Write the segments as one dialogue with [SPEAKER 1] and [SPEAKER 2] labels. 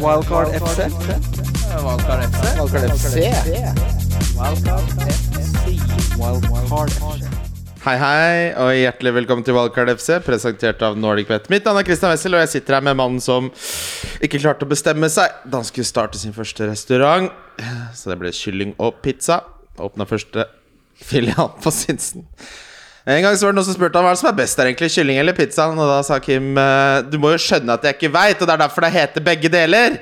[SPEAKER 1] Wildcard FC.
[SPEAKER 2] Valgkar FC.
[SPEAKER 1] Wildcard FC. Wildcard FC.
[SPEAKER 3] Hei, hei, og hjertelig velkommen til Wildcard FC, presentert av Nordic Bet. Mitt navn er Christian Wessel, og jeg sitter her med mannen som ikke klarte å bestemme seg da han skulle starte sin første restaurant. Så det ble kylling og pizza. Åpna første filial på Sinsen. En gang så var det noen som spurte han hva er det som er best der, egentlig, kylling eller pizza. Og da sa Kim «Eh, du må jo skjønne at jeg ikke veit, og det er derfor det heter begge deler.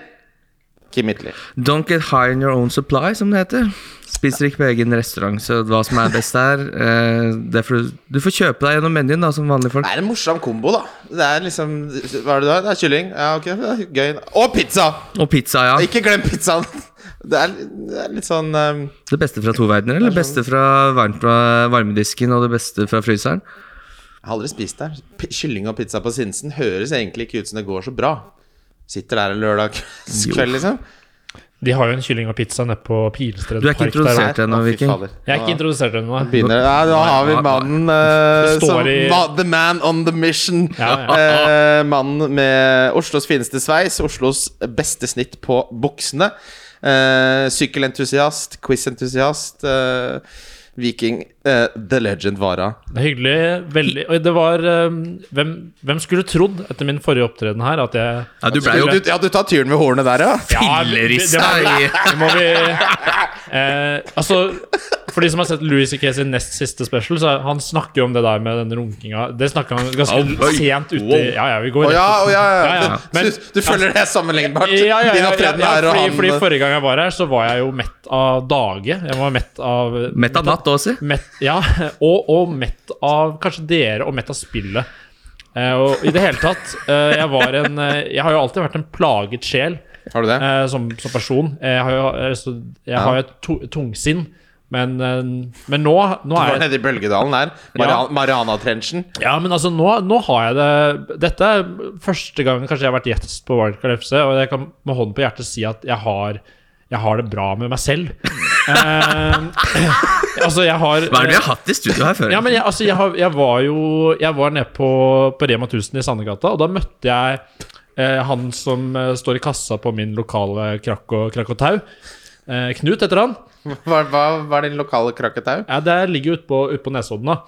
[SPEAKER 3] Kim Hitler.
[SPEAKER 4] Don't get high on your own supply, som det heter. Spiser ikke på egen restaurant, så hva som er best der eh, det får du, du får kjøpe deg gjennom menyen, da, som vanlige folk.
[SPEAKER 3] Det er en morsom kombo, da. Det er liksom Hva er det du har? Det er kylling. Ja, ok, det er gøy. Og pizza!
[SPEAKER 4] Og pizza, ja.
[SPEAKER 3] Ikke glem pizzaen. Det er, det er litt sånn um,
[SPEAKER 4] Det beste fra to verdener, eller det beste fra varmt, varmedisken og det beste fra fryseren?
[SPEAKER 3] Jeg har aldri spist der. P kylling og pizza på Sinsen høres egentlig ikke ut som det går så bra. Sitter der en lørdag kveld, liksom.
[SPEAKER 5] De har jo en kylling og pizza nede på Pilestred
[SPEAKER 4] Du er ikke
[SPEAKER 5] Park der også.
[SPEAKER 4] introdusert ennå,
[SPEAKER 3] Å, fy
[SPEAKER 4] Viking.
[SPEAKER 3] fader.
[SPEAKER 5] Jeg er ikke
[SPEAKER 3] Nå
[SPEAKER 5] introdusert ennå. jeg.
[SPEAKER 3] Begynner, ja, da har vi
[SPEAKER 4] nei, nei.
[SPEAKER 3] mannen eh,
[SPEAKER 5] Det står
[SPEAKER 3] som
[SPEAKER 5] i-
[SPEAKER 3] ma- The man on the mission.
[SPEAKER 5] Ja, ja.
[SPEAKER 3] Eh, mannen med Oslos fineste sveis, Oslos beste snitt på buksene. Eh, sykkelentusiast, quizentusiast. eh, Viking, eh, the legend Vara.
[SPEAKER 5] Det er hyggelig. Veldig Oi, det var ehm, hvem, hvem skulle trodd, etter min forrige opptreden her, at jeg
[SPEAKER 4] Ja, du ble
[SPEAKER 3] Jo,
[SPEAKER 4] jo
[SPEAKER 3] du, ja, du tar turen ved hornet der, ja?
[SPEAKER 5] Ja, det- det
[SPEAKER 4] fillerista
[SPEAKER 5] var-
[SPEAKER 4] i
[SPEAKER 5] Det må vi eh, Altså, for de som har sett Louis C.K. sin nest siste special, så han snakker jo om det der med den runkinga. Det snakker han ganske sent uti Ja, ja, vi går
[SPEAKER 3] Å ja,
[SPEAKER 5] rett
[SPEAKER 3] å ja, ja.
[SPEAKER 5] Ja, ja.
[SPEAKER 3] Du-
[SPEAKER 5] Men-
[SPEAKER 3] Du, du føler det er sammenlignbart?
[SPEAKER 5] ja, ja, ja,
[SPEAKER 3] Din
[SPEAKER 5] ja,
[SPEAKER 3] opptreden
[SPEAKER 5] ja,
[SPEAKER 3] her og
[SPEAKER 5] fordi,
[SPEAKER 3] han
[SPEAKER 5] fordi Forrige gang jeg var her, så var jeg jo mett av dage. Jeg var mett av
[SPEAKER 4] Mett av natt òg, si.
[SPEAKER 5] Mett, ja, og, og mett av kanskje dere, og mett av spillet. Eh, og i det hele tatt eh, jeg, var en, eh, jeg har jo alltid vært en plaget sjel
[SPEAKER 3] Har du det?
[SPEAKER 5] eh, som, som person. Jeg har jo, eh, så, jeg har jo et tu- tungsinn, men, eh, men nå, nå
[SPEAKER 3] Du
[SPEAKER 5] er
[SPEAKER 3] var
[SPEAKER 5] jeg
[SPEAKER 3] nede i Bølgedalen der.
[SPEAKER 5] Ja.
[SPEAKER 3] Marian- Mariana-trenchen.
[SPEAKER 5] Ja, men altså, nå, nå har jeg det Dette er første gang kanskje jeg har vært gjest på Wildcard FC, og jeg kan med hånden på hjertet si at jeg har, jeg har det bra med meg selv. Eh, altså, jeg har
[SPEAKER 4] Hva er det vi har hatt i studio her før?
[SPEAKER 5] Ja, men jeg, altså, jeg, har, jeg var jo Jeg var nede på, på Rema 1000 i Sandegata, og da møtte jeg eh, han som eh, står i kassa på min lokale krakk og krakk og tau. Eh, Knut heter han.
[SPEAKER 3] Hva, hva, hva er din lokale krakketau?
[SPEAKER 5] Ja, det ligger jo ute på, ut på Nesodden, da.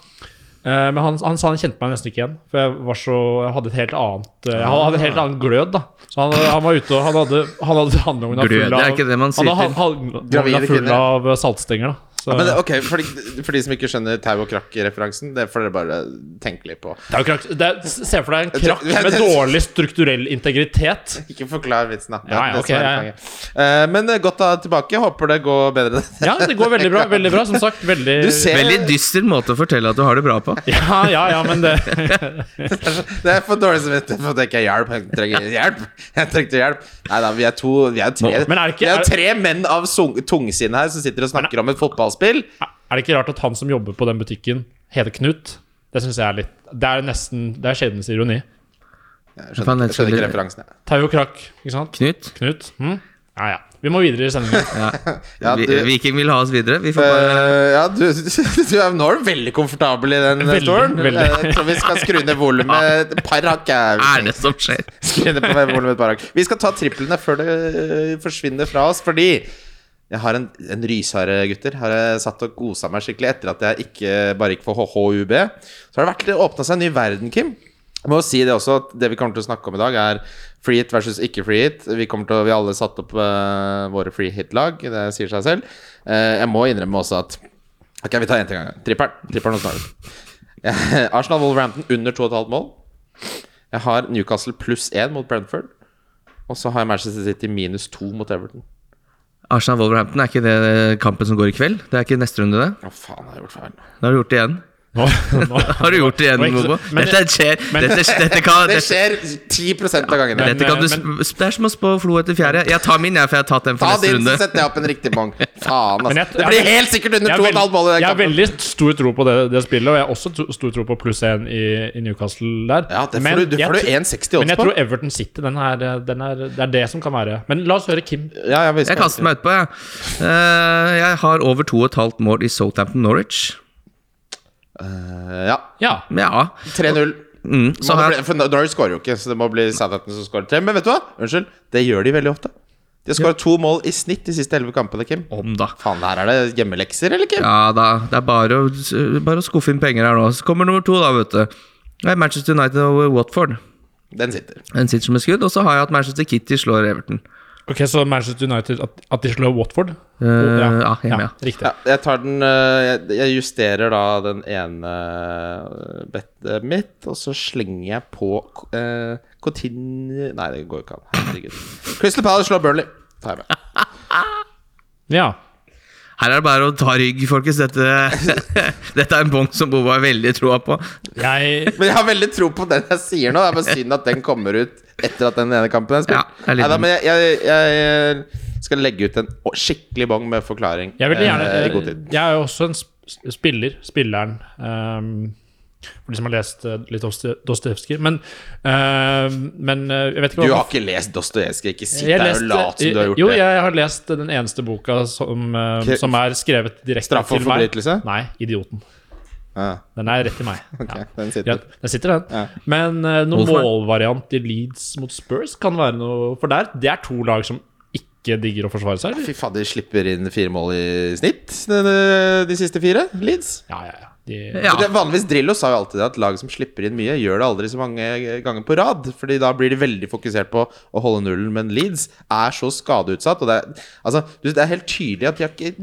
[SPEAKER 5] Eh, men han, han sa han kjente meg nesten ikke igjen, for jeg var så Jeg hadde et helt annet eh, Jeg hadde en helt annen glød, da. Så han, han var ute og Han hadde, han hadde handlevogna
[SPEAKER 4] Glød,
[SPEAKER 5] full
[SPEAKER 4] det
[SPEAKER 5] av
[SPEAKER 4] er ikke det man sier
[SPEAKER 5] han hadde
[SPEAKER 4] til
[SPEAKER 5] handlevogna
[SPEAKER 3] gravide
[SPEAKER 5] full
[SPEAKER 3] kvinner.
[SPEAKER 5] av eh, saltstenger, da. Så,
[SPEAKER 3] Ja, men det, ok, for de, for de som ikke skjønner tau og krakk-referansen, det får dere bare tenke litt på.
[SPEAKER 5] Det er jo krakk, det er, Se for deg en krakk
[SPEAKER 3] Ja,
[SPEAKER 5] med
[SPEAKER 3] det-
[SPEAKER 5] dårlig strukturell integritet.
[SPEAKER 3] Ikke forklar vitsen, da. Det er
[SPEAKER 5] Ja, ja,
[SPEAKER 3] det som
[SPEAKER 5] ok,
[SPEAKER 3] er
[SPEAKER 5] ja,
[SPEAKER 3] poenget. Eh, men eh, godt å ha deg tilbake. Håper det går bedre.
[SPEAKER 5] Ja, det går veldig bra. veldig bra, Som sagt, veldig
[SPEAKER 3] Du ser
[SPEAKER 4] Veldig dyster måte å fortelle at du har det bra på.
[SPEAKER 5] Ja, ja, ja, men det
[SPEAKER 3] Det er for dårlig samvittighet for at jeg ikke har hjelp. Jeg trenger hjelp. Jeg trengte hjelp. Nei da, vi er to Vi er tre,
[SPEAKER 5] Men er det ikke-
[SPEAKER 3] vi
[SPEAKER 5] er-
[SPEAKER 3] er tre menn av sung- tungsinn her som sitter og snakker om et fotballspill.
[SPEAKER 5] Er det ikke rart at han som jobber på den butikken, heter Knut? Det syns jeg er litt Det er nesten Det er skjebnens ironi.
[SPEAKER 3] Jeg skjønner,
[SPEAKER 4] Faen, jeg
[SPEAKER 3] jeg skjønner ikke
[SPEAKER 4] skjønner.
[SPEAKER 3] referansen. jeg.
[SPEAKER 5] Tau og krakk, ikke sant?
[SPEAKER 4] Knut,
[SPEAKER 5] Knut? Hm? Ja, ja. Vi må videre i sendingen.
[SPEAKER 3] Ja,
[SPEAKER 4] vi,
[SPEAKER 3] du-
[SPEAKER 4] Viking vil ha oss videre. Vi får bare
[SPEAKER 3] Eh, ja, du, du er, nå er du veldig komfortabel i den
[SPEAKER 5] Veldig,
[SPEAKER 3] stolen.
[SPEAKER 5] veldig.
[SPEAKER 3] Eh, så vi skal skru ned volumet et par hakk. jeg.
[SPEAKER 4] Hva er det som skjer?
[SPEAKER 3] Skru ned på volumet et par hakk. Vi skal ta triplene før det eh, forsvinner fra oss, fordi jeg har en, en ryshare, gutter. Har jeg satt og gosa meg skikkelig etter at jeg ikke, bare gikk for HHUB. Så har det vært åpna seg en ny verden, Kim. Jeg må jo si det også at det vi kommer til å snakke om i dag, er free hit versus ikke free hit. Vi kommer til å, vi har alle satt opp eh, våre free hit-lag, det sier seg selv. Eh, jeg må innrømme også at Ok, vi tar én ting av gangen. Tripperen. Tripperen og snarlig. Arsenal Wolverhampton under 2,5 mål. Jeg har Newcastle pluss 1 mot Brentford. Og så har jeg Manchester City minus 2 mot Everton.
[SPEAKER 4] Arsenal Wolverhampton, er ikke det kampen som går i kveld? Det er ikke neste runde, det?
[SPEAKER 3] Hva faen har jeg gjort feil?
[SPEAKER 4] Da har du gjort det igjen.
[SPEAKER 5] Nå, nå.
[SPEAKER 4] Har du gjort det igjen,
[SPEAKER 5] Men-
[SPEAKER 4] Bobo?
[SPEAKER 5] men-
[SPEAKER 4] Dette skjer dette, dette kan,
[SPEAKER 3] Det
[SPEAKER 4] dette,
[SPEAKER 3] skjer 10 av gangene.
[SPEAKER 4] dette kan du sp- Det er som å spå Flo etter fjerde. Jeg tar min, jeg, for jeg har tatt den
[SPEAKER 3] Ta
[SPEAKER 4] for neste
[SPEAKER 3] din, så
[SPEAKER 4] runde.
[SPEAKER 3] setter jeg opp en riktig bong. Faen, altså.
[SPEAKER 5] Men jeg-
[SPEAKER 3] Det
[SPEAKER 5] jeg-
[SPEAKER 3] blir helt sikkert
[SPEAKER 5] Jeg
[SPEAKER 3] under
[SPEAKER 5] har
[SPEAKER 3] 2,5 mål i
[SPEAKER 5] veldig- jeg
[SPEAKER 3] den
[SPEAKER 5] har
[SPEAKER 3] kampen.
[SPEAKER 5] veldig stor tro på det, det spillet, og jeg har også to- stor tro på pluss én i, i Newcastle der.
[SPEAKER 3] Ja, det
[SPEAKER 5] Men
[SPEAKER 3] får du, du
[SPEAKER 5] jeg
[SPEAKER 3] får du
[SPEAKER 5] tr-
[SPEAKER 3] 1,60
[SPEAKER 5] Men jeg
[SPEAKER 3] odds på.
[SPEAKER 5] tror Everton City, den er, den er, det er det som kan være. Men la oss høre Kim.
[SPEAKER 3] Ja, jeg, visste
[SPEAKER 4] Jeg kaster meg utpå, jeg. Eh, Jeg har over 2,5 mål i Southampton Norwich.
[SPEAKER 3] Eh, Ja.
[SPEAKER 5] Ja.
[SPEAKER 4] Men Ja.
[SPEAKER 3] 3-0.
[SPEAKER 4] Mm, så
[SPEAKER 3] Man
[SPEAKER 4] har
[SPEAKER 3] ble, for Norwich skårer jo ikke, så det må bli Southampton som skårer tre. Men vet du hva? Unnskyld, det gjør de veldig ofte. De har skåret to mål i snitt de siste elleve kampene, Kim.
[SPEAKER 4] Om, da.
[SPEAKER 3] Faen, her er det hjemmelekser, eller, Kim?
[SPEAKER 4] Ja da, det er bare å, bare å skuffe inn penger her nå. Så kommer nummer to, da, vet du. Det er Manchester United over Watford.
[SPEAKER 3] Den sitter.
[SPEAKER 4] Den sitter som et skudd. Og så har jeg at Manchester Kitty slår Everton.
[SPEAKER 5] Ok, Så Manchester United At, at de slår Watford?
[SPEAKER 4] Eh, ja, hjemme, ja.
[SPEAKER 5] Riktig.
[SPEAKER 3] Ja, jeg tar den eh, Jeg jeg justerer da den ene eh, bettet mitt, og så slenger jeg på uh, Coutinho Nei, det går jo ikke an. Herregud. Crystal Palace slår Burnley. Tar jeg med.
[SPEAKER 5] Ja.
[SPEAKER 4] Her er det bare å ta rygg, folkens. Dette, dette er en bong som Boba har veldig troa på.
[SPEAKER 5] Jeg
[SPEAKER 3] Men jeg har veldig tro på den jeg sier nå. Det er bare synd at den kommer ut etter at den ene kampen er spilt.
[SPEAKER 4] Ja, jeg er litt
[SPEAKER 3] Neida, men jeg, jeg, jeg skal legge ut en å- skikkelig bong med forklaring
[SPEAKER 5] Jeg ville gjerne
[SPEAKER 3] eh, i
[SPEAKER 5] jeg,
[SPEAKER 3] god tid.
[SPEAKER 5] er jo også en sp- spiller. Spilleren. ehm, for de som har lest eh, litt Dostoje- Dostojevskij. Men, ehm, men eh, jeg vet
[SPEAKER 3] Du
[SPEAKER 5] ikke hva
[SPEAKER 3] har ikke lest Dostojevskij? Ikke sitt
[SPEAKER 5] Jeg
[SPEAKER 3] der og
[SPEAKER 5] leste-
[SPEAKER 3] lat som du har gjort
[SPEAKER 5] jo,
[SPEAKER 3] det.
[SPEAKER 5] jeg har lest den eneste boka som, eh,
[SPEAKER 3] Ok.
[SPEAKER 5] som er skrevet direkte
[SPEAKER 3] Straff og
[SPEAKER 5] til meg.
[SPEAKER 3] forbrytelse?
[SPEAKER 5] Nei, Idioten.
[SPEAKER 3] Ja,
[SPEAKER 5] Den er rett til meg.
[SPEAKER 3] ok,
[SPEAKER 5] Ja.
[SPEAKER 3] den
[SPEAKER 5] Ja,
[SPEAKER 3] sitter.
[SPEAKER 5] der sitter den.
[SPEAKER 3] Ja.
[SPEAKER 5] Men eh, noen
[SPEAKER 4] Hvorfor?
[SPEAKER 5] målvariant i Leeds mot Spurs kan være noe For der, det er to lag som ikke digger å forsvare seg. eller?
[SPEAKER 3] Fy fader, de slipper inn fire mål i snitt de, de- de siste fire. Leeds.
[SPEAKER 5] Ja, ja, ja. De,
[SPEAKER 4] Ja.
[SPEAKER 3] Så det, vanligvis Drillo sa jo alltid det at lag som slipper inn mye, gjør det aldri så mange ganger på rad. Fordi da blir de veldig fokusert på å holde nullen. Men Leeds er så skadeutsatt. Og det er, altså, du, det er helt tydelig at de har ikke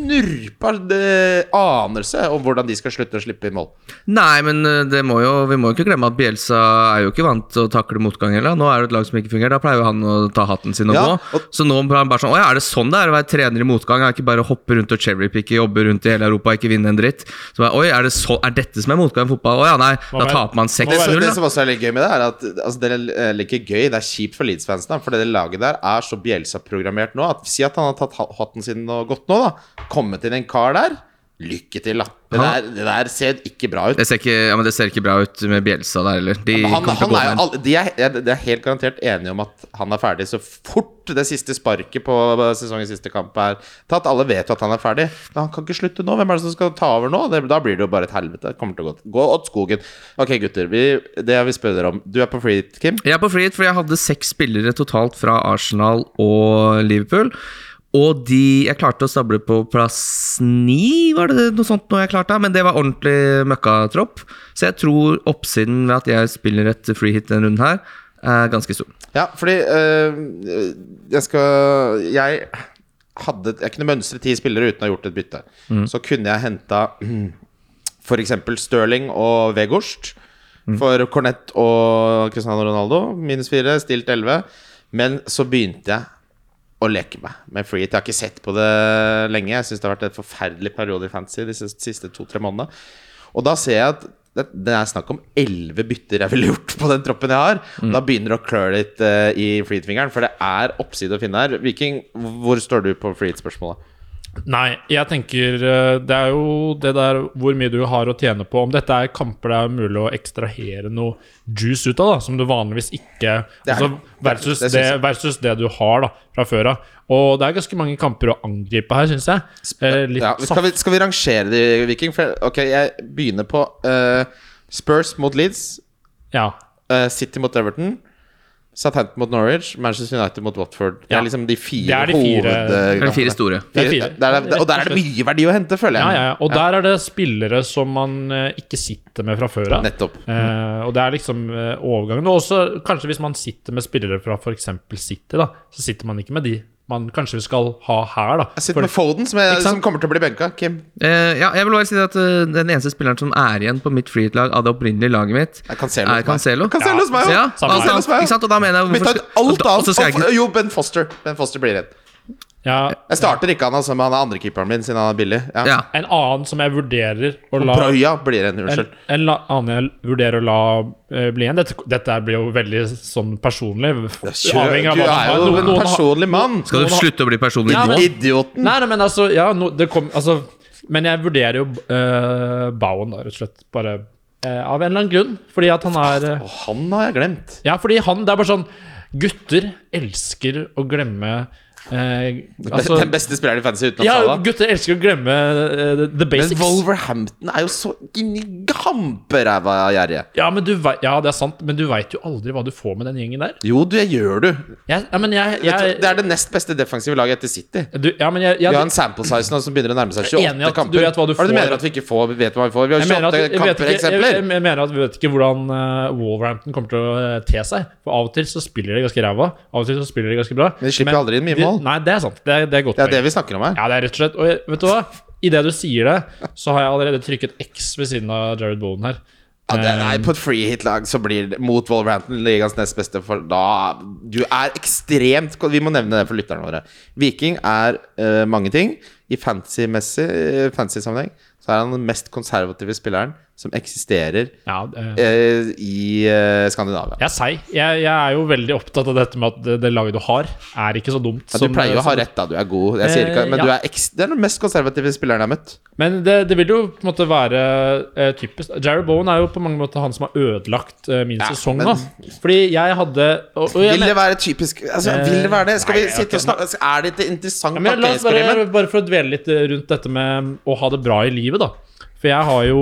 [SPEAKER 3] snurpa det- anelse om hvordan de skal slutte å slippe inn mål.
[SPEAKER 4] Nei, men eh, det må jo, vi må jo ikke glemme at Bielsa er jo ikke vant til å takle motgang heller. Nå er det et lag som ikke fungerer. Da pleier jo han å ta hatten sin og
[SPEAKER 3] Ja,
[SPEAKER 4] gå.
[SPEAKER 3] og-
[SPEAKER 4] Så nå er han bare sånn Å ja, er det sånn det er å være trener i motgang? Er det ikke bare å hoppe rundt og cherrypicke, jobbe rundt i hele Europa, ikke vinne en dritt? Så bare, Oi, er det, så, er dette som er motgang i fotball? Å ja, nei, da
[SPEAKER 5] være-
[SPEAKER 4] taper man
[SPEAKER 3] Det, som-
[SPEAKER 4] 6-0.
[SPEAKER 3] det
[SPEAKER 4] da.
[SPEAKER 3] som også er litt gøy med det, er at altså, det er eller ikke gøy, det er kjipt for Leeds-fansen. da, For det laget der er så Bjelsa-programmert nå at si at han har tatt ha- hatten sin og gått nå, da. Kommet inn en kar der. Lykke til, da. Det der,
[SPEAKER 4] Ja.
[SPEAKER 3] det der ser ikke bra ut.
[SPEAKER 4] Det ser, ikke, ja, men det ser ikke bra ut med Bielsa der heller. De
[SPEAKER 3] Men han,
[SPEAKER 4] kommer til
[SPEAKER 3] han
[SPEAKER 4] å gå
[SPEAKER 3] er,
[SPEAKER 4] ned.
[SPEAKER 3] jo all- de, er, jeg- de er helt garantert enige om at han er ferdig så fort det siste sparket på sesongens siste kamp er tatt. Alle vet jo at han er ferdig, men han kan ikke slutte nå. Hvem er det som skal ta over nå? Det, da blir det jo bare et helvete. Det kommer til å gå, gå åt skogen. Ok, gutter. Vi, det jeg vil spørre dere om. Du er på free hit, Kim.
[SPEAKER 4] Jeg er på free hit, for jeg hadde seks spillere totalt fra Arsenal og Liverpool. Og de Jeg klarte å stable på plass ni, var det noe sånt noe jeg klarte? Men det var ordentlig møkkatropp. Så jeg tror oppsiden ved at jeg spiller et free hit denne runden her, er ganske stor.
[SPEAKER 3] Ja, fordi øh, Jeg skal Jeg hadde Jeg kunne mønstre ti spillere uten å ha gjort et bytte. Så kunne jeg henta f.eks. Stirling og Vegårst. For Cornett og Cristiano Ronaldo. Minus fire, stilt elleve. Men så begynte jeg å leke meg med free hit. Jeg har ikke sett på det lenge. Jeg syns det har vært en forferdelig periode i fantasy de siste to-tre månedene. Og da ser jeg at det, det er snakk om elleve bytter jeg ville gjort på den troppen jeg har.
[SPEAKER 5] Mm.
[SPEAKER 3] Og Da begynner det å klø litt eh, i freehit-fingeren, for det er oppside å finne her. Viking, hvor står du på freehit-spørsmålet?
[SPEAKER 5] Nei, jeg tenker eh, Det er jo det der hvor mye du har å tjene på. Om dette er kamper det er mulig å ekstrahere noe juice ut av, da, som du vanligvis ikke
[SPEAKER 3] Det er
[SPEAKER 5] altså,
[SPEAKER 3] det.
[SPEAKER 5] versus,
[SPEAKER 3] Det
[SPEAKER 5] det,
[SPEAKER 3] synes jeg.
[SPEAKER 5] versus det du har da, fra før av. Og det er ganske mange kamper å angripe her, syns jeg. Eh, litt
[SPEAKER 3] Ja, skal, vi, skal vi rangere de, Viking? For, ok, jeg begynner på eh, Spurs mot Leeds,
[SPEAKER 5] saft- ja.
[SPEAKER 3] eh, City mot Everton. Southampton mot Norwich, Manchester United mot Watford. Det er
[SPEAKER 5] Ja.
[SPEAKER 3] liksom de
[SPEAKER 5] Det
[SPEAKER 3] fire
[SPEAKER 5] er de fire-
[SPEAKER 4] Det er de fire
[SPEAKER 3] hovedkampene.
[SPEAKER 4] store.
[SPEAKER 5] Det er fire.
[SPEAKER 3] Der er- Og der er det mye verdi å hente, føler
[SPEAKER 5] Ja,
[SPEAKER 3] jeg.
[SPEAKER 5] ja, ja. Og der er det spillere som man eh, ikke sitter med fra før av.
[SPEAKER 3] Nettopp. Mm.
[SPEAKER 5] Eh, og det er liksom eh, overgangen. Og også kanskje hvis man sitter med spillere fra f.eks. City, da, så sitter man ikke med de man kanskje skal ha her, da.
[SPEAKER 3] Jeg sitter med Foden, som, jeg,
[SPEAKER 5] Ikke sant?
[SPEAKER 3] som kommer til å bli benka. Kim,
[SPEAKER 4] Eh, ja, jeg vil bare si at eh, den eneste spilleren som er igjen på mitt free hit-lag av det opprinnelige laget mitt,
[SPEAKER 3] Jeg kan se
[SPEAKER 4] er Cancelo.
[SPEAKER 3] Cancelo hos meg
[SPEAKER 4] Ja, altså,
[SPEAKER 3] òg!
[SPEAKER 5] samme her.
[SPEAKER 4] ikke sant? Og da mener jeg
[SPEAKER 3] Vi
[SPEAKER 4] hvorfor
[SPEAKER 3] tar ut
[SPEAKER 4] skal- og
[SPEAKER 3] alt
[SPEAKER 4] da- og så
[SPEAKER 3] annet.
[SPEAKER 4] skal jeg ikke-
[SPEAKER 3] Og- Jo, Ben Foster. Ben Foster blir redd.
[SPEAKER 5] ja,
[SPEAKER 3] Jeg starter ikke han, altså, men han er andrekeeperen min, siden han er billig. Ja.
[SPEAKER 4] Ja.
[SPEAKER 5] En annen som jeg vurderer å la
[SPEAKER 3] Brøya blir en,
[SPEAKER 5] en,
[SPEAKER 3] unnskyld.
[SPEAKER 5] en la, annen jeg vurderer å la eh, bli igjen. Dette, dette blir jo veldig sånn personlig. Avhengig av
[SPEAKER 3] du
[SPEAKER 5] hva
[SPEAKER 3] er
[SPEAKER 5] man har.
[SPEAKER 3] jo
[SPEAKER 5] Noen-
[SPEAKER 3] en
[SPEAKER 5] noen har-
[SPEAKER 3] personlig mann.
[SPEAKER 4] Skal du slutte å bli personlig
[SPEAKER 5] Ja,
[SPEAKER 4] nå?
[SPEAKER 5] men-
[SPEAKER 3] Idioten.
[SPEAKER 5] Nei, nei, men altså, ja, no, det kom, altså Men jeg vurderer jo uh, Bowen, da, rett og slett. Bare eh, av en eller annen grunn. Fordi at han er eh,
[SPEAKER 3] Og han har jeg glemt.
[SPEAKER 5] Ja, fordi han Det er bare sånn Gutter elsker å glemme eh,
[SPEAKER 3] Altså,
[SPEAKER 5] altså,
[SPEAKER 3] Den beste spilleren i fantasy uten å
[SPEAKER 5] ja,
[SPEAKER 3] ta det.
[SPEAKER 5] gutter elsker å glemme eh, the- the
[SPEAKER 3] Men
[SPEAKER 5] basics.
[SPEAKER 3] Wolverhampton er jo så inni gamperæva gjerrig.
[SPEAKER 5] ja, men du vei, ja, det er sant, men du veit jo aldri hva du får med den gjengen der.
[SPEAKER 3] Jo, det gjør du.
[SPEAKER 5] Jeg, ja, men jeg,
[SPEAKER 3] Vet du,
[SPEAKER 5] jeg,
[SPEAKER 3] Det er det nest beste defensive laget etter City.
[SPEAKER 5] du, ja, men jeg, jeg,
[SPEAKER 3] Vi har en sample size nå som begynner å nærme seg
[SPEAKER 5] Jeg er enig i
[SPEAKER 3] 28
[SPEAKER 5] at du
[SPEAKER 3] kamper.
[SPEAKER 5] vet hva du
[SPEAKER 3] Hva er det
[SPEAKER 5] får.
[SPEAKER 3] du mener at vi ikke får, vet hva vi får? Vi har
[SPEAKER 5] jeg
[SPEAKER 3] 28
[SPEAKER 5] mener at, jeg, vet
[SPEAKER 3] eh, kamper,
[SPEAKER 5] ikke, jeg,
[SPEAKER 3] eksempler.
[SPEAKER 5] jeg, jeg mener at vi vet ikke hvordan eh, Wolverhampton kommer til å eh, te seg. For Av og til så spiller de ganske ræva, av og til så spiller de ganske bra.
[SPEAKER 3] Men de slipper aldri inn mye
[SPEAKER 5] de-
[SPEAKER 3] mål.
[SPEAKER 5] Nei, det er sant. Det er, det er godt
[SPEAKER 3] Det er
[SPEAKER 5] poeng.
[SPEAKER 3] det vi snakker om her.
[SPEAKER 5] Ja, det er rett og slett Og jeg- vet du hva? I det du sier det, så har jeg allerede trykket X ved siden av Jared Bowen her.
[SPEAKER 3] Ja, det, nei, på et free hit-lag så blir det mot Wolverhampton ligas nest beste, for da Du er ekstremt Vi må nevne det for lytterne våre. Viking er eh, mange ting. I fantasy-messig eh, fantasy-sammenheng så er han den mest konservative spilleren som eksisterer
[SPEAKER 5] Ja, eh,
[SPEAKER 3] eh, i eh, Skandinavia.
[SPEAKER 5] jeg er seig. Jeg, jeg er jo veldig opptatt av dette med at det, det laget du har, er ikke så dumt.
[SPEAKER 3] Ja, du pleier jo å ha rett, da. Du er god. Jeg sier ikke,
[SPEAKER 5] Eh,
[SPEAKER 3] men
[SPEAKER 5] ja.
[SPEAKER 3] du er ekst, det er den mest konservative spilleren jeg har møtt.
[SPEAKER 5] Men det, det vil jo på en måte være eh, typisk Jared Bowen er jo på mange måter han som har ødelagt eh, min
[SPEAKER 3] Ja,
[SPEAKER 5] sesong.
[SPEAKER 3] men-
[SPEAKER 5] da Fordi jeg hadde og, og jeg,
[SPEAKER 3] Vil det
[SPEAKER 5] men, Eh,
[SPEAKER 3] være typisk altså, Vil det være det? Skal
[SPEAKER 5] nei,
[SPEAKER 3] vi
[SPEAKER 5] jeg
[SPEAKER 3] sitte og
[SPEAKER 5] vet
[SPEAKER 3] snakke Altså, Er det et interessant
[SPEAKER 5] ja, men la oss
[SPEAKER 3] parkeringsproblem?
[SPEAKER 5] bare, bare for å dvele litt eh, rundt dette med um, å ha det bra i livet, da. For jeg har jo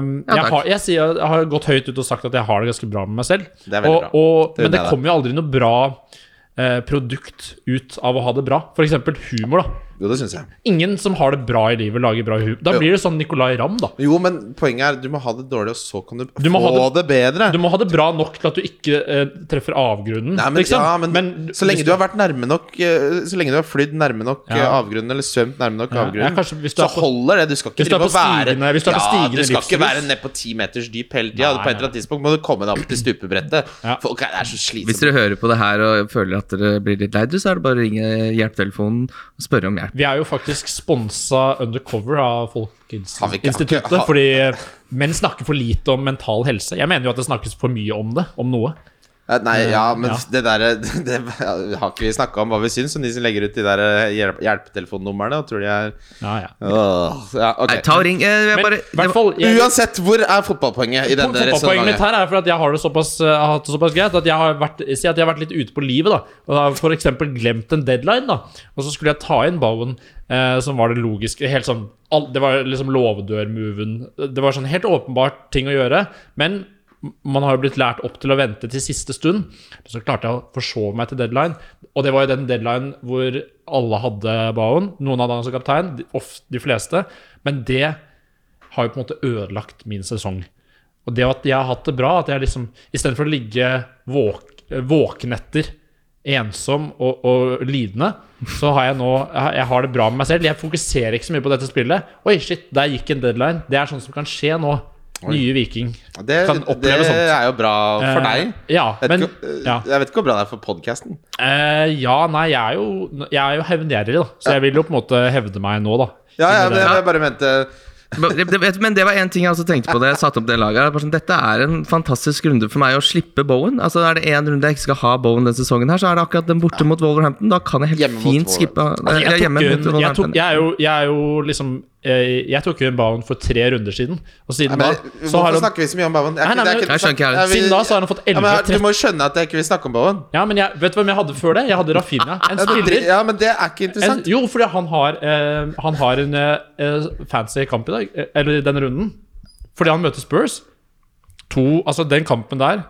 [SPEAKER 4] Ja,
[SPEAKER 5] jeg,
[SPEAKER 4] takk.
[SPEAKER 5] har, jeg, sier, jeg har gått høyt ut og sagt at jeg har det ganske bra med meg selv.
[SPEAKER 3] Det er veldig
[SPEAKER 5] og,
[SPEAKER 3] bra.
[SPEAKER 5] Og,
[SPEAKER 3] Det
[SPEAKER 5] men
[SPEAKER 3] unner
[SPEAKER 5] det
[SPEAKER 3] jeg deg.
[SPEAKER 5] kommer jo aldri noe bra eh, produkt ut av å ha det bra. For eksempel humor, da.
[SPEAKER 3] Jo, det syns jeg.
[SPEAKER 5] Ingen som har det bra i livet, lager bra humor. Da
[SPEAKER 3] Jo.
[SPEAKER 5] blir det sånn Nicolay Ramm, da.
[SPEAKER 3] Jo, men poenget er du må ha det dårlig, og så kan du,
[SPEAKER 5] Du må
[SPEAKER 3] få
[SPEAKER 5] ha
[SPEAKER 3] det, bedre.
[SPEAKER 5] Du må ha det bra nok til at du ikke eh, treffer avgrunnen.
[SPEAKER 3] Nei, men,
[SPEAKER 5] liksom.
[SPEAKER 3] ja, men, så lenge du har vært nærme nok eh, Så lenge du har flydd nærme nok eh,
[SPEAKER 5] Ja.
[SPEAKER 3] avgrunnen, eller svømt nærme nok
[SPEAKER 5] Ja, ja,
[SPEAKER 3] avgrunnen,
[SPEAKER 5] kanskje hvis du
[SPEAKER 3] så
[SPEAKER 5] er på-
[SPEAKER 3] holder det. Du skal ikke
[SPEAKER 5] Hvis du er
[SPEAKER 3] drive
[SPEAKER 5] på
[SPEAKER 3] og være
[SPEAKER 5] stigende- hvis du er
[SPEAKER 3] Ja,
[SPEAKER 5] på stigende
[SPEAKER 3] du skal ikke
[SPEAKER 5] livsstil.
[SPEAKER 3] være ned på ti meters dyp hele tida.
[SPEAKER 5] Nei,
[SPEAKER 3] På et eller
[SPEAKER 5] nei.
[SPEAKER 3] annet tidspunkt må du komme deg opp til stupebrettet.
[SPEAKER 5] Ja.
[SPEAKER 3] Folk er, er så
[SPEAKER 4] Hvis
[SPEAKER 3] slitsomme.
[SPEAKER 4] dere hører på det her og føler at dere blir litt lei dere, så er det bare å ringe hjelpetelefonen og spørre om hjelp.
[SPEAKER 5] Vi er jo faktisk sponsa undercover av
[SPEAKER 3] Har vi ikke-
[SPEAKER 5] Folkehelseinstituttet.
[SPEAKER 3] har-
[SPEAKER 5] Fordi menn snakker for lite om mental helse. Jeg mener jo at det snakkes for mye om det, om noe.
[SPEAKER 3] Eh, Nei, ja, men
[SPEAKER 5] Ja.
[SPEAKER 3] det der det, har ikke vi snakka om hva vi syns, om de som legger ut de der eh, hjelp, hjelpetelefonnumrene og tror de er
[SPEAKER 5] Ja, ja.
[SPEAKER 3] Åh, ja, ok.
[SPEAKER 4] Nei, ta og ring. Eh, jeg
[SPEAKER 5] Men
[SPEAKER 4] bare,
[SPEAKER 5] i hvert fall jeg,
[SPEAKER 3] Uansett, hvor er fotballpoenget i denne
[SPEAKER 5] Fotballpoenget mitt
[SPEAKER 3] resonnementet?
[SPEAKER 5] her er for at jeg har det såpass, eh, har hatt det såpass greit at jeg har vært, si at jeg har vært litt ute på livet. da Og da har jeg for eksempel glemt en deadline, da og så skulle jeg ta inn Bowen, eh, som var det logiske. Helt sånn, all, det var liksom låvedørmoven. Det var sånn helt åpenbart ting å gjøre. Men man har jo blitt lært opp til å vente til siste stund. Så klarte jeg å forsove meg til deadline. Og det var jo den deadline hvor alle hadde Bowen. Noen hadde han som kaptein, de- of- de fleste. Men det har jo på en måte ødelagt min sesong. Og det at jeg har hatt det bra, at jeg liksom istedenfor å ligge våk, våkenetter ensom og, og lidende, så har jeg nå jeg jeg har det bra med meg selv. Jeg fokuserer ikke så mye på dette spillet. Oi, shit, der gikk en deadline. Det er sånn som kan skje nå. Nye Viking
[SPEAKER 3] Det,
[SPEAKER 5] kan
[SPEAKER 3] det
[SPEAKER 5] oppleve sånt.
[SPEAKER 3] er jo bra for deg.
[SPEAKER 5] Eh, ja,
[SPEAKER 3] Jeg vet,
[SPEAKER 5] men
[SPEAKER 3] ikke, eh,
[SPEAKER 5] ja.
[SPEAKER 3] jeg vet ikke hvor bra det er for podkasten.
[SPEAKER 5] Eh, ja, nei, jeg er jo Jeg er jo hevngjerrig, da. Så jeg vil jo på en måte hevde meg nå, da.
[SPEAKER 3] Ja, ja, men
[SPEAKER 5] Siden det-
[SPEAKER 3] jeg bare mente
[SPEAKER 4] Men det- det- Men det var en ting jeg også tenkte på da jeg satte opp det laget. her. Bare sånn, Dette er en fantastisk runde for meg å slippe Bowen. Altså Er det én runde jeg ikke skal ha Bowen denne sesongen, her så er det akkurat den borte mot Wolverhampton. Da kan jeg helt
[SPEAKER 3] Hjemme mot
[SPEAKER 4] fint
[SPEAKER 3] Wolverhampton.
[SPEAKER 4] skippe eller
[SPEAKER 5] Jeg
[SPEAKER 4] hjemme mot
[SPEAKER 5] tok, jo en, jeg, tok,
[SPEAKER 4] Wolverhampton.
[SPEAKER 5] jeg, er jo, jeg er jo liksom eh, Jeg tok jo en bound for tre runder siden,
[SPEAKER 3] Nei,
[SPEAKER 5] og siden
[SPEAKER 3] men,
[SPEAKER 5] da så har
[SPEAKER 3] Hvorfor
[SPEAKER 5] han,
[SPEAKER 3] snakker vi så mye om Bowen? Det er
[SPEAKER 5] Nei, nei,
[SPEAKER 3] ikke- det er
[SPEAKER 5] men-
[SPEAKER 3] ikke-
[SPEAKER 4] Jeg skjønner ikke, jeg.
[SPEAKER 3] Ja, vi-
[SPEAKER 5] Siden da så har han fått
[SPEAKER 3] Ja, men
[SPEAKER 5] 11-13
[SPEAKER 3] Du må jo skjønne at jeg ikke vil snakke om Bowen.
[SPEAKER 5] Ja, men jeg, Vet du hvem jeg hadde før det? Jeg hadde Rafinha.
[SPEAKER 3] Ja,
[SPEAKER 5] En
[SPEAKER 3] men det-
[SPEAKER 5] spiller.
[SPEAKER 3] ja, men det er ikke
[SPEAKER 5] En,
[SPEAKER 3] interessant.
[SPEAKER 5] jo, fordi han har, eh, han har en eh, eh, fancy kamp i dag. eh, Eller i denne runden. Fordi han møter Spurs. To, altså Den kampen der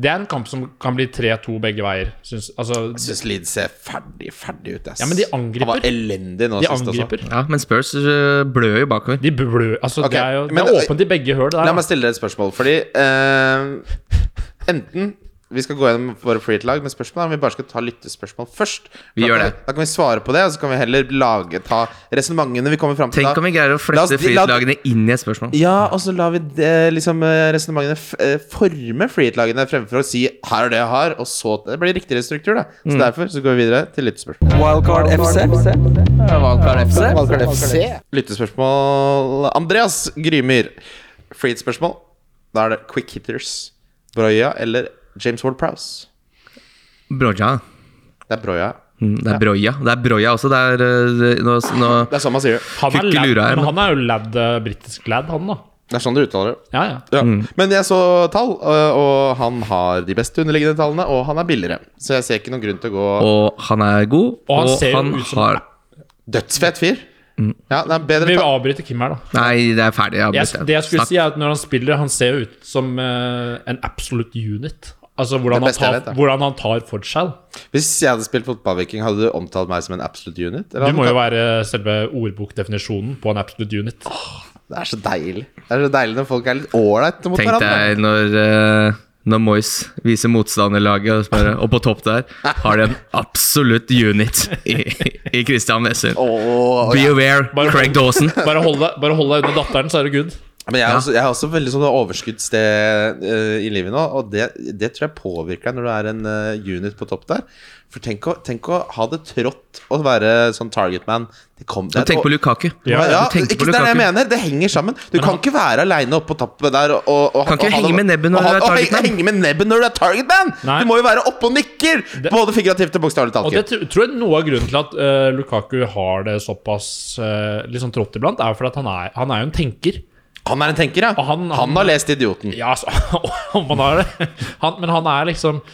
[SPEAKER 5] Det er en kamp som kan bli 3-2 begge veier. Synes, altså,
[SPEAKER 3] Jeg syns Leeds ser ferdig, ferdig ut. Ass.
[SPEAKER 5] Ja, men de angriper.
[SPEAKER 3] Han var elendig nå
[SPEAKER 5] de
[SPEAKER 3] sist også.
[SPEAKER 5] angriper.
[SPEAKER 4] Ja, men Spurs øh, blør jo bakover.
[SPEAKER 5] De blør Altså,
[SPEAKER 3] Ok,
[SPEAKER 5] det er jo det
[SPEAKER 3] men-
[SPEAKER 5] er åpent i begge høl.
[SPEAKER 3] La
[SPEAKER 4] Ah.
[SPEAKER 5] Der, altså.
[SPEAKER 3] meg
[SPEAKER 5] da.
[SPEAKER 3] stille deg et spørsmål, fordi eh, Enten vi skal gå gjennom våre freehit-lag med spørsmål, eller om vi bare skal ta lyttespørsmål først.
[SPEAKER 4] Vi
[SPEAKER 3] da,
[SPEAKER 4] gjør
[SPEAKER 3] kan
[SPEAKER 4] det.
[SPEAKER 3] Da kan vi svare på det, og så kan vi heller lage, ta resonnementene vi kommer fram til.
[SPEAKER 4] Tenk
[SPEAKER 3] da.
[SPEAKER 4] om vi greier å
[SPEAKER 3] La oss-
[SPEAKER 4] flette
[SPEAKER 3] la-
[SPEAKER 4] fritidslagene inn i et spørsmål.
[SPEAKER 3] Ja, og så lar vi det, liksom eh, resonnementene f eh, forme freehit-lagene fremfor å si 'her er det jeg har', og så Det blir riktigere struktur, da. Så
[SPEAKER 4] Mm.
[SPEAKER 3] derfor så går vi videre til lyttespørsmål.
[SPEAKER 1] Wildcard FC.
[SPEAKER 2] Valgkar FC.
[SPEAKER 1] Wildcard FC.
[SPEAKER 3] Lyttespørsmål Andreas Grymyr. Freehit-spørsmål. Da er det quick hitters. Broya eller James Ward Prowse?
[SPEAKER 4] Broja.
[SPEAKER 3] Det er Broya.
[SPEAKER 4] Mm, Det er Broja. Det er Broja også. Det er øh, det- nå, nå
[SPEAKER 3] Det er sånn man sier det.
[SPEAKER 5] Han er,
[SPEAKER 4] Kukke
[SPEAKER 5] lad,
[SPEAKER 4] lurer her,
[SPEAKER 5] men
[SPEAKER 4] men-
[SPEAKER 5] han er jo lad, eh, britisk lad, han, da.
[SPEAKER 3] Det er sånn dere uttaler det.
[SPEAKER 5] Ja, ja.
[SPEAKER 3] Ja. Men jeg så tall, øh, og han har de beste underliggende tallene, og han er billigere. Så jeg ser ikke noen grunn til å gå
[SPEAKER 4] Og han er god,
[SPEAKER 5] Og han ser jo ut som-
[SPEAKER 4] har
[SPEAKER 3] Dødsfett fyr. Ja, det er bedre
[SPEAKER 5] Mm. Vi
[SPEAKER 3] tall.
[SPEAKER 5] avbryter Kim her, da.
[SPEAKER 4] Nei, det er ferdig. Jeg har
[SPEAKER 5] Jeg,
[SPEAKER 4] bestemt.
[SPEAKER 5] det jeg skulle
[SPEAKER 4] Snakk.
[SPEAKER 5] si er at Når han spiller, han ser jo ut som eh, en absolute unit. Altså hvordan
[SPEAKER 3] Det
[SPEAKER 5] han,
[SPEAKER 3] beste jeg
[SPEAKER 5] tar,
[SPEAKER 3] vet, da.
[SPEAKER 5] hvordan han tar for seg.
[SPEAKER 3] Hvis jeg hadde spilt fotballviking, hadde du omtalt meg som en absolute unit? Eller
[SPEAKER 5] Du
[SPEAKER 3] hadde
[SPEAKER 5] må
[SPEAKER 3] du
[SPEAKER 5] jo være selve ordbokdefinisjonen på en absolute unit.
[SPEAKER 3] tatt- Det er så deilig. Det er så deilig når folk er litt ålreite mot
[SPEAKER 4] Tenk
[SPEAKER 3] hverandre.
[SPEAKER 4] deg når, eh, når Moyes viser motstanderlaget og spør Og på topp der har de en absolutt unit i, i Christian Wessel.
[SPEAKER 3] Åh,
[SPEAKER 4] Be aware,
[SPEAKER 5] Bare-
[SPEAKER 4] Craig Dawson.
[SPEAKER 5] Bare hold deg, bare hold deg under datteren, så er det good.
[SPEAKER 3] Men jeg er, også, jeg er også veldig sånn overskuddssted eh, i livet nå, og det, det tror jeg påvirker deg når du er en eh, unit på topp der. For tenk å, tenk å ha det trått å være sånn targetman. Det kom det er et
[SPEAKER 4] Tenk
[SPEAKER 3] å-
[SPEAKER 4] på Lukaku.
[SPEAKER 3] Ja,
[SPEAKER 5] Ja,
[SPEAKER 3] ja,
[SPEAKER 4] du tenker
[SPEAKER 3] ikke,
[SPEAKER 4] på
[SPEAKER 3] det er det jeg
[SPEAKER 4] Lukaku.
[SPEAKER 3] mener. Det henger sammen. Du kan ikke være aleine oppe på tappet der og, og, og
[SPEAKER 4] Kan ikke
[SPEAKER 3] og ha
[SPEAKER 4] henge
[SPEAKER 3] det-
[SPEAKER 4] med nebbet når
[SPEAKER 3] og ha-
[SPEAKER 4] du er
[SPEAKER 3] og henge-
[SPEAKER 4] targetman.
[SPEAKER 3] Henge med nebbet når du er targetman!
[SPEAKER 5] Nei.
[SPEAKER 3] Du må jo være oppe og nikker!
[SPEAKER 5] Det-
[SPEAKER 3] Både figurativt og bokstavelig talt.
[SPEAKER 5] Og det
[SPEAKER 3] Kim.
[SPEAKER 5] tr- tror jeg er noe av grunnen til at eh, Lukaku har det såpass eh, litt sånn trått iblant, er for at han er, han er jo en tenker.
[SPEAKER 3] Han er en tenker, ja.
[SPEAKER 5] Og han-
[SPEAKER 3] Han,
[SPEAKER 5] han-
[SPEAKER 3] har lest Idioten.
[SPEAKER 5] Ja, altså, om han har det. Han, men han er liksom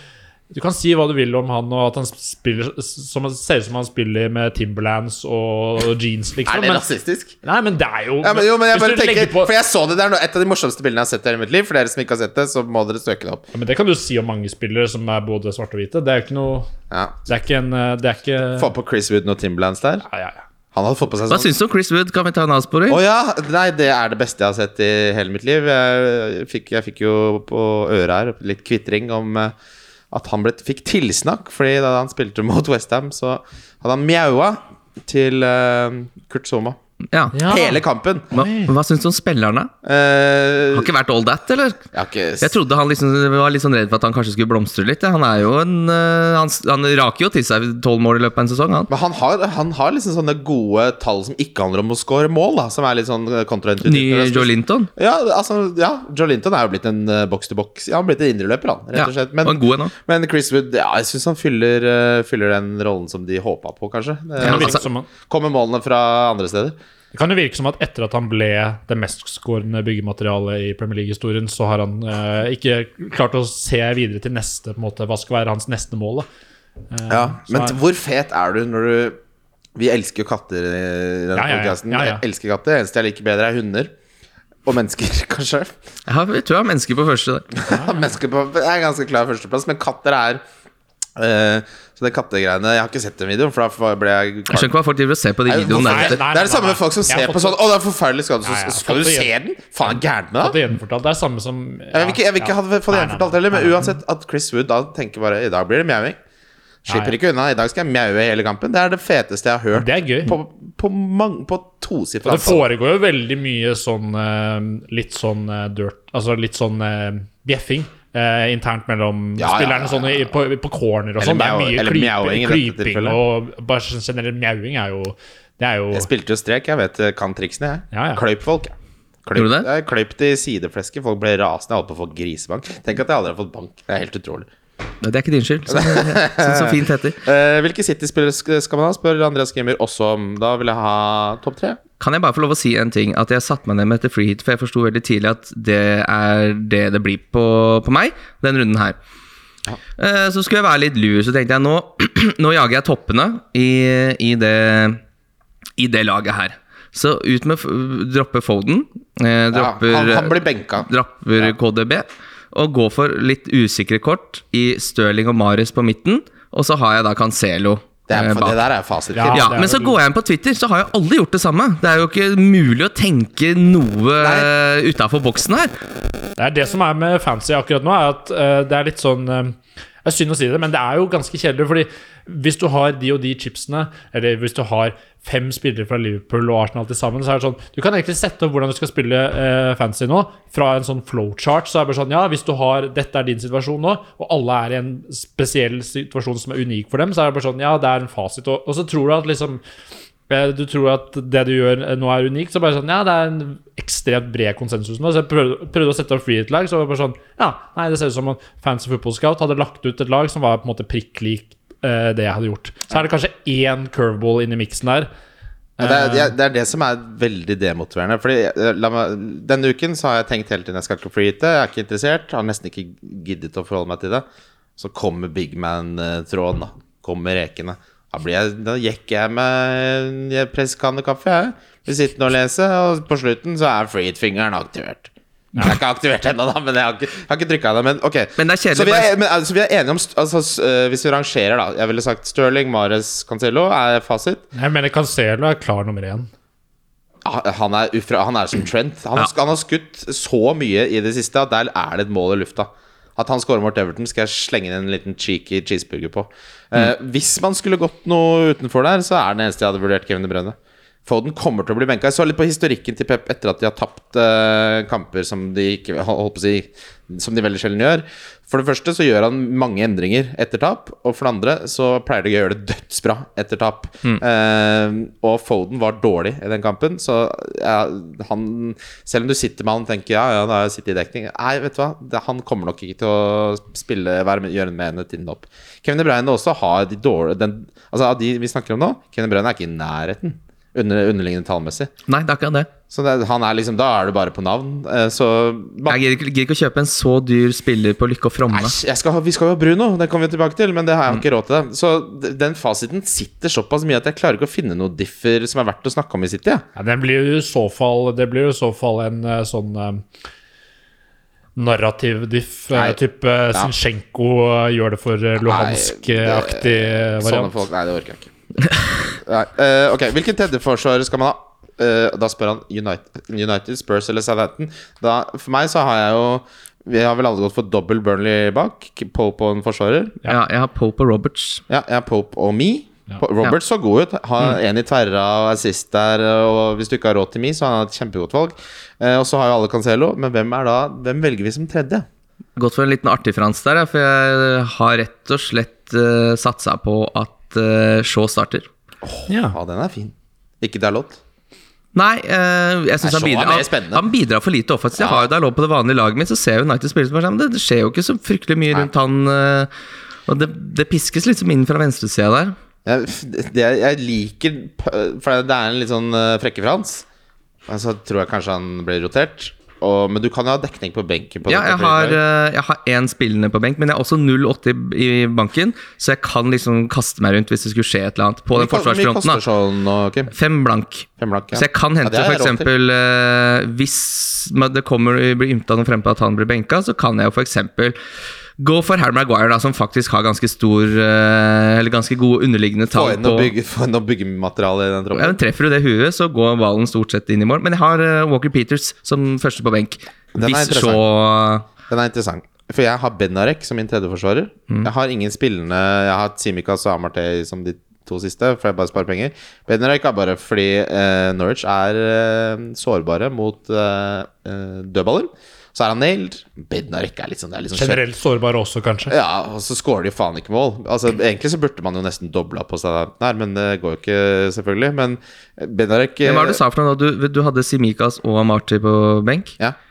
[SPEAKER 5] Du kan si hva du vil om han, og at han spiller som, ser ut som han spiller med Timberlands og jeans, liksom.
[SPEAKER 3] Er det
[SPEAKER 5] men-
[SPEAKER 3] rasistisk?
[SPEAKER 5] Nei, men det er jo,
[SPEAKER 3] Ja, men, jo, men jeg
[SPEAKER 5] Hvis
[SPEAKER 3] bare
[SPEAKER 5] du
[SPEAKER 3] tenker
[SPEAKER 5] legger på,
[SPEAKER 3] For jeg så det der nå. Et av de morsomste bildene jeg har sett i hele mitt liv. For dere som ikke har sett det, så må dere søke det opp.
[SPEAKER 5] ja, men Det kan du si om mange spillere som er både svarte og hvite. Det er jo ikke noe
[SPEAKER 3] Ja.
[SPEAKER 5] Det er ikke en eh, Det er ikke
[SPEAKER 3] Få på Chris Wooden og Timberlands der.
[SPEAKER 5] ja, ja, ja.
[SPEAKER 3] Han hadde fått på seg
[SPEAKER 4] Hva
[SPEAKER 3] sånn.
[SPEAKER 4] syns du om Chris Wood? Kan vi ta en avsporing?
[SPEAKER 3] Å ja! Nei, det er det beste jeg har sett i hele mitt liv. Jeg fikk, jeg fikk jo på øret her litt kvitring om eh, at han ble, fikk tilsnakk, fordi da han spilte mot Westham, så hadde han mjaua til eh, Kurt Soma.
[SPEAKER 4] Ja.
[SPEAKER 5] Ja.
[SPEAKER 3] Hele kampen!
[SPEAKER 4] Hva, hva syns du om spillerne?
[SPEAKER 3] Eh,
[SPEAKER 4] Har ikke vært all that, eller?
[SPEAKER 3] jeg har ikke
[SPEAKER 4] Jeg trodde han liksom var litt sånn redd for at han kanskje skulle blomstre litt. ja. Han er jo en eh, Han, han raker jo til seg tolv mål i løpet av en sesong, han.
[SPEAKER 3] men han har, han har liksom sånne gode tall som ikke handler om å score mål, da, som er litt sånn eh, kontraintuitivt.
[SPEAKER 4] Ny Joe Linton.
[SPEAKER 3] Ja, altså, ja, Joe Linton er jo blitt en eh, box-to-box. Ja, han er blitt en indreløper, han, rett
[SPEAKER 4] Ja,
[SPEAKER 3] og slett.
[SPEAKER 4] og en god en også.
[SPEAKER 3] men Chris Wood, ja, jeg syns han fyller, eh, fyller den rollen som de håpa på, kanskje. Eh,
[SPEAKER 5] Det kan,
[SPEAKER 4] Ja,
[SPEAKER 5] virke
[SPEAKER 4] altså-
[SPEAKER 5] som han,
[SPEAKER 3] Kommer målene fra andre steder?
[SPEAKER 5] det kan jo virke som at etter at han ble det mestskårende byggematerialet i Premier League-historien, så har han eh, ikke klart å se videre til neste på en måte, Hva skal være hans neste mål. da
[SPEAKER 3] Ja,
[SPEAKER 5] så
[SPEAKER 3] Men
[SPEAKER 5] er-
[SPEAKER 3] hvor fet er du når du Vi elsker jo katter i denne
[SPEAKER 5] Ja, ja, ja.
[SPEAKER 3] podcasten.
[SPEAKER 5] Ja, ja.
[SPEAKER 3] Jeg elsker katter. Det eneste jeg liker bedre, er hunder. Og mennesker, kanskje.
[SPEAKER 4] Jeg har- jeg tror jeg har mennesker på første der.
[SPEAKER 3] mennesker på, jeg er ganske klar førsteplass, men katter er eh, Så det kattegreiene Jeg har ikke sett den videoen, for da ble jeg
[SPEAKER 4] Jeg skjønner ikke hva folk driver og ser på de
[SPEAKER 3] Nei,
[SPEAKER 4] videoene
[SPEAKER 3] hvorfor-
[SPEAKER 4] der. ute.
[SPEAKER 5] nei,
[SPEAKER 3] det er det samme
[SPEAKER 5] nei.
[SPEAKER 3] med folk som
[SPEAKER 5] Jeg har
[SPEAKER 3] ser på
[SPEAKER 5] fått-
[SPEAKER 3] sånn Å, det er forferdelig skade.
[SPEAKER 5] Ja, ja, jeg
[SPEAKER 3] Så
[SPEAKER 5] har
[SPEAKER 3] skal du
[SPEAKER 5] fått det
[SPEAKER 3] se
[SPEAKER 5] igjen.
[SPEAKER 3] den? Faen, er gæren med
[SPEAKER 5] Fått
[SPEAKER 3] deg?
[SPEAKER 5] det gjenfortalt. Det er samme som
[SPEAKER 3] Jeg vil ikke, jeg vil ikke
[SPEAKER 5] ja.
[SPEAKER 3] ha det fått det
[SPEAKER 5] Nei, nei,
[SPEAKER 3] gjenfortalt
[SPEAKER 5] nei.
[SPEAKER 3] heller, men uansett at Chris Wood da tenker bare I dag blir det mjauing.
[SPEAKER 5] Ja,
[SPEAKER 3] Slipper
[SPEAKER 5] ja.
[SPEAKER 3] ikke unna. I dag skal jeg mjaue hele kampen. Det er det feteste jeg har hørt.
[SPEAKER 5] Det er gøy.
[SPEAKER 3] På, på, mang- på tosifra
[SPEAKER 5] Og det
[SPEAKER 3] antall.
[SPEAKER 5] foregår jo veldig mye sånn eh, litt sånn eh, dirt Altså litt sånn eh, bjeffing. eh, internt mellom
[SPEAKER 3] Ja, ja,
[SPEAKER 5] spillerne
[SPEAKER 3] ja,
[SPEAKER 5] sånn i, på, på corner og
[SPEAKER 3] Eller
[SPEAKER 5] sånn. Det er
[SPEAKER 3] mjau-
[SPEAKER 5] mye
[SPEAKER 3] eller mjauing i
[SPEAKER 5] klyping,
[SPEAKER 3] dette
[SPEAKER 5] klyping
[SPEAKER 3] tilfellet.
[SPEAKER 5] og bare sånn generell mjauing er jo Det er jo
[SPEAKER 3] Jeg spilte jo strek, jeg vet jeg kan triksene, jeg.
[SPEAKER 5] Ja, ja.
[SPEAKER 3] Kløyp folk. jeg. Kløyp,
[SPEAKER 4] Gjorde du det?
[SPEAKER 3] jeg kløyp til sideflesket, folk ble rasende, jeg holdt på å få grisebank. Tenk at jeg aldri har fått bank. Det er helt utrolig.
[SPEAKER 4] Nei, Det er ikke din skyld, som, som, som fint heter.
[SPEAKER 3] Eh, hvilke City-spillere sk- skal man ha, spør Andreas Gamer også om. Da vil jeg ha topp tre.
[SPEAKER 4] Kan jeg bare få lov å si en ting? At jeg satte meg ned med etter free hit, for jeg forsto veldig tidlig at det er det det blir på, på meg, den runden her. Eh, Så skulle jeg være litt lur, så tenkte jeg nå, nå jager jeg toppene i, i, det, i det laget her. Så ut med f- droppe Foden, eh, dropper,
[SPEAKER 3] ja, han, han blir benka.
[SPEAKER 4] dropper KDB, og går for litt usikre kort i Stirling og Marius på midten. Og så har jeg da Cancelo
[SPEAKER 3] Det, er,
[SPEAKER 4] eh,
[SPEAKER 3] det der er fasit.
[SPEAKER 5] Ja.
[SPEAKER 4] ja,
[SPEAKER 5] det er
[SPEAKER 4] men så
[SPEAKER 5] vel-
[SPEAKER 4] går jeg inn på Twitter, så har jo alle gjort det samme. Det er jo ikke mulig å tenke noe utafor boksen her.
[SPEAKER 5] Det er det som er med fancy akkurat nå, er at eh, det er litt sånn eh, Det er synd å si det, men det er jo ganske kjedelig. Fordi hvis du har de og de chipsene, eller hvis du har fem spillere fra Liverpool og Arsenal til sammen, så er det sånn Du kan egentlig sette opp hvordan du skal spille eh, fancy nå, fra en sånn flowchart. Så er det bare sånn Ja, hvis du har Dette er din situasjon nå, og alle er i en spesiell situasjon som er unik for dem, så er det bare sånn Ja, det er en fasit. Og, og så tror du at liksom Eh, du tror at det du gjør eh, nå er unikt, så bare sånn Ja, det er en ekstremt bred konsensus nå. Så jeg prøvde, prøvde å sette opp freehit-lag, så var det bare sånn Ja, nei, det ser ut som om Fancy Football Scout hadde lagt ut et lag som var på en måte prikk lik eh, det jeg hadde gjort. Så er det kanskje én curveball inni miksen der.
[SPEAKER 3] Ja, det, er, det er- det er det som er veldig demotiverende. Fordi, eh, la meg, denne uken så har jeg tenkt hele tiden jeg skal ikke freehite. Jeg er ikke interessert. Har nesten ikke giddet å forholde meg til det. Så kommer big man-tråden, da. Kommer rekene. Da, blir jeg, da jekker jeg meg en presskanne kaffe, jeg. Blir sittende og lese, og på slutten så er freehit-fingeren aktivert. Den er ikke aktivert ennå, da, men jeg har ikke, jeg har ikke trykka den. Men ok.
[SPEAKER 4] Men det er kjedelig,
[SPEAKER 3] så vi
[SPEAKER 4] bare-
[SPEAKER 3] er, men, altså, vi er enige om st- altså, s- øh, Hvis vi rangerer, da Jeg ville sagt Stirling, Mares, Cancelo er fasit.
[SPEAKER 5] Jeg mener Cancelo er klar nummer én.
[SPEAKER 3] Ah, Han er, ufra, han er som Trent. Han, har- han har skutt så mye i det siste at der er det et mål i lufta. At han scorer mot Everton, skal jeg slenge inn en liten cheeky cheeseburger på. Eh, hvis man skulle gått noe utenfor der, så er det eneste jeg hadde vurdert Kevin De Bruyne. Foden kommer til å bli benka. Jeg så litt på historikken til Pep etter at de har tapt eh, kamper som de ikke holdt på å si Som de veldig sjelden gjør. For det første så gjør han mange endringer etter tap, og for det andre så pleier de å gjøre det dødsbra etter tap. Eh, og Foden var dårlig i den kampen, så ja, han Selv om du sitter med han og tenker ja, ja, da har jeg sittet i dekning Nei, vet du hva, det, han kommer nok ikke til å spille, være med, gjøre med henne tiden opp. Kevin De Bruyne også har de dårlige den, Altså av de vi snakker om nå, Kevin De Bruyne er ikke i nærheten under, underliggende tallmessig.
[SPEAKER 4] Nei, det er akkurat det.
[SPEAKER 3] Så det, han er liksom, da er du bare på navn. Eh, Så
[SPEAKER 4] Jeg gidder ikke- gidder ikke å kjøpe en så dyr spiller på Lykke og Fromme.
[SPEAKER 3] Æsj, jeg skal, ha- vi skal jo ha Bruno, det kommer vi tilbake til, men det har jeg ikke råd til. det. Så d- den fasiten sitter såpass mye at jeg klarer ikke å finne noen differ som er verdt å snakke om i City. jeg.
[SPEAKER 5] Ja, den blir jo i så fall, det blir jo i så fall en eh, sånn eh, narrativ diff, eh,
[SPEAKER 3] Nei.
[SPEAKER 5] type Zinchenko eh, gjør det for eh, Luhansk-aktig eh,
[SPEAKER 3] Sånne
[SPEAKER 5] variant.
[SPEAKER 3] folk Nei, det orker jeg ikke. Nei, eh, ok, Hvilken tredjeforsvarer skal man ha? Eh, da spør han United, United, Spurs eller Southampton. Da, for meg så har jeg jo Vi har vel alle gått for dobbel Burnley bak. Pope og en forsvarer.
[SPEAKER 4] Ja, jeg har Pope og Roberts.
[SPEAKER 3] Ja, jeg er Pope og Me. Po- Robert så god ut.
[SPEAKER 4] Mm.
[SPEAKER 3] Har en i tverra og assist der. Og hvis du ikke har råd til Me, så har han et kjempegodt valg. Eh, og så har jo alle Cancelo, men hvem er da Hvem velger vi som tredje?
[SPEAKER 4] Gått for en liten artig frans der, ja, for jeg har rett og slett uh, satsa på at uh, Shaw starter.
[SPEAKER 5] Ja.
[SPEAKER 3] Ja, Ah, den er fin. Ikke Dalot.
[SPEAKER 4] Nei, eh, jeg syns
[SPEAKER 3] Nei, Shaw
[SPEAKER 4] han,
[SPEAKER 3] er
[SPEAKER 4] bidrar-
[SPEAKER 3] mer
[SPEAKER 4] han,
[SPEAKER 3] spennende.
[SPEAKER 4] han bidrar for lite offensivt. Jeg har jo da lov på det vanlige laget mitt, så ser jeg United spille som er sammen. Det, det skjer jo ikke så fryktelig mye rundt han. eh, og det, det piskes liksom inn fra venstresida der.
[SPEAKER 3] Jeg, det, jeg liker p- For det er en litt sånn eh, frekke Frans. Men så tror jeg kanskje han blir rotert. Og, men du kan jo ha dekning på benken. På
[SPEAKER 4] Ja,
[SPEAKER 3] dette
[SPEAKER 4] jeg har,
[SPEAKER 3] laget.
[SPEAKER 4] eh, jeg har én spillende på benk, men jeg har også 0,80 i i banken, så jeg kan liksom kaste meg rundt hvis det skulle skje et eller annet på den
[SPEAKER 3] Hvor mye- Hvor mye koster
[SPEAKER 4] forsvarsfronten. da.
[SPEAKER 3] sånn nå, Kim?
[SPEAKER 4] Fem blank.
[SPEAKER 3] Fem blank? ja.
[SPEAKER 4] Så jeg kan hente
[SPEAKER 3] det har jeg
[SPEAKER 4] for
[SPEAKER 3] råd til.
[SPEAKER 4] eksempel eh, Hvis men det kommer blir ymta noe frem på at han blir benka, så kan jeg jo for eksempel gå for Harry Maguire, da, som faktisk har ganske stor eh, Eller ganske gode underliggende
[SPEAKER 3] Få
[SPEAKER 4] tall
[SPEAKER 3] inn
[SPEAKER 4] på
[SPEAKER 3] noe bygge- få inn noe byggemateriale i den
[SPEAKER 4] ja,
[SPEAKER 3] troppen.
[SPEAKER 4] men Treffer du det huet, så går ballen stort sett inn i mål. Men jeg har eh, Walker Peters som første på benk.
[SPEAKER 3] Den er
[SPEAKER 4] Hvis
[SPEAKER 3] interessant.
[SPEAKER 4] så
[SPEAKER 3] Den er interessant. For jeg har Benarek som min tredjeforsvarer.
[SPEAKER 4] Mm.
[SPEAKER 3] Jeg har ingen spillende Jeg har Simikaz og Amartey som de to siste, for jeg bare sparer penger. Benarek er bare fordi eh, Norwich er eh, sårbare mot eh, eh, dødballer. Så er han nailed. Benarek er litt sånn, det er litt sånn
[SPEAKER 5] Generelt sårbare også, kanskje.
[SPEAKER 3] ja, og så scorer de faen ikke mål. Altså, Egentlig så burde man jo nesten dobla på seg der, men det går jo ikke, selvfølgelig. Men eh, Benarek
[SPEAKER 4] Men Hva var det du sa for noe? da? Du, du hadde Simikas og Marty på benk?
[SPEAKER 3] Ja. eh,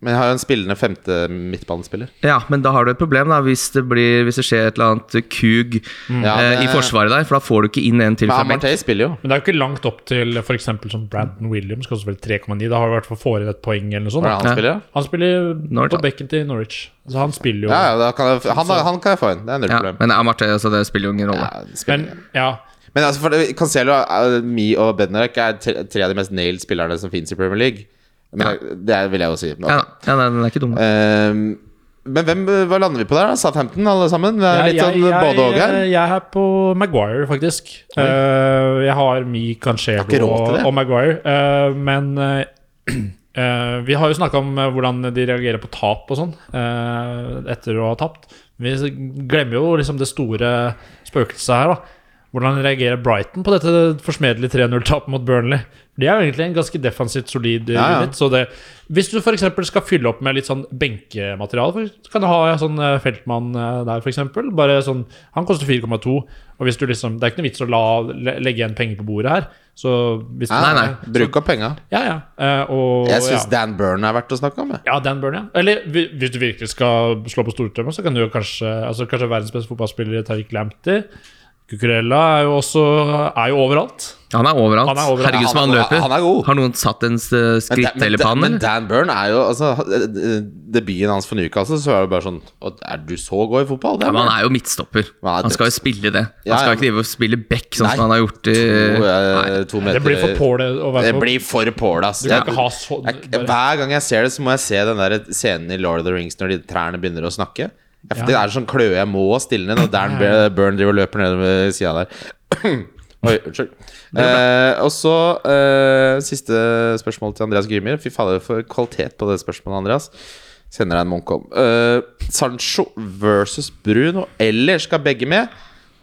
[SPEAKER 3] Men jeg har jo en spillende femte midtbanespiller.
[SPEAKER 4] Ja, men da har du et problem da hvis det, blir, hvis det skjer et eller annet kug
[SPEAKER 3] Mm. Ja,
[SPEAKER 4] eh, i
[SPEAKER 3] men-
[SPEAKER 4] forsvaret der, for da får du ikke inn en til
[SPEAKER 3] Men
[SPEAKER 4] fra benk.
[SPEAKER 3] Amartey spiller jo.
[SPEAKER 5] Men det er jo ikke langt opp til f.eks. som Brandon Williams, koster vel 3,9. Da har du i hvert fall får inn et poeng eller noe sånt.
[SPEAKER 3] Hvor er
[SPEAKER 5] da.
[SPEAKER 3] han spiller, da?
[SPEAKER 5] Han spiller
[SPEAKER 4] Norwich,
[SPEAKER 5] på
[SPEAKER 4] da.
[SPEAKER 5] bekken til Norwich, så han spiller jo.
[SPEAKER 3] Ja, ja da kan jeg, han, han kan jeg få inn. Det er null
[SPEAKER 4] Ja,
[SPEAKER 3] problem.
[SPEAKER 4] men Amartey altså, det spiller jo ingen rolle.
[SPEAKER 3] Ja, det spiller
[SPEAKER 5] Men
[SPEAKER 3] ingen rolle.
[SPEAKER 5] ja,
[SPEAKER 3] men altså, for det, Cancelo, eh, Me og Bednarek er tre, tre av de mest nailed spillerne som fins i Premier League. Men Det er- vil jeg jo si. Men,
[SPEAKER 4] Ja, da. ja, nei, den er ikke dum. da.
[SPEAKER 3] Ehm, men hvem, hva lander vi på der? da? Southampton, alle sammen? Det er litt sånn både og her.
[SPEAKER 5] jeg er her på Maguire, faktisk. Eh, jeg har Mi
[SPEAKER 3] Har ikke
[SPEAKER 5] Cancelo
[SPEAKER 3] råd til
[SPEAKER 5] og,
[SPEAKER 3] det.
[SPEAKER 5] og Maguire. eh, men eh, eh, vi har jo snakka om eh, hvordan de reagerer på tap og sånn, eh, etter å ha tapt. Vi glemmer jo liksom det store spøkelset her, da. Hvordan reagerer Brighton på dette forsmedelige 3-0-tapet mot Burnley? Det er jo egentlig en ganske defensivt solid eh,
[SPEAKER 3] Ja, ja.
[SPEAKER 5] unit. Så det, hvis du f.eks. skal fylle opp med litt sånn benkemateriale, for- så kan du ha sånn eh, Feltmann eh, der, f.eks. Bare sånn Han koster 4,2, og hvis du liksom Det er ikke noe vits å la, le- legge igjen penger på bordet her, så hvis du,
[SPEAKER 3] Nei, nei, bruk
[SPEAKER 5] Så,
[SPEAKER 3] opp penga.
[SPEAKER 5] ja, ja. eh, Og
[SPEAKER 3] Jeg syns
[SPEAKER 5] ja.
[SPEAKER 3] Dan Burn er verdt å snakke om. Jeg.
[SPEAKER 5] Ja, Dan Burn, ja. Eller hvi- hvis du virkelig skal slå på stortromma, så kan du jo kanskje altså Kanskje verdens beste fotballspiller, Tariq Lamptey. Cucurella er jo også er jo overalt.
[SPEAKER 4] Han er overalt.
[SPEAKER 5] Han er overalt.
[SPEAKER 4] Herregud, som
[SPEAKER 3] Han
[SPEAKER 4] han
[SPEAKER 3] er god.
[SPEAKER 4] løper.
[SPEAKER 3] Han er god.
[SPEAKER 4] Har noen satt en eh,
[SPEAKER 3] Men da-
[SPEAKER 4] skrittdeler på han,
[SPEAKER 3] men,
[SPEAKER 4] eller?
[SPEAKER 3] Dan Burn er jo altså, eh, eh, Debuten hans for Newcastle, så er det bare sånn «Å, Er du så god i fotball? Dan
[SPEAKER 4] Ja, men han
[SPEAKER 3] Burn?»
[SPEAKER 4] er jo midtstopper.
[SPEAKER 3] Han er
[SPEAKER 4] Han skal jo
[SPEAKER 3] døds-
[SPEAKER 4] spille det.
[SPEAKER 3] Ja,
[SPEAKER 4] Han skal
[SPEAKER 3] ja.
[SPEAKER 4] ikke drive og spille back, sånn
[SPEAKER 3] Nei.
[SPEAKER 4] som han har gjort i
[SPEAKER 3] to, eh,
[SPEAKER 4] Nei.
[SPEAKER 3] to meter
[SPEAKER 5] Det blir for pål å være
[SPEAKER 3] Det
[SPEAKER 5] på.
[SPEAKER 3] blir for pål, ass.
[SPEAKER 5] Du
[SPEAKER 3] Jeg-
[SPEAKER 5] kan ikke ha så
[SPEAKER 3] jeg,
[SPEAKER 5] bare,
[SPEAKER 3] hver gang jeg ser det, så må jeg se den der scenen i Lord of the Rings når de trærne begynner å snakke. Jeg, Det er sånn kløe jeg må stille ned når Dan Bur- Burn driver og løper nedover sida der. Oi, unnskyld. Eh, og så eh, siste spørsmål til Andreas Grimir. Fy fader, for kvalitet på det spørsmålet, Andreas. Sender deg en monk om. Eh, Sancho versus Bruno, eller skal begge med?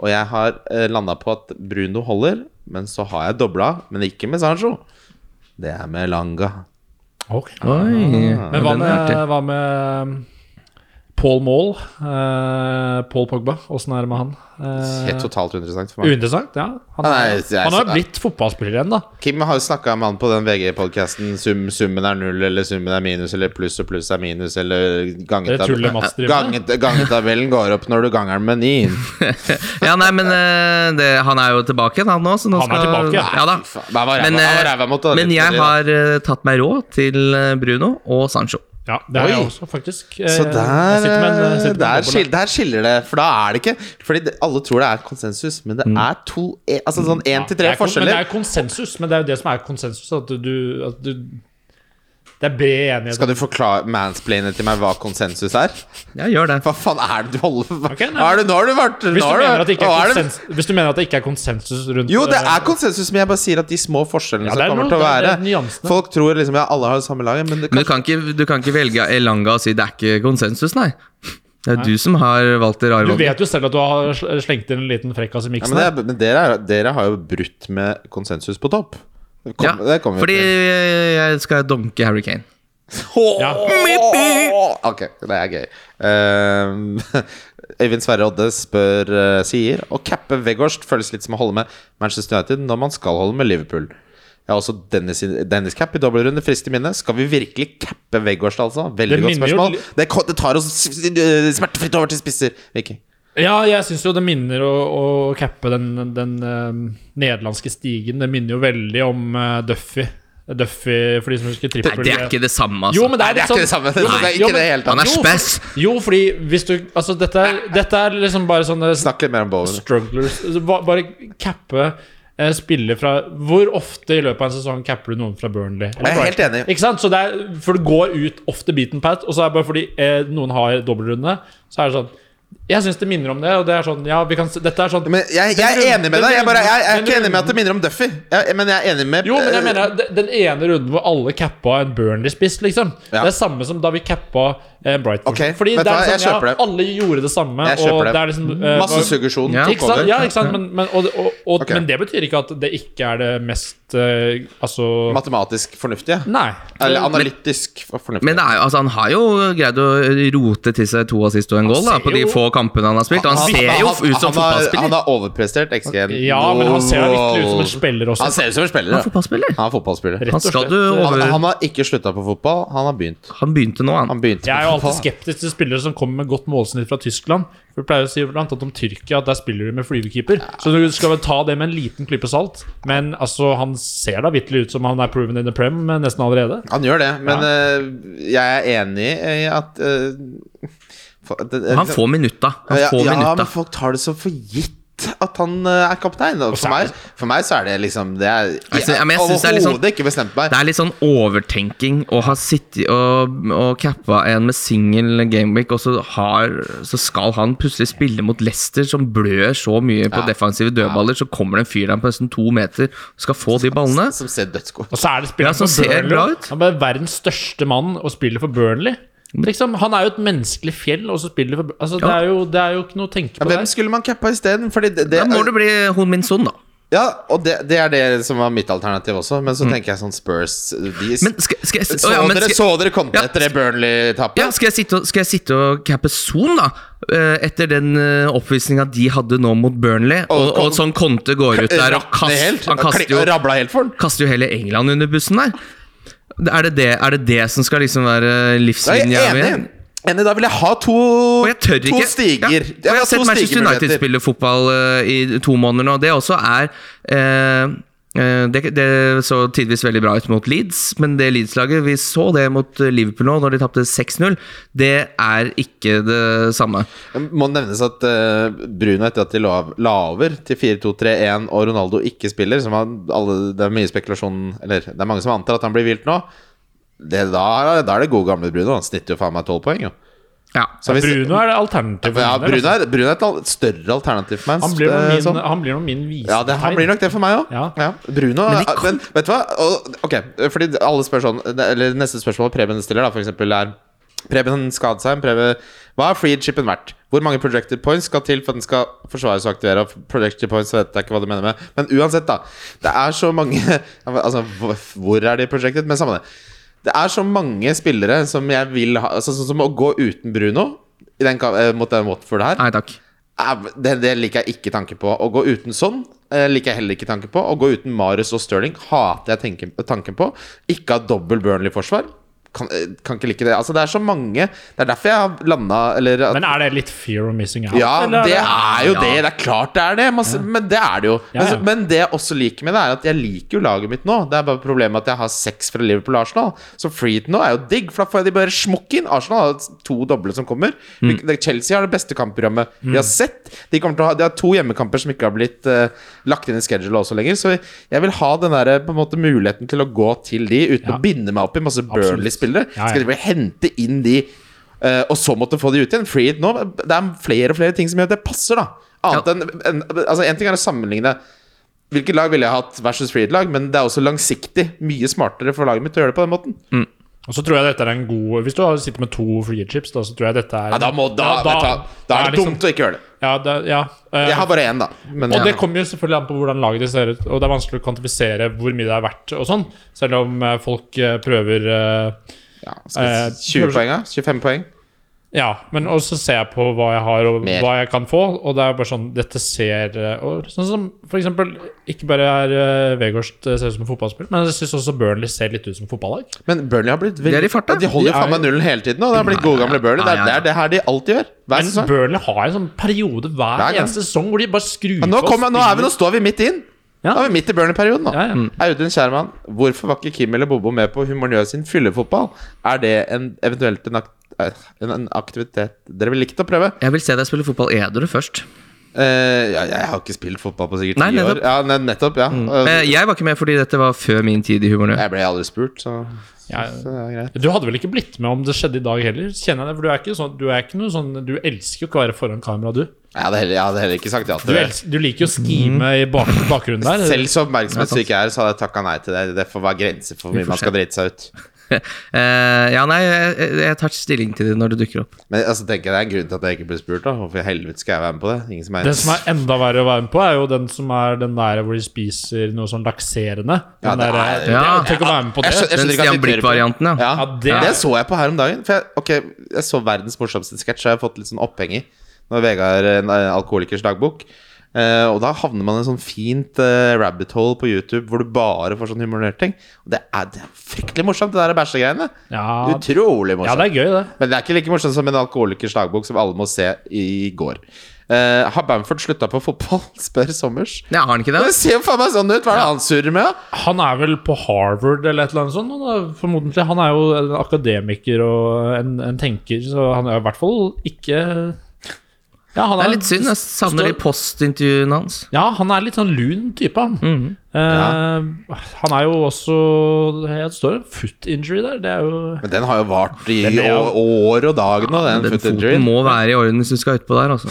[SPEAKER 3] Og jeg har eh, landa på at Bruno holder, men så har jeg dobla, men ikke med Sancho. Det er med Langa.
[SPEAKER 5] Ok.
[SPEAKER 4] Oi.
[SPEAKER 5] Men hva
[SPEAKER 4] den er
[SPEAKER 5] med,
[SPEAKER 4] artig.
[SPEAKER 5] hva med um, Paul Maul? eh, Paul Pogba, åssen er det med han? Eh,
[SPEAKER 3] Helt totalt uinteressant for meg.
[SPEAKER 5] Uinteressant, ja. Han,
[SPEAKER 3] Nei, nei, jeg-
[SPEAKER 5] han har jo blitt fotballspiller igjen, da.
[SPEAKER 3] Kim har jo snakka med han på den VG-podkasten. Sum, summen er null, eller summen er minus, eller pluss og pluss er minus, eller gangetab-
[SPEAKER 5] Det tullet Mats driver med.
[SPEAKER 3] Ganget- Gangetabellen går opp når du ganger den med ni.
[SPEAKER 4] Ja, nei, men eh, det, han er jo tilbake igjen, han nå. Så nå
[SPEAKER 5] Han er
[SPEAKER 4] skal,
[SPEAKER 5] tilbake, ja.
[SPEAKER 4] ja da.
[SPEAKER 3] Fy faen, han var ræva-
[SPEAKER 4] Men,
[SPEAKER 3] han var
[SPEAKER 4] eh,
[SPEAKER 3] ræva mot det,
[SPEAKER 4] men
[SPEAKER 3] litt
[SPEAKER 4] jeg
[SPEAKER 3] fordi da.
[SPEAKER 4] har eh, tatt meg råd til eh, Bruno og Sancho.
[SPEAKER 5] Ja, det har
[SPEAKER 3] Oi.
[SPEAKER 5] jeg også, faktisk. Eh,
[SPEAKER 3] Så
[SPEAKER 5] jeg
[SPEAKER 3] der,
[SPEAKER 5] sitter med en- sitter med en
[SPEAKER 3] der,
[SPEAKER 5] boble.
[SPEAKER 3] skil, der skiller det. For da er det ikke Fordi det, alle tror det er konsensus, men det
[SPEAKER 5] Mm.
[SPEAKER 3] er to e- Altså sånn én til tre
[SPEAKER 5] Det er kon- Men det
[SPEAKER 3] forskjeller.
[SPEAKER 5] er konsensus, men det er jo det som er konsensus. At du, at du Det er bred enighet.
[SPEAKER 3] Skal du forklare mansplaine til meg hva konsensus er?
[SPEAKER 4] Ja, gjør det.
[SPEAKER 3] Hva faen er det du holder Hva
[SPEAKER 5] Ok, nei.
[SPEAKER 3] hva er det, Nå har du vært
[SPEAKER 5] hvis,
[SPEAKER 3] nå
[SPEAKER 5] du
[SPEAKER 3] har
[SPEAKER 5] mener at det ikke
[SPEAKER 3] hva
[SPEAKER 5] er
[SPEAKER 3] er det-
[SPEAKER 5] konsens, hvis du mener at det ikke er konsensus rundt
[SPEAKER 3] Jo, det
[SPEAKER 5] eh,
[SPEAKER 3] er konsensus, men jeg bare sier at de små forskjellene
[SPEAKER 5] det er
[SPEAKER 3] som kommer
[SPEAKER 5] noe-
[SPEAKER 3] til å
[SPEAKER 5] det
[SPEAKER 3] være
[SPEAKER 5] er- det er nyansene.
[SPEAKER 3] Folk tror liksom ja, alle har det samme laget, men det kan
[SPEAKER 4] Men du kan ikke, du kan ikke velge Elanga og si det er ikke konsensus, nei. Det er du som har valgt det rare
[SPEAKER 5] Du
[SPEAKER 4] valget.
[SPEAKER 5] vet jo selv at du har sl- slengt inn en liten frekkas i
[SPEAKER 3] ja,
[SPEAKER 5] miksen.
[SPEAKER 3] Men, det er, men dere, er,
[SPEAKER 5] her.
[SPEAKER 3] dere har jo brutt med konsensus på topp. Det kom,
[SPEAKER 4] Ja,
[SPEAKER 3] det kommer
[SPEAKER 4] fordi
[SPEAKER 3] vi til.
[SPEAKER 4] jeg skal donke Harry Kane.
[SPEAKER 5] Ja.
[SPEAKER 3] Ok, det er gøy. Ehm, Øyvind Sverre Odde spør, eh, sier å cappe Weghorst føles litt som å holde med Manchester United når man skal holde med Liverpool. Jeg har også Dennis, Dennis Cap i dobbeltrunde, friskt i minne. Skal vi virkelig cappe Weghorst, altså? Veldig
[SPEAKER 5] Det
[SPEAKER 3] godt
[SPEAKER 5] minner jo
[SPEAKER 3] spørsmål.
[SPEAKER 5] li-
[SPEAKER 3] Det, ko- det tar oss s- s- eh, smertefritt over til spisser. Vicky.
[SPEAKER 5] Ja, jeg syns jo det minner å, å cappe den, den eh, nederlandske stigen. Det minner jo veldig om eh, Duffy. Duffy, for de som husker
[SPEAKER 4] Nei,
[SPEAKER 5] trippel
[SPEAKER 4] det er ikke det samme,
[SPEAKER 5] Jo,
[SPEAKER 4] altså.
[SPEAKER 5] men det
[SPEAKER 3] Nei,
[SPEAKER 5] er
[SPEAKER 3] det er
[SPEAKER 5] litt sånn
[SPEAKER 3] ikke det samme.
[SPEAKER 5] Jo, men-
[SPEAKER 3] Det er ikke
[SPEAKER 5] jo,
[SPEAKER 3] det
[SPEAKER 5] men-
[SPEAKER 3] hele tatt.
[SPEAKER 4] Han er
[SPEAKER 5] Jo,
[SPEAKER 4] spess!
[SPEAKER 5] Jo, fordi hvis du Altså, dette er, dette er liksom bare sånne
[SPEAKER 3] Snakk litt mer om Bowen.
[SPEAKER 5] strugglers Altså, ba- Bare cappe eh, spillere fra Hvor ofte i løpet av en sesong capper du noen fra Burnley? Eller
[SPEAKER 3] Jeg er helt
[SPEAKER 5] Brighton?
[SPEAKER 3] enig.
[SPEAKER 5] Ikke sant? Så det er, for det går ut off the beaten path, og så er det bare fordi eh, noen har dobbeltrunde, så er det sånn jeg syns det minner om det. Og det er sånn, ja, vi kan, s- dette er sånn
[SPEAKER 3] Men jeg, jeg er
[SPEAKER 5] Den runden-
[SPEAKER 3] enig med deg. Jeg,
[SPEAKER 5] den
[SPEAKER 3] bare, jeg, jeg er
[SPEAKER 5] runden-
[SPEAKER 3] ikke enig med at det minner om Duffy. Jeg, men jeg er enig med
[SPEAKER 5] jo, men jeg mener de- Den ene runden hvor alle cappa en Burnley-spiss, liksom.
[SPEAKER 3] Ja.
[SPEAKER 5] Det er samme som da vi cappa eh, Brighton.
[SPEAKER 3] Ok,
[SPEAKER 5] Fordi
[SPEAKER 3] vet du
[SPEAKER 5] det
[SPEAKER 3] hva,
[SPEAKER 5] er
[SPEAKER 3] jeg
[SPEAKER 5] sånn,
[SPEAKER 3] kjøper
[SPEAKER 5] ja,
[SPEAKER 3] det.
[SPEAKER 5] alle gjorde det samme.
[SPEAKER 3] Jeg kjøper
[SPEAKER 5] og
[SPEAKER 3] det.
[SPEAKER 5] det. er liksom eh,
[SPEAKER 3] Masse suggesjon.
[SPEAKER 4] Ja.
[SPEAKER 3] tok
[SPEAKER 5] ikke sant?
[SPEAKER 3] over.
[SPEAKER 5] Ja, ikke sant? Men, men, og, og, og,
[SPEAKER 3] Ok.
[SPEAKER 5] men det betyr ikke at det ikke er det mest eh, Altså
[SPEAKER 3] Matematisk fornuftige.
[SPEAKER 5] Nei.
[SPEAKER 3] Eller analytisk fornuftige.
[SPEAKER 4] Men det er, jo- altså, han har jo greid å rote til seg to assist og en goal da,
[SPEAKER 5] ser
[SPEAKER 4] på de
[SPEAKER 5] jo-
[SPEAKER 4] få kampene han har spilt. Og han ser jo
[SPEAKER 3] han-
[SPEAKER 4] ut
[SPEAKER 3] han har-
[SPEAKER 4] som
[SPEAKER 3] Han
[SPEAKER 4] fotballspiller.
[SPEAKER 3] har overprestert XG.
[SPEAKER 5] Ja, men han ser virkelig ut som en spiller også.
[SPEAKER 3] Han ser ut som en spiller,
[SPEAKER 4] Han
[SPEAKER 3] ja.
[SPEAKER 4] er fotballspiller.
[SPEAKER 3] Han er fotballspiller.
[SPEAKER 5] Rett
[SPEAKER 4] Han skal du
[SPEAKER 5] og slett.
[SPEAKER 3] Han,
[SPEAKER 4] over
[SPEAKER 3] han har ikke slutta på fotball, han har begynt.
[SPEAKER 4] Han begynte nå, han.
[SPEAKER 3] Han begynte
[SPEAKER 5] Jeg er jo
[SPEAKER 3] på
[SPEAKER 5] alltid
[SPEAKER 3] fotball.
[SPEAKER 5] skeptisk til spillere som kommer med godt målsnitt fra Tyskland. For Vi pleier å si blant annet om Tyrkia at der spiller de med flyvekeeper. Så du skal vel ta det med en liten klype salt. Men altså, han ser da vitterlig ut som han er proven in the prem eh, nesten allerede.
[SPEAKER 3] Han gjør det, men eh, jeg er enig i at eh, for- eh, det- det-
[SPEAKER 4] Han får minutta. Han
[SPEAKER 3] Ja,
[SPEAKER 4] får
[SPEAKER 3] ja,
[SPEAKER 4] minutta.
[SPEAKER 3] men folk tar det så for gitt. At han eh, er kaptein. Og For
[SPEAKER 5] så er
[SPEAKER 3] meg, for meg så er det liksom Det er
[SPEAKER 4] Jeg sy- ja, men jeg synes det er
[SPEAKER 3] overhodet
[SPEAKER 4] litt sånn-
[SPEAKER 3] ikke bestemt meg.
[SPEAKER 4] Det er litt sånn overtenking å ha sittet og, og cappa en med singel gameweek, og så, har, så skal han plutselig spille mot Leicester, som blør så mye på
[SPEAKER 3] Ja.
[SPEAKER 4] defensive dødballer, så kommer det en fyr der på nesten to meter og skal få de ballene.
[SPEAKER 3] Som ser dødsgod
[SPEAKER 5] Og så er det
[SPEAKER 4] Ja,
[SPEAKER 5] spilleren
[SPEAKER 4] som
[SPEAKER 5] for
[SPEAKER 4] ser
[SPEAKER 5] Burnley.
[SPEAKER 4] bra ut.
[SPEAKER 5] Han er verdens største mann og spiller for Burnley. Liksom, han er jo et menneskelig fjell, og så spiller for altså, det,
[SPEAKER 4] Ja.
[SPEAKER 5] er jo, det er jo ikke noe å tenke
[SPEAKER 3] Ja,
[SPEAKER 5] på
[SPEAKER 3] hvem
[SPEAKER 5] der.
[SPEAKER 3] skulle man cappa isteden? Fordi det, det,
[SPEAKER 4] Da må det bli Hun Min Son, da.
[SPEAKER 3] ja, og det, det er det som var mitt alternativ også. Men så tenker jeg sånn Spurs de,
[SPEAKER 4] Mm. Men skal, skal jeg
[SPEAKER 3] så,
[SPEAKER 4] s- å ja, men
[SPEAKER 3] dere,
[SPEAKER 4] skal-
[SPEAKER 3] så dere kom
[SPEAKER 4] Ja.
[SPEAKER 3] etter det Burnley-tapet?
[SPEAKER 4] Ja, skal jeg sitte og, skal jeg sitte og cappe Son, da? Eh, Etter den eh, oppvisninga de hadde nå mot Burnley, og, og sånn Conte går ut der og
[SPEAKER 3] Rakne helt.
[SPEAKER 4] kast, han
[SPEAKER 3] Kli-
[SPEAKER 4] kaster jo
[SPEAKER 3] Rabla helt for den.
[SPEAKER 4] kaster jo hele England under bussen der. Er det det, er det, det som skal liksom være
[SPEAKER 3] Da er
[SPEAKER 4] livslinja?
[SPEAKER 3] jeg enig.
[SPEAKER 4] mi?
[SPEAKER 3] Enig, da vil jeg ha to,
[SPEAKER 4] Og jeg tør ikke
[SPEAKER 3] to stiger.
[SPEAKER 4] Ja.
[SPEAKER 3] Jeg
[SPEAKER 4] Og
[SPEAKER 3] vil
[SPEAKER 4] jeg
[SPEAKER 3] ha to
[SPEAKER 4] har sett Manchester United
[SPEAKER 3] stigemuligheter.
[SPEAKER 4] spille fotball eh, i to måneder nå. Det også er eh, eh, det, det så tidvis veldig bra ut mot Leeds, men det Leeds-laget Vi så det mot Liverpool nå, når de tapte 6-0. Det er ikke det samme.
[SPEAKER 3] Det må nevnes at eh, Bruno, etter at de la, la over til 4-2-3-1 og Ronaldo ikke spiller som han, alle, Det er mye spekulasjon Eller det er mange som antar at han blir vilt nå. Det, da, er- da er det gode gamle Bruno. Han snitter jo faen meg 12 poeng, jo.
[SPEAKER 4] Ja.
[SPEAKER 3] Så hvis-
[SPEAKER 5] Bruno er det alternativet.
[SPEAKER 3] ja, Bruno er, Bruno er et al- større alternativ for meg.
[SPEAKER 5] Han blir nok
[SPEAKER 3] eh,
[SPEAKER 5] min,
[SPEAKER 3] sånn.
[SPEAKER 5] han blir nok min vise
[SPEAKER 3] Ja, det, han blir nok det for meg òg.
[SPEAKER 5] Ja.
[SPEAKER 3] Bruno eh,
[SPEAKER 4] Men
[SPEAKER 3] men,
[SPEAKER 4] de kom-
[SPEAKER 3] Vet du hva? Og, ok, fordi alle spør sånn Eller neste spørsmål Preben stiller, da, for eksempel, er Preben Skadsheim Preben, Hva er freedshipen verdt? Hvor mange projected points skal til for at den skal forsvares og aktivere? Og projected points vet jeg ikke hva du mener med Men uansett, da. Det er så mange Altså, hvor- hvor er de projected? Men samme det. Det er så mange spillere som jeg vil ha altså, Sånn som å gå uten Bruno i den, ka- eh, mot den Watford her.
[SPEAKER 4] Nei takk.
[SPEAKER 3] Ja, Ah, Det, det liker jeg ikke tanke på. Å gå uten sånn eh, liker jeg heller ikke tanke på. Å gå uten Marius og Sterling hater jeg tenken, tanken på. Ikke ha dobbel Burnley-forsvar. Kan, eh, kan ikke like det. Altså, det er så mange Det er derfor jeg har landa Eller at,
[SPEAKER 5] Men er det litt fear of missing out?
[SPEAKER 3] Ja,
[SPEAKER 5] eller
[SPEAKER 3] det er jo
[SPEAKER 4] Ja.
[SPEAKER 3] det. Det er klart det er det. Man, Men det er det jo.
[SPEAKER 5] Ja, ja.
[SPEAKER 3] Men, men det jeg også liker med det, er at jeg liker jo laget mitt nå. Det er bare problemet at jeg har seks fra Liverpool og Arsenal. Så freeheat nå er jo digg, for da får jeg de bare smokken. Arsenal har to doble som kommer.
[SPEAKER 5] Mm.
[SPEAKER 3] Chelsea har det beste kampprogrammet vi har sett. De, kommer til å ha, de har to hjemmekamper som ikke har blitt eh, lagt inn i schedule også lenger. Så jeg vil ha den der, eh, på en måte, muligheten til å gå til de uten å
[SPEAKER 5] Ja.
[SPEAKER 3] binde meg opp i masse Burnley-spillere.
[SPEAKER 5] Ja, ja.
[SPEAKER 3] Skal de bare hente inn de eh, og så måtte få de ut igjen. Free it nå. Det er flere og flere ting som gjør at det passer, da. Annet enn enn- Altså, en ting er å sammenligne hvilket lag ville jeg hatt versus free it-lag, men det er også langsiktig mye smartere for laget mitt å gjøre det på den måten.
[SPEAKER 5] Og så tror jeg dette er en god Hvis du har- sitter med to free chips, da, så tror jeg dette er
[SPEAKER 3] Ja, da, må, da,
[SPEAKER 5] Ja,
[SPEAKER 3] vet du hva, da er det
[SPEAKER 5] liksom-
[SPEAKER 3] dumt å ikke gjøre det.
[SPEAKER 5] Ja, da, ja. Eh,
[SPEAKER 3] Jeg har bare én, da. Men,
[SPEAKER 5] Og det kommer jo selvfølgelig an på hvordan laget ditt ser ut, og det er vanskelig å kvantifisere hvor mye det er verdt og sånn, selv om eh, folk eh, prøver eh,
[SPEAKER 3] ja, skal vi si 20
[SPEAKER 5] eh,
[SPEAKER 3] poeng, da? 25 poeng?
[SPEAKER 5] Ja, men og så ser jeg på hva jeg har og
[SPEAKER 3] Mer.
[SPEAKER 5] hva jeg kan få, og det er bare sånn Dette ser eh, og Sånn som for eksempel Ikke bare er eh, Vegårst eh, ser ut som en fotballspiller, men jeg syns også Burnley ser litt ut som fotballag.
[SPEAKER 3] Men Burnley har blitt veldig
[SPEAKER 4] De er i farta.
[SPEAKER 3] De holder jo
[SPEAKER 5] De er-
[SPEAKER 3] faen meg nullen hele tiden, og det har blitt gode gamle Burnley. Det er,
[SPEAKER 4] Ja, ja,
[SPEAKER 3] det
[SPEAKER 4] ja.
[SPEAKER 3] er det her de alltid gjør. Hver
[SPEAKER 5] Men
[SPEAKER 3] sesong.
[SPEAKER 5] Burnley har en sånn periode hver
[SPEAKER 3] Hver gang.
[SPEAKER 5] eneste sesong hvor de bare skrur
[SPEAKER 3] Ja, nå,
[SPEAKER 5] på
[SPEAKER 3] kommer- nå, er vi, nå
[SPEAKER 5] spillet.
[SPEAKER 3] står vi midt inn.
[SPEAKER 5] Ja.
[SPEAKER 3] Nå er vi midt i Burnley-perioden, nå.
[SPEAKER 5] Ja, ja.
[SPEAKER 4] Mm.
[SPEAKER 3] Audun Kjærmann, hvorfor var ikke Kim eller Bobo med på Humornø sin fyllefotball? Er det en, eventuelt en, ak eh, en, en aktivitet dere ville likt å prøve?
[SPEAKER 4] Jeg vil se deg spille fotball edru først.
[SPEAKER 3] Eh, ja, jeg har ikke spilt fotball på sikkert ti
[SPEAKER 4] Nei,
[SPEAKER 3] år.
[SPEAKER 4] nettopp.
[SPEAKER 3] Ja, ne- nettopp, ja.
[SPEAKER 4] Eh,
[SPEAKER 3] Eh,
[SPEAKER 4] Jeg var ikke med fordi dette var før min tid i Humor Nå.
[SPEAKER 3] Jeg ble aldri spurt, så,
[SPEAKER 5] Ja,
[SPEAKER 3] så det er greit.
[SPEAKER 5] Du hadde vel ikke blitt med om det skjedde i dag heller? Kjenner jeg det, for Du er ikke sånn Du, er ikke noe sånn, du elsker jo ikke å være foran kamera, du.
[SPEAKER 3] Jeg hadde heller, jeg hadde heller ikke sagt ja
[SPEAKER 5] Du,
[SPEAKER 3] til det.
[SPEAKER 5] elsker, du liker jo å skime i bak, bakgrunnen der.
[SPEAKER 3] Selv så oppmerksomhetssyk jeg er, så hadde jeg takka nei til det. Det får være grenser for hvor mye
[SPEAKER 4] får
[SPEAKER 3] man
[SPEAKER 4] se.
[SPEAKER 3] skal drite seg ut.
[SPEAKER 4] Eh, ja, nei, jeg, jeg- jeg tar stilling til det når det dukker opp.
[SPEAKER 3] Men altså, tenker jeg det er en grunn til at jeg ikke ble spurt, da. Hvorfor i helvete skal jeg være med på det? Ingen som er
[SPEAKER 5] Den som er enda verre å være med på, er jo den som er den der hvor de spiser noe sånn lakserende.
[SPEAKER 3] Ja,
[SPEAKER 5] Den
[SPEAKER 3] det
[SPEAKER 5] der, eh,
[SPEAKER 3] er-
[SPEAKER 5] det,
[SPEAKER 4] Ja.
[SPEAKER 5] Tenk å være med på det.
[SPEAKER 3] Jeg skjønner, jeg
[SPEAKER 4] Den
[SPEAKER 3] skjønner ikke at de tør på
[SPEAKER 4] Stian
[SPEAKER 3] det.
[SPEAKER 4] Blipp-varianten, ja.
[SPEAKER 3] Ja,
[SPEAKER 5] Ja,
[SPEAKER 3] det,
[SPEAKER 5] det-
[SPEAKER 3] så jeg på her om dagen. For jeg, ok, jeg så verdens morsomste sketsj, og jeg har fått litt sånn oppheng i. Når Vegard eh, en eh, alkoholikers dagbok. Eh, og da havner man i en sånn fint eh, rabbit hole på YouTube hvor du bare får sånn humorerte ting. Og det er, det er fryktelig morsomt, det der bæsjegreiene.
[SPEAKER 5] Ja.
[SPEAKER 3] Utrolig morsomt.
[SPEAKER 5] Ja, det er gøy, det.
[SPEAKER 3] Men det er ikke like morsomt som en alkoholikers dagbok som alle må se i går. Eh, har Bamford slutta på fotball? spør Sommers.
[SPEAKER 4] Nei, har han ikke
[SPEAKER 3] Det
[SPEAKER 4] det?
[SPEAKER 3] ser jo faen meg sånn ut! Hva er det han surrer med? da?
[SPEAKER 5] Han er vel på Harvard eller et eller annet sånt, og da, formodentlig. Han er jo en akademiker og en, en tenker, så han er i hvert fall ikke Ja, han
[SPEAKER 4] Det er litt synd. Jeg savner de postintervjuene hans.
[SPEAKER 5] Ja, han er litt sånn lun type, han.
[SPEAKER 4] Mhm.
[SPEAKER 5] Eh, Han er jo også Jeg står en foot injury der. Det er jo
[SPEAKER 3] Men den har jo vart i
[SPEAKER 5] Den er jo-
[SPEAKER 3] å- år og dag nå, den,
[SPEAKER 4] Den
[SPEAKER 3] foot
[SPEAKER 4] foten
[SPEAKER 3] injury.
[SPEAKER 4] må være i orden hvis du skal utpå der, altså.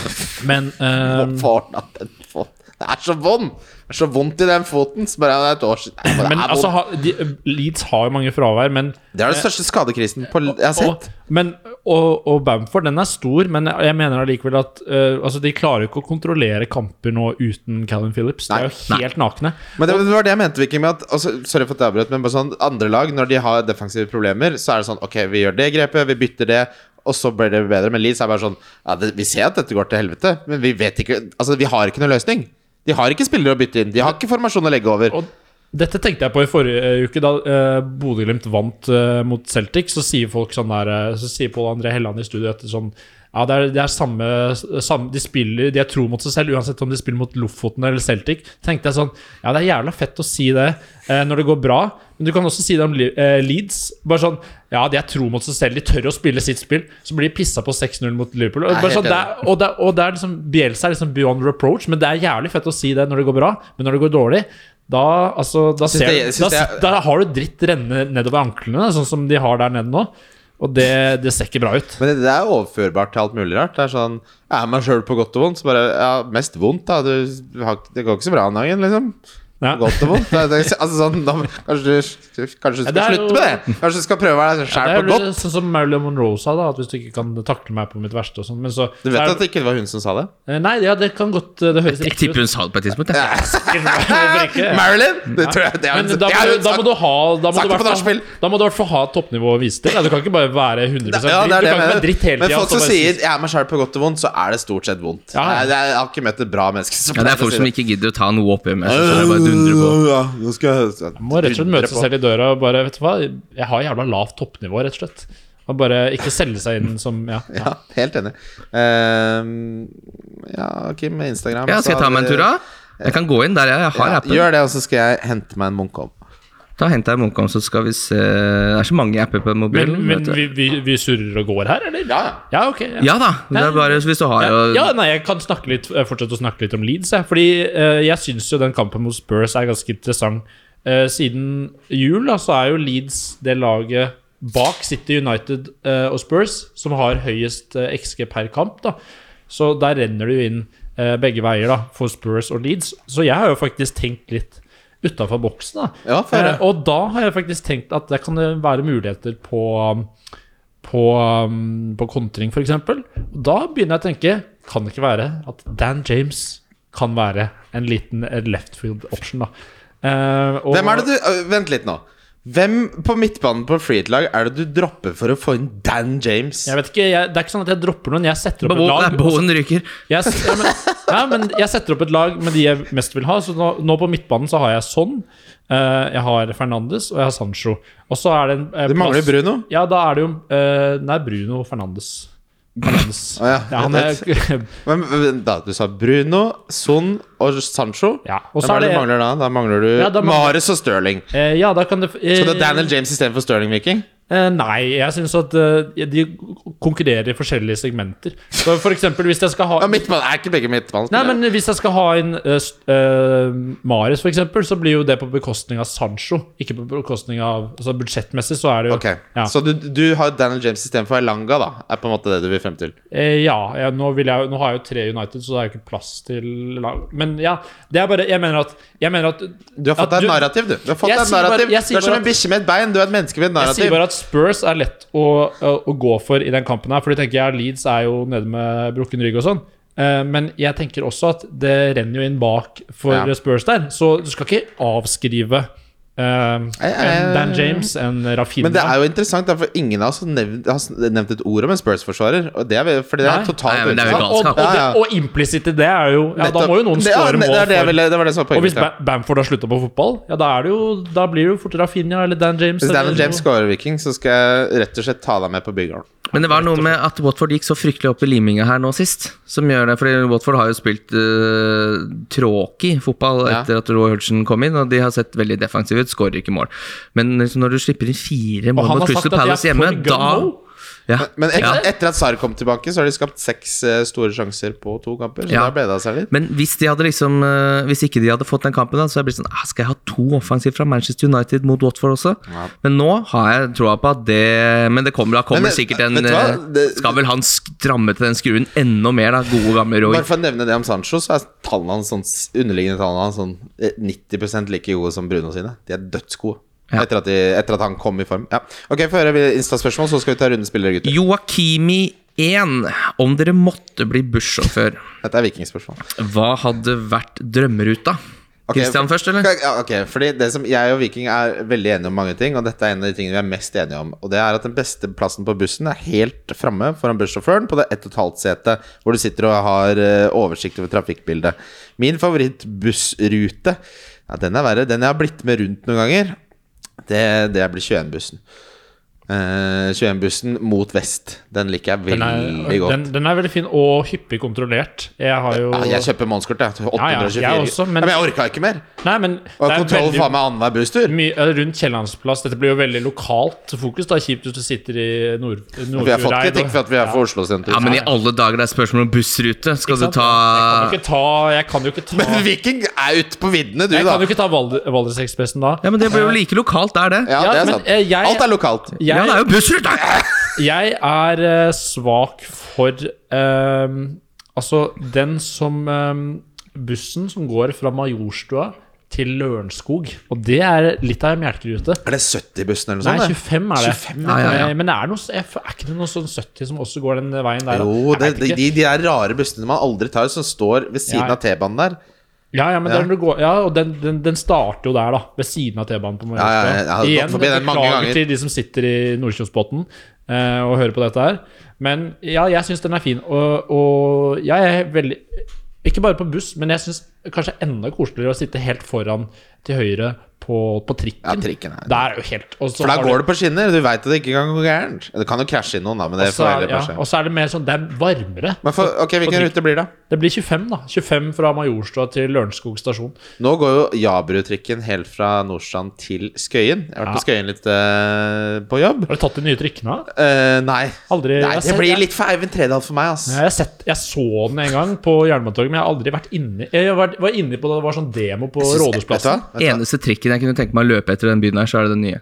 [SPEAKER 5] Men eh,
[SPEAKER 3] Hvorfor har han den foten? Det er så vond! Det er så vondt i den foten. Så bare, det, er et år siden. Nei, bare,
[SPEAKER 5] men
[SPEAKER 3] det, er
[SPEAKER 5] altså,
[SPEAKER 3] vondt.
[SPEAKER 5] ha, de, Leeds har jo mange fravær, men
[SPEAKER 3] det er den største skadekrisen på, jeg har
[SPEAKER 5] og,
[SPEAKER 3] sett.
[SPEAKER 5] men, og, og Bamford, den er stor, men jeg jeg mener allikevel at eh, altså, de klarer jo ikke å kontrollere kamper nå uten Callum Phillips. De
[SPEAKER 3] Nei.
[SPEAKER 5] er jo helt nakne.
[SPEAKER 3] Men det, det var det jeg mente, Viking. Med at, altså, sorry for at jeg avbrøt, men bare sånn, andre lag, når de har defensive problemer, så er det sånn Ok, vi gjør det grepet, vi bytter det, og så blir det bedre. Men Leeds er bare sånn ja, det, Vi ser at dette går til helvete, men vi vet ikke Altså, vi har ikke noen løsning. De har ikke spillere å bytte inn. De har ikke formasjon å legge over.
[SPEAKER 5] Og, Dette tenkte jeg på i forrige uke, da uh, Bodø-Glimt vant eh, mot Celtic. Så sier folk sånn der eh, Så sier Pål André Helland i studio etter sånn Ja, det er, det er samme, samme De spiller De er tro mot seg selv, uansett om de spiller mot Lofoten eller Celtic. Tenkte jeg sånn Ja, det er jævla fett å si det eh, når det går bra, men du kan også si det om Le- eh, Leeds. Bare sånn Ja, de er tro mot seg selv, de tør å spille sitt spill. Så blir de pissa på 6-0 mot Liverpool. Og,
[SPEAKER 3] Nei,
[SPEAKER 5] bare
[SPEAKER 3] helt
[SPEAKER 5] sånn, det er, og, det, er- og det er liksom Bielsa er liksom beyond reproach, men det er jævlig fett å si det når det går bra. Men når det går dårlig, da, altså, da
[SPEAKER 3] Syns
[SPEAKER 5] ser,
[SPEAKER 3] det-
[SPEAKER 5] du-
[SPEAKER 3] syns
[SPEAKER 5] da,
[SPEAKER 3] det er-
[SPEAKER 5] sit- da har du dritt renne nedover anklene, sånn som de har der nede nå. Og det, det ser ikke bra ut.
[SPEAKER 3] Men det, det er overførbart til alt mulig rart. Det er sånn Jeg er meg sjøl på godt og vondt. Så bare Ja, mest vondt, da. Du, du har, det går ikke så bra om dagen, liksom.
[SPEAKER 5] Ja.
[SPEAKER 3] Godt og vondt. Det, det, altså sånn da, Kanskje du kanskje du skal
[SPEAKER 5] det er
[SPEAKER 3] slutte
[SPEAKER 5] jo-
[SPEAKER 3] med det? Kanskje du skal prøve å være deg
[SPEAKER 5] Det
[SPEAKER 3] sjæl
[SPEAKER 5] er
[SPEAKER 3] på
[SPEAKER 5] jo
[SPEAKER 3] godt?
[SPEAKER 5] sånn som Marilyn Monroe sa, da, at hvis du ikke kan takle meg på mitt verste og sånn, men så Eh,
[SPEAKER 3] Du vet at det ikke var hun som sa det?
[SPEAKER 5] Nei, ja, det kan godt eh, Det høres
[SPEAKER 4] Jeg
[SPEAKER 5] riktig
[SPEAKER 4] tipper
[SPEAKER 5] ut.
[SPEAKER 4] hun sa det på et tidspunkt. Ja.
[SPEAKER 5] Hvorfor ikke?
[SPEAKER 3] Marilyn! Det tror jeg det er
[SPEAKER 5] Men
[SPEAKER 3] hun
[SPEAKER 5] da må, du, da må du ha
[SPEAKER 3] sagt det
[SPEAKER 5] Da må du i hvert
[SPEAKER 3] på
[SPEAKER 5] fall-
[SPEAKER 3] nachspiel.
[SPEAKER 5] da må du i hvert fall ha et toppnivå å vise til. Ja, du kan ikke bare være 100 dritt.
[SPEAKER 3] Ja, det er
[SPEAKER 5] du
[SPEAKER 3] det
[SPEAKER 5] kan ikke være
[SPEAKER 3] jeg
[SPEAKER 5] dritt
[SPEAKER 3] mener. Men
[SPEAKER 5] hele altså, tida.
[SPEAKER 3] folk som sier 'jeg er meg sjæl på godt og vondt', så er det stort sett vondt.
[SPEAKER 5] Ja, ja.
[SPEAKER 3] Jeg, jeg har ikke møtt et bra menneske som
[SPEAKER 4] Ja, det er folk som ikke gidder å ta en whop hjem. Jeg synes det er bare dundre på.
[SPEAKER 3] Ja, nå skal jeg
[SPEAKER 5] Må rett og slett møte
[SPEAKER 3] Dundre
[SPEAKER 5] seg
[SPEAKER 3] på.
[SPEAKER 5] selv i døra og bare Vet du hva, jeg har jævla lavt toppnivå, rett og slett. Og bare ikke selge seg inn som Ja.
[SPEAKER 3] Ja, helt enig. Ehm, ja, Kim, med Instagram
[SPEAKER 4] Ja,
[SPEAKER 3] så
[SPEAKER 4] skal jeg ta
[SPEAKER 3] har
[SPEAKER 4] meg en
[SPEAKER 3] vi-
[SPEAKER 4] tur, da? Jeg kan gå inn der, jeg, jeg har
[SPEAKER 3] Ja,
[SPEAKER 4] appen.
[SPEAKER 3] gjør det, og så skal jeg hente meg en Munkholm.
[SPEAKER 4] Da henter jeg Munkholm, så skal vi se Det er så mange apper på
[SPEAKER 5] Men,
[SPEAKER 4] mobilen.
[SPEAKER 5] men
[SPEAKER 4] vet du.
[SPEAKER 5] vi, vi, vi surrer og går her, eller?
[SPEAKER 3] Ja, ja.
[SPEAKER 5] Ja, ok. Ja.
[SPEAKER 4] Ja da. Det er bare hvis du har
[SPEAKER 5] Ja,
[SPEAKER 4] jo
[SPEAKER 5] ja, nei, jeg kan snakke litt, eh, fortsette å snakke litt om Leeds. Jeg. Fordi eh, jeg syns jo den kampen mot Spurs er ganske interessant. Eh, siden jul da, så er jo Leeds det laget bak City United eh, og Spurs som har høyest eh, XG per kamp. da Så der renner det jo inn eh, begge veier da for Spurs og Leeds. Så jeg har jo faktisk tenkt litt utafor boksen. da
[SPEAKER 3] Ja, får jeg
[SPEAKER 5] Eh, Og da har jeg faktisk tenkt at det kan det være muligheter på um, på, um, på kontring, f.eks. Da begynner jeg å tenke Kan det ikke være at Dan James kan være en liten eh, left field option, da. Eh, og-
[SPEAKER 3] Hvem er det du øh, Vent litt nå. Hvem på midtbanen på freet-lag er det du dropper for å få inn Dan James?
[SPEAKER 5] Jeg vet ikke, jeg, Det er ikke sånn at jeg dropper noen. Jeg setter
[SPEAKER 4] Bo-
[SPEAKER 5] opp et
[SPEAKER 4] Nei,
[SPEAKER 5] lag. og så-
[SPEAKER 4] Bowen ryker.
[SPEAKER 5] Jeg, s- ja, men, ja, men jeg setter opp et lag med de jeg mest vil ha. Så nå, nå på midtbanen så har jeg Son, eh, jeg har Fernandes og jeg har Sancho. Og så er det en eh,
[SPEAKER 3] Det mangler Bruno.
[SPEAKER 5] Ja, da er det jo eh, Nei, Bruno Fernandes. Fernandes.
[SPEAKER 3] Å ja,
[SPEAKER 5] han er,
[SPEAKER 3] Men, men da, du sa Bruno, Son og Sancho.
[SPEAKER 5] Ja, og så
[SPEAKER 3] Hvem er
[SPEAKER 5] er
[SPEAKER 3] det du
[SPEAKER 5] det-
[SPEAKER 3] mangler da? Da mangler du
[SPEAKER 5] Ja, da mangler-
[SPEAKER 3] Mares og Stirling.
[SPEAKER 5] eh, ja, da kan det
[SPEAKER 3] Så det er Daniel James istedenfor Stirling, Viking?
[SPEAKER 5] Eh, nei, jeg syns at eh, de konkurrerer i forskjellige segmenter. Så for eksempel hvis jeg skal ha
[SPEAKER 3] Ja, midtbanen er ikke begge midtbanen.
[SPEAKER 5] Nei, men hvis jeg skal ha inn eh, s- eh, Mares, for eksempel, så blir jo det på bekostning av Sancho. Ikke på bekostning av altså Budsjettmessig så er det jo
[SPEAKER 3] Ok,
[SPEAKER 5] ja.
[SPEAKER 3] Så du, du har Daniel James istedenfor Elanga, da? Er på en måte det du vil frem til?
[SPEAKER 5] Eh, ja, jeg, nå, vil jeg, nå har jeg jo tre United, så det er jo ikke plass til lag. Men ja, det er bare Jeg mener at, jeg mener at
[SPEAKER 3] Du har fått
[SPEAKER 5] at
[SPEAKER 3] deg et narrativ, du. Du, har fått
[SPEAKER 5] Jeg
[SPEAKER 3] deg et
[SPEAKER 5] sier bare-
[SPEAKER 3] narrativ.
[SPEAKER 5] jeg sier
[SPEAKER 3] du er som
[SPEAKER 5] bare
[SPEAKER 3] en
[SPEAKER 5] at-
[SPEAKER 3] bikkje med et bein. Du er et menneske med et
[SPEAKER 5] Jeg sier
[SPEAKER 3] narrativ.
[SPEAKER 5] bare at Spurs er lett å, å, å gå for i den kampen her. For du tenker jeg Leeds er jo nede med brukken rygg og sånn. Eh, Men jeg tenker også at det renner jo inn bak for
[SPEAKER 3] Ja.
[SPEAKER 5] Spurs der. Så du skal ikke avskrive eh, en Dan James, en Rafinha
[SPEAKER 3] Men det er jo interessant, da, for ingen av oss har nevnt, har s- nevnt et ord om en Spurs-forsvarer. Og det er, vel- fordi det
[SPEAKER 5] Nei.
[SPEAKER 3] er totalt
[SPEAKER 4] Nei, men det er jo
[SPEAKER 5] ja,
[SPEAKER 3] uinteressant.
[SPEAKER 5] og, og,
[SPEAKER 3] Ja,
[SPEAKER 5] det,
[SPEAKER 3] ja.
[SPEAKER 5] og implisitt i det er jo Ja, da
[SPEAKER 3] Nettopp.
[SPEAKER 5] må jo noen
[SPEAKER 3] Det er-
[SPEAKER 5] skåre
[SPEAKER 3] det,
[SPEAKER 5] mål
[SPEAKER 3] er det, jeg
[SPEAKER 5] for
[SPEAKER 3] ville- det var det som var
[SPEAKER 5] Og
[SPEAKER 3] poenget.
[SPEAKER 5] hvis
[SPEAKER 3] mitt, ja.
[SPEAKER 5] Ba- Bamford har slutta på fotball, ja, da, er det jo, da blir det jo fort Rafinha eller Dan James.
[SPEAKER 3] Hvis
[SPEAKER 5] eller
[SPEAKER 3] Daniel
[SPEAKER 5] noe.
[SPEAKER 3] James scorer Viking, så skal jeg rett og slett ta deg med på bygården.
[SPEAKER 4] Men det var noe med at Watford gikk så fryktelig opp i liminga her nå sist. Som gjør det, fordi Watford har jo spilt uh, tråkig fotball
[SPEAKER 3] Ja.
[SPEAKER 4] etter at Roy Hodgson kom inn, og de har sett veldig defensive ut, skårer ikke mål. Men liksom, når du slipper inn fire
[SPEAKER 5] Og
[SPEAKER 4] mål
[SPEAKER 5] han
[SPEAKER 4] mot
[SPEAKER 5] har sagt
[SPEAKER 4] Crystal
[SPEAKER 5] at jeg
[SPEAKER 4] Palace
[SPEAKER 5] er for
[SPEAKER 4] hjemme,
[SPEAKER 5] gun
[SPEAKER 4] da
[SPEAKER 5] nå.
[SPEAKER 4] ja.
[SPEAKER 3] Men et,
[SPEAKER 4] ja.
[SPEAKER 3] etter at Sar kom tilbake, så har de skapt seks eh, store sjanser på to kamper. Så
[SPEAKER 4] Ja.
[SPEAKER 3] da ble det av seg litt.
[SPEAKER 4] Men hvis de hadde liksom eh, Hvis ikke de hadde fått den kampen, da, så hadde jeg blitt sånn ah, Skal jeg ha to offensiv fra Manchester United mot Watford også? Men nå har jeg troa på at det Men det kommer, da kommer
[SPEAKER 3] Men det-
[SPEAKER 4] sikkert en
[SPEAKER 3] vet du hva?
[SPEAKER 4] eh,
[SPEAKER 3] Det-
[SPEAKER 4] Skal vel han stramme til den skruen enda mer, da? Gode, gamle Roy.
[SPEAKER 3] Bare for å nevne det om Sancho, så er tallene hans sånn, underliggende tallene hans sånn eh, 90 like gode som Bruno sine. De er dødsgode.
[SPEAKER 4] Ja.
[SPEAKER 3] Etter, at de, etter at han kom i form. Ja. Ok, Få høre Insta-spørsmål, så skal vi ta runden spillere, gutter.
[SPEAKER 4] Joakimi 1. Om dere måtte bli bussjåfør,
[SPEAKER 3] Dette er vikingspørsmål.
[SPEAKER 4] hva hadde vært drømmeruta?
[SPEAKER 3] Ok,
[SPEAKER 4] Christian først, eller?
[SPEAKER 3] Kan- ja, Ok, fordi det som Jeg og Viking er veldig enige om mange ting, og dette er en av de tingene vi er mest enige om. Og det er at den beste plassen på bussen er helt framme foran bussjåføren, på det ett og et halvt setet, hvor du sitter og har eh, oversikt over trafikkbildet. Min favorittbussrute, ja, den er verre. Den jeg har blitt med rundt noen ganger, det, det blir 21-bussen. Eh, 21-bussen mot vest. Den liker jeg
[SPEAKER 5] Den
[SPEAKER 3] veldig
[SPEAKER 5] er,
[SPEAKER 3] Mm, godt.
[SPEAKER 5] den, den er veldig fin og hyppig kontrollert. Jeg har jo
[SPEAKER 3] ja, jeg kjøper månedskort, jeg. 824.
[SPEAKER 5] jeg også, men-
[SPEAKER 3] ja, men jeg orka ikke mer.
[SPEAKER 5] Nei, men
[SPEAKER 3] Og
[SPEAKER 5] det er
[SPEAKER 3] kontroll
[SPEAKER 5] veldig
[SPEAKER 3] faen meg annenhver busstur.
[SPEAKER 5] mye- eh, rundt Kiellandsplass. Dette blir jo veldig lokalt fokus. da Kjipt hvis du sitter i nord
[SPEAKER 3] Vi har fått
[SPEAKER 5] Nordfjordeid,
[SPEAKER 3] kritikk
[SPEAKER 5] og-
[SPEAKER 3] for at vi er for Oslo sentrum.
[SPEAKER 4] Ja, men i alle dager det er spørsmål om bussrute. Skal du
[SPEAKER 5] sant? Jeg
[SPEAKER 4] ta
[SPEAKER 5] kan jo ikke ta Jeg kan jo ikke ta,
[SPEAKER 3] Men Viking er ute på viddene, du,
[SPEAKER 5] jeg
[SPEAKER 3] da.
[SPEAKER 5] kan jo ikke ta Vald- Valdresekspressen da.
[SPEAKER 4] Ja, men det blir jo like lokalt, det er det.
[SPEAKER 3] Ja,
[SPEAKER 5] Ja,
[SPEAKER 3] det er
[SPEAKER 5] men,
[SPEAKER 3] sant.
[SPEAKER 5] eh, jeg-
[SPEAKER 3] Alt er lokalt.
[SPEAKER 5] Jeg,
[SPEAKER 4] Ja, det er jo bussrute!
[SPEAKER 5] Jeg er eh, svak for ehm, Altså, den som ehm, Bussen som går fra Majorstua til Lørenskog. Og det er litt av en melkerute.
[SPEAKER 3] Er det 70-bussen eller
[SPEAKER 5] Nei,
[SPEAKER 3] noe sånt? det?
[SPEAKER 5] 25 er det.
[SPEAKER 3] 25,
[SPEAKER 4] ja. Ja, ja, ja.
[SPEAKER 5] Eh, Men det er, noe, jeg f- er ikke det noe sånn 70 som også går den veien der? da?
[SPEAKER 3] Jo,
[SPEAKER 5] Jeg
[SPEAKER 3] det,
[SPEAKER 5] vet
[SPEAKER 3] de,
[SPEAKER 5] ikke.
[SPEAKER 3] de de der rare bussene man aldri tar, som står ved siden
[SPEAKER 5] Ja.
[SPEAKER 3] av T-banen der.
[SPEAKER 5] Ja, ja, men
[SPEAKER 3] Ja.
[SPEAKER 5] Den, du går, ja, og den, den, den starter jo der, da. Ved siden av T-banen på Majorstua.
[SPEAKER 3] Ja, ja, ja, jeg har gått
[SPEAKER 5] Igjen,
[SPEAKER 3] forbi den mange ganger.
[SPEAKER 5] beklager til de som sitter i Nordkjosbotn eh, og hører på dette her. Men ja, jeg syns den er fin. Og, og jeg er veldig Ikke bare på buss, men jeg syns kanskje enda koseligere å sitte helt foran til høyre på, på
[SPEAKER 3] Ja,
[SPEAKER 5] trikken.
[SPEAKER 3] trikken er-
[SPEAKER 5] Der er jo helt og så
[SPEAKER 3] For da
[SPEAKER 5] har
[SPEAKER 3] går det på skinner. Du veit at det ikke kan gå gærent. Det kan jo krasje inn noen, da, men det
[SPEAKER 5] og så
[SPEAKER 3] får
[SPEAKER 5] er,
[SPEAKER 3] heller
[SPEAKER 5] ja,
[SPEAKER 3] bare skje.
[SPEAKER 5] og så er det mer sånn Det er varmere.
[SPEAKER 3] Men for, ok, Hvilken rute blir det?
[SPEAKER 5] Det blir 25, da. 25 fra Majorstua til Lørenskog stasjon.
[SPEAKER 3] Nå går jo Jabru-trikken helt fra Nordstrand til Skøyen. Jeg har vært på Skøyen litt eh, på jobb.
[SPEAKER 5] Har du tatt de nye trikkene? da?
[SPEAKER 3] Eh, nei.
[SPEAKER 5] Aldri jeg
[SPEAKER 3] nei.
[SPEAKER 5] har
[SPEAKER 3] Det
[SPEAKER 5] sett-
[SPEAKER 3] blir
[SPEAKER 5] jeg-
[SPEAKER 3] litt for Eivind Tredal for meg, ass.
[SPEAKER 5] Ja, Jeg, har sett, jeg så den en gang på Jernbanetorget, men jeg har aldri vært inni Jeg var, var inni på da det var sånn demo på
[SPEAKER 3] Jeg synes- vet
[SPEAKER 5] Rådhusplassen.
[SPEAKER 3] du hva? Vet du hva?
[SPEAKER 4] Eneste trikken jeg kunne tenke meg å løpe etter i den byen her, så er det den nye.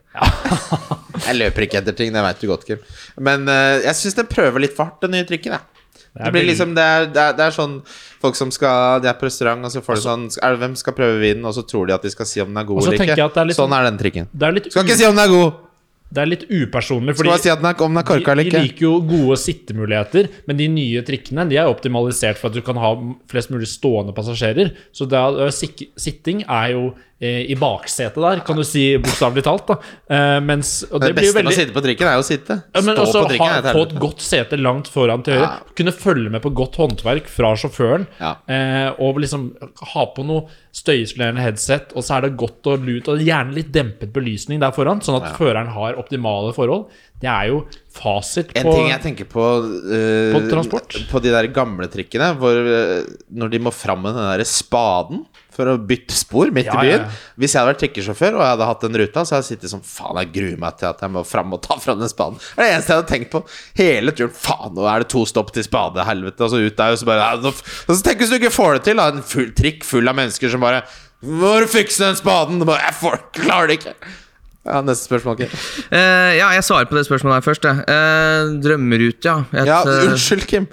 [SPEAKER 3] Jeg løper ikke etter ting, det veit du godt, Kim. Men eh, jeg syns den prøver litt for hardt, den nye trikken. Jeg. Det, blir
[SPEAKER 5] veldig-
[SPEAKER 3] liksom, det, er, det, er, det er sånn folk som skal De er på restaurant, og så får de sånn er, det- Hvem skal prøve vinen? Og så tror de at de skal si om den er god
[SPEAKER 5] Og så
[SPEAKER 3] eller
[SPEAKER 5] tenker
[SPEAKER 3] ikke.
[SPEAKER 5] jeg at det er litt
[SPEAKER 3] sånn er den trikken.
[SPEAKER 5] Det er litt,
[SPEAKER 3] Skal
[SPEAKER 5] u-
[SPEAKER 3] ikke si om den er god!
[SPEAKER 5] det er litt upersonlig,
[SPEAKER 3] Skal
[SPEAKER 5] fordi
[SPEAKER 3] bare si at den er, om den er
[SPEAKER 5] de,
[SPEAKER 3] korka eller
[SPEAKER 5] de
[SPEAKER 3] ikke.
[SPEAKER 5] liker jo gode sittemuligheter, men de nye trikkene de er optimalisert for at du kan ha flest mulig stående passasjerer. Så da, ø, sik- sitting er jo eh, i baksetet der, kan du si bokstavelig talt. da Eh, mens, og
[SPEAKER 3] Det,
[SPEAKER 5] det, blir
[SPEAKER 3] beste
[SPEAKER 5] jo
[SPEAKER 3] med å
[SPEAKER 5] veldig
[SPEAKER 3] sitte på trikken, er jo å sitte.
[SPEAKER 5] Ja, men også
[SPEAKER 3] Stå på trikken.
[SPEAKER 5] ha,
[SPEAKER 3] er et
[SPEAKER 5] få et
[SPEAKER 3] helvete.
[SPEAKER 5] godt sete langt foran til høyre.
[SPEAKER 3] Ja.
[SPEAKER 5] Kunne følge med på godt håndverk fra sjåføren.
[SPEAKER 3] Ja.
[SPEAKER 5] Eh, og liksom ha på noe støyisolerende headset, og så er det godt og lut, og gjerne litt dempet belysning der foran, sånn at føreren har optimale forhold. Det er jo fasit
[SPEAKER 3] En
[SPEAKER 5] på
[SPEAKER 3] ting jeg tenker på eh,
[SPEAKER 5] På transport?
[SPEAKER 3] På de der gamle trikkene hvor, eh, Når de må fram med den der spaden For å bytte spor midt
[SPEAKER 5] Ja,
[SPEAKER 3] i
[SPEAKER 5] ja,
[SPEAKER 3] byen
[SPEAKER 5] ja.
[SPEAKER 3] Hvis jeg hadde vært trikkesjåfør Og jeg hadde hatt den ruta Så hadde jeg sittet sånn Faen, jeg gruer meg til at jeg må fram og ta fram den spaden Det er det eneste jeg hadde tenkt på Hele turen Faen, nå er det to stopp til spade Helvete, og så ut der Og så bare ja, nå f- Og så tenk hvis du ikke får det til da En full trikk full av mennesker som bare Må du fikse den spaden Du bare, Jeg får, klarer det ikke Ja, neste spørsmål Kim.
[SPEAKER 4] Eh, ja, jeg svarer på det spørsmålet her først. jeg. Eh, drømmerute, ja. Et,
[SPEAKER 3] Ja,
[SPEAKER 4] eh,
[SPEAKER 3] unnskyld Kim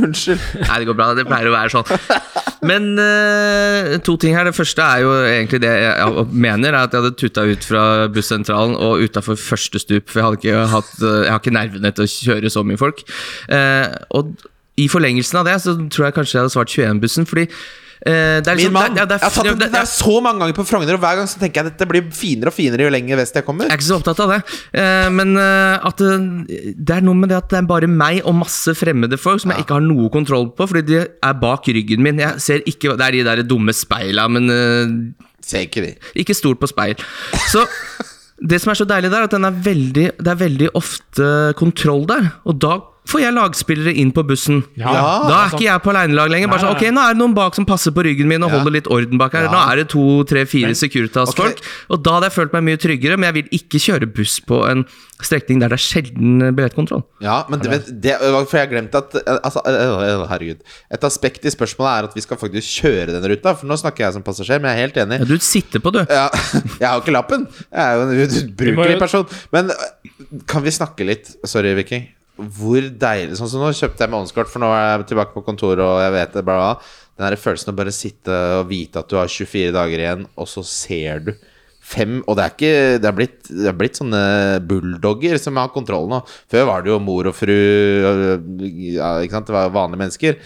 [SPEAKER 3] Unnskyld
[SPEAKER 4] Nei, det går bra. Det pleier å være sånn. Men eh, to ting her. Det første er jo egentlig det jeg ja, mener, er at jeg hadde tuta ut fra bussentralen og utafor første stup, for jeg, hadde ikke hatt, eh, jeg har ikke nervene til å kjøre så mye folk. Eh, og i forlengelsen av det så tror jeg kanskje jeg hadde svart 21-bussen, fordi eh, det er
[SPEAKER 3] Min
[SPEAKER 4] liksom
[SPEAKER 3] mann!
[SPEAKER 4] det er- det er-
[SPEAKER 3] jeg har tatt den
[SPEAKER 4] det er-
[SPEAKER 3] der så mange ganger på Frogner, og hver gang så tenker jeg at dette blir finere og finere jo lenger vest jeg kommer.
[SPEAKER 4] Jeg er ikke så opptatt av det. Eh, men eh, at eh, det er noe med det at det er bare meg og masse fremmede folk som jeg ikke har noe kontroll på, fordi de er bak ryggen min. Jeg ser ikke Det er de der dumme speila, men eh,
[SPEAKER 3] Ser ikke de.
[SPEAKER 4] ikke stol på speil. Så det som er så deilig der, er at den er veldig, det er veldig ofte kontroll der. Og da får jeg lagspillere inn på bussen.
[SPEAKER 5] Ja.
[SPEAKER 3] Ja.
[SPEAKER 4] Da er ikke jeg på alenelag lenger. Bare
[SPEAKER 5] Nei,
[SPEAKER 4] sånn, ok,
[SPEAKER 5] nei,
[SPEAKER 4] Nå er det noen bak som passer på ryggen min og holder litt orden bak her. Nå er det to, tre, fire Securitas-folk.
[SPEAKER 3] ok.
[SPEAKER 4] Og da hadde jeg følt meg mye tryggere, men jeg vil ikke kjøre buss på en strekning der det er sjelden billettkontroll.
[SPEAKER 3] Ja, men det, vet- det var for jeg glemte at altså, øh, øh, Herregud. Et aspekt i spørsmålet er at vi skal faktisk kjøre den ruta, for nå snakker jeg som passasjer, men jeg er helt enig.
[SPEAKER 4] Ja, du sitter på, du.
[SPEAKER 3] Ja, jeg har jo ikke lappen. Jeg er jo en
[SPEAKER 5] Du må
[SPEAKER 3] ubrukelig
[SPEAKER 5] jo-
[SPEAKER 3] person. Men øh, kan vi snakke litt Sorry, Viking. Hvor deilig Sånn som nå kjøpte jeg månedskort, for nå er jeg tilbake på kontoret, og jeg vet det, bla, bla. bla. Den der følelsen av bare sitte og vite at du har 24 dager igjen, og så ser du fem Og det er ikke Det er blitt, det er blitt sånne bulldogger som har kontroll nå. Før var det jo mor og fru ja, Ikke sant, det var vanlige mennesker.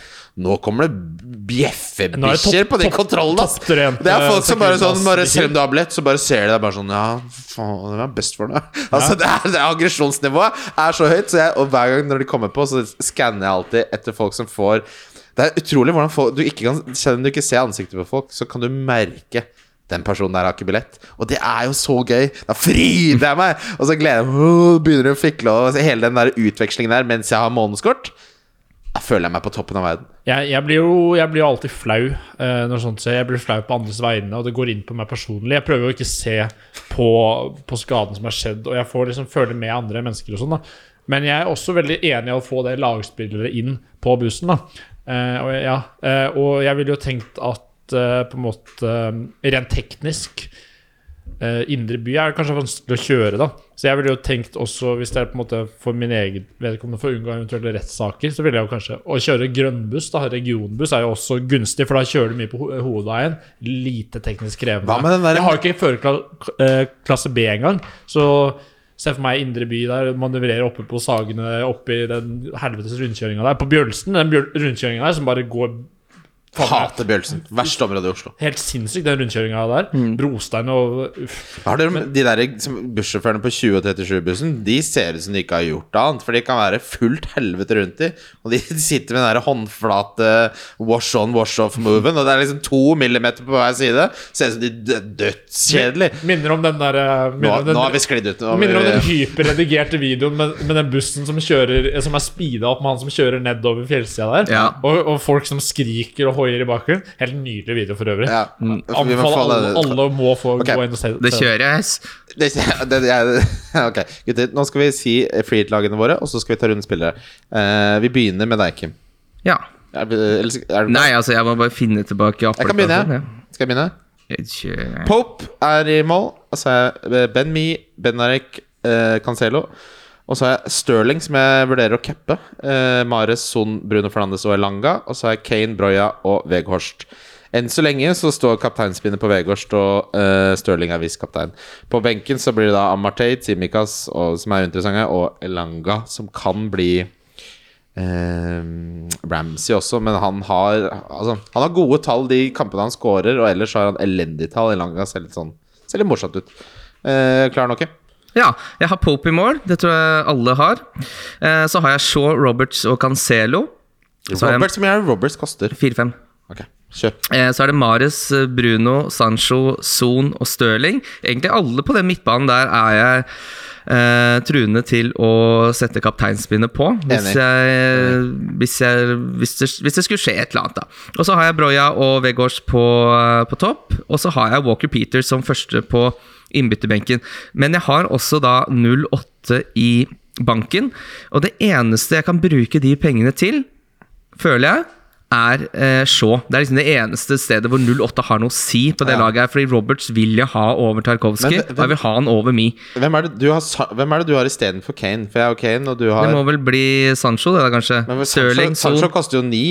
[SPEAKER 3] Nå kommer det
[SPEAKER 5] Nå er det
[SPEAKER 3] bjeffebikkjer
[SPEAKER 5] topp-
[SPEAKER 3] på den
[SPEAKER 5] topp-
[SPEAKER 3] kontrollen, ass!
[SPEAKER 5] topptrent,
[SPEAKER 3] Det er folk
[SPEAKER 5] eh,
[SPEAKER 3] som bare sånn
[SPEAKER 5] sekund, ass.
[SPEAKER 3] bare Selv om du har billett, så bare ser de deg bare sånn Ja, faen, det var best for deg. Altså, det er, det er aggresjonsnivået er så høyt, så jeg, og hver gang når de kommer på, så skanner jeg alltid etter folk som får Det er utrolig hvordan folk du ikke kan, Selv om du ikke ser ansiktet på folk, så kan du merke den personen der har ikke billett. Og det er jo så gøy! Da fryder jeg meg! Og så gleder jeg meg, åh, begynner de å fikle, og hele den der utvekslingen der mens jeg har månedskort. Da føler jeg meg på toppen av verden.
[SPEAKER 5] Jeg, jeg blir jo jeg blir jo alltid flau eh, når sånt skjer. Jeg blir flau på andres vegne, og det går inn på meg personlig. Jeg prøver jo ikke se på, på skaden som har skjedd, og jeg får liksom føle med andre mennesker og sånn, da. Men jeg er også veldig enig i å få det lagspillere inn på bussen, da. Eh, og, ja, eh, og jeg ville jo tenkt at eh, på en måte eh, Rent teknisk eh, Indre by er kanskje vanskelig å kjøre, da. Så jeg ville jo tenkt også, hvis det er på en måte for min egen vedkommende for å unngå eventuelle rettssaker, så ville jeg jo kanskje Å kjøre grønnbuss, da, regionbuss, er jo også gunstig, for da kjører du mye på ho- hovedveien. Lite teknisk krevende.
[SPEAKER 3] Hva med den der-
[SPEAKER 5] Jeg har jo ikke førerklasse B engang, så Se for meg indre by der, manøvrere oppe på Sagene, oppe i den helvetes rundkjøringa der. På Bjølsen, den bjøl- rundkjøringa der som bare går
[SPEAKER 3] Hater Bjølsen. Verste område i Oslo.
[SPEAKER 5] helt sinnssykt, den rundkjøringa der.
[SPEAKER 3] Mm.
[SPEAKER 5] Brostein og uff.
[SPEAKER 3] Har dere, de der som- bussjåførene på 20- og 37-bussen De ser ut som de ikke har gjort annet, for de kan være fullt helvete rundt de. Og de sitter med den der håndflate wash on, wash off-moven, og det er liksom to millimeter på hver side. Ser ut som de dø- dødskjedelig.
[SPEAKER 5] Minner om den der eh,
[SPEAKER 3] Nå,
[SPEAKER 5] Minner om den,
[SPEAKER 3] nå har vi sklidd ut. Nå har
[SPEAKER 5] minner om den
[SPEAKER 3] vi-
[SPEAKER 5] hyperredigerte videoen med, med den bussen som kjører Som er speeda opp med han som kjører nedover fjellsida der.
[SPEAKER 4] Ja.
[SPEAKER 5] Og, og folk som skriker og hoier i bakgrunnen. Helt nydelig video for øvrig.
[SPEAKER 3] ja, vi må
[SPEAKER 5] Anbefaler
[SPEAKER 3] få
[SPEAKER 5] alle,
[SPEAKER 3] det-
[SPEAKER 5] alle må få
[SPEAKER 3] Ok,
[SPEAKER 5] gå inn og se
[SPEAKER 4] Det
[SPEAKER 5] se
[SPEAKER 4] kjører jeg. ass.
[SPEAKER 3] Det, det, jeg- ok, gutter. Nå skal vi si freehit-lagene våre, og så skal vi ta rundt spillere. Eh, vi begynner med deg, Kim.
[SPEAKER 4] Ja.
[SPEAKER 3] Er, eller, er,
[SPEAKER 4] Nei, altså, jeg må bare finne tilbake
[SPEAKER 3] jeg kan begynne, jeg. Skal jeg begynne?
[SPEAKER 4] Jeg kjører.
[SPEAKER 3] Pope er i mål. Og så har jeg eh, Ben Me, Benarek, eh, Cancelo. Og så har jeg Sterling, som jeg vurderer å cappe. Eh, Mares, Son, Bruno Fernandes og Elanga. Og så har jeg Kane, Broya og Veghorst. Enn så lenge så står kapteinspinnet på Veghorst, og eh, Sterling er visekaptein. På benken så blir det da Amartey, Timikas, og, som er uinteressante, og Elanga, som kan bli Eh, Ramsey også, men han har altså, Han har gode tall de kampene han scorer, og ellers har han elendige tall. Elanga ser litt sånn Ser litt morsomt ut. Eh, klarer han ikke?
[SPEAKER 4] Ja, jeg har Pope i mål. Det tror jeg alle har. Eh, Så har jeg Shaw, Roberts og Cancelo. Så har jeg
[SPEAKER 3] Roberts, hvor mye er det Roberts koster?
[SPEAKER 4] 4-5.
[SPEAKER 3] Ok, kjøp.
[SPEAKER 4] Eh, Så er det Mares, eh, Bruno, Sancho, Son og Stirling. Egentlig alle på den midtbanen der er jeg eh, truende til å sette kapteinspinnet på. Hvis,
[SPEAKER 3] Enig.
[SPEAKER 4] jeg, hvis, jeg, hvis, det, hvis det skulle skje et eller annet, da. Og så har jeg Broya og Vegårs på, eh, på topp. Og så har jeg Walker Peters som første på innbytterbenken. Men jeg har også da 08 i banken. Og det eneste jeg kan bruke de pengene til, føler jeg, er eh, Shaw. Det er liksom det eneste stedet hvor 08 har noe å si på det
[SPEAKER 3] Ja.
[SPEAKER 4] laget. her Fordi Roberts vil jeg ha over Tarkovsky,
[SPEAKER 3] Men
[SPEAKER 4] og
[SPEAKER 3] hvem-
[SPEAKER 4] jeg vil ha han over Me.
[SPEAKER 3] Hvem er det du har, sa- hvem er det du har istedenfor Kane? For jeg har Kane, og du har
[SPEAKER 4] Det må vel bli Sancho, det da, kanskje.
[SPEAKER 3] Men
[SPEAKER 4] Stirling,
[SPEAKER 3] Sancho, Sancho
[SPEAKER 4] Son.
[SPEAKER 3] koster jo ni.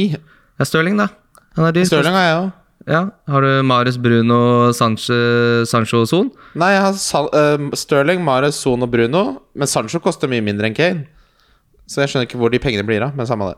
[SPEAKER 4] Ja, Stirling, da. Han er dyr.
[SPEAKER 3] Stirling har jeg òg.
[SPEAKER 4] Ja. Har du Marius Bruno, Sanche, Sancho og Son?
[SPEAKER 3] Nei, jeg har Sal eh, Sterling, Mares, Son og Bruno. Men Sancho koster mye mindre enn Kane. Så jeg skjønner ikke hvor de pengene blir av. Men samme det.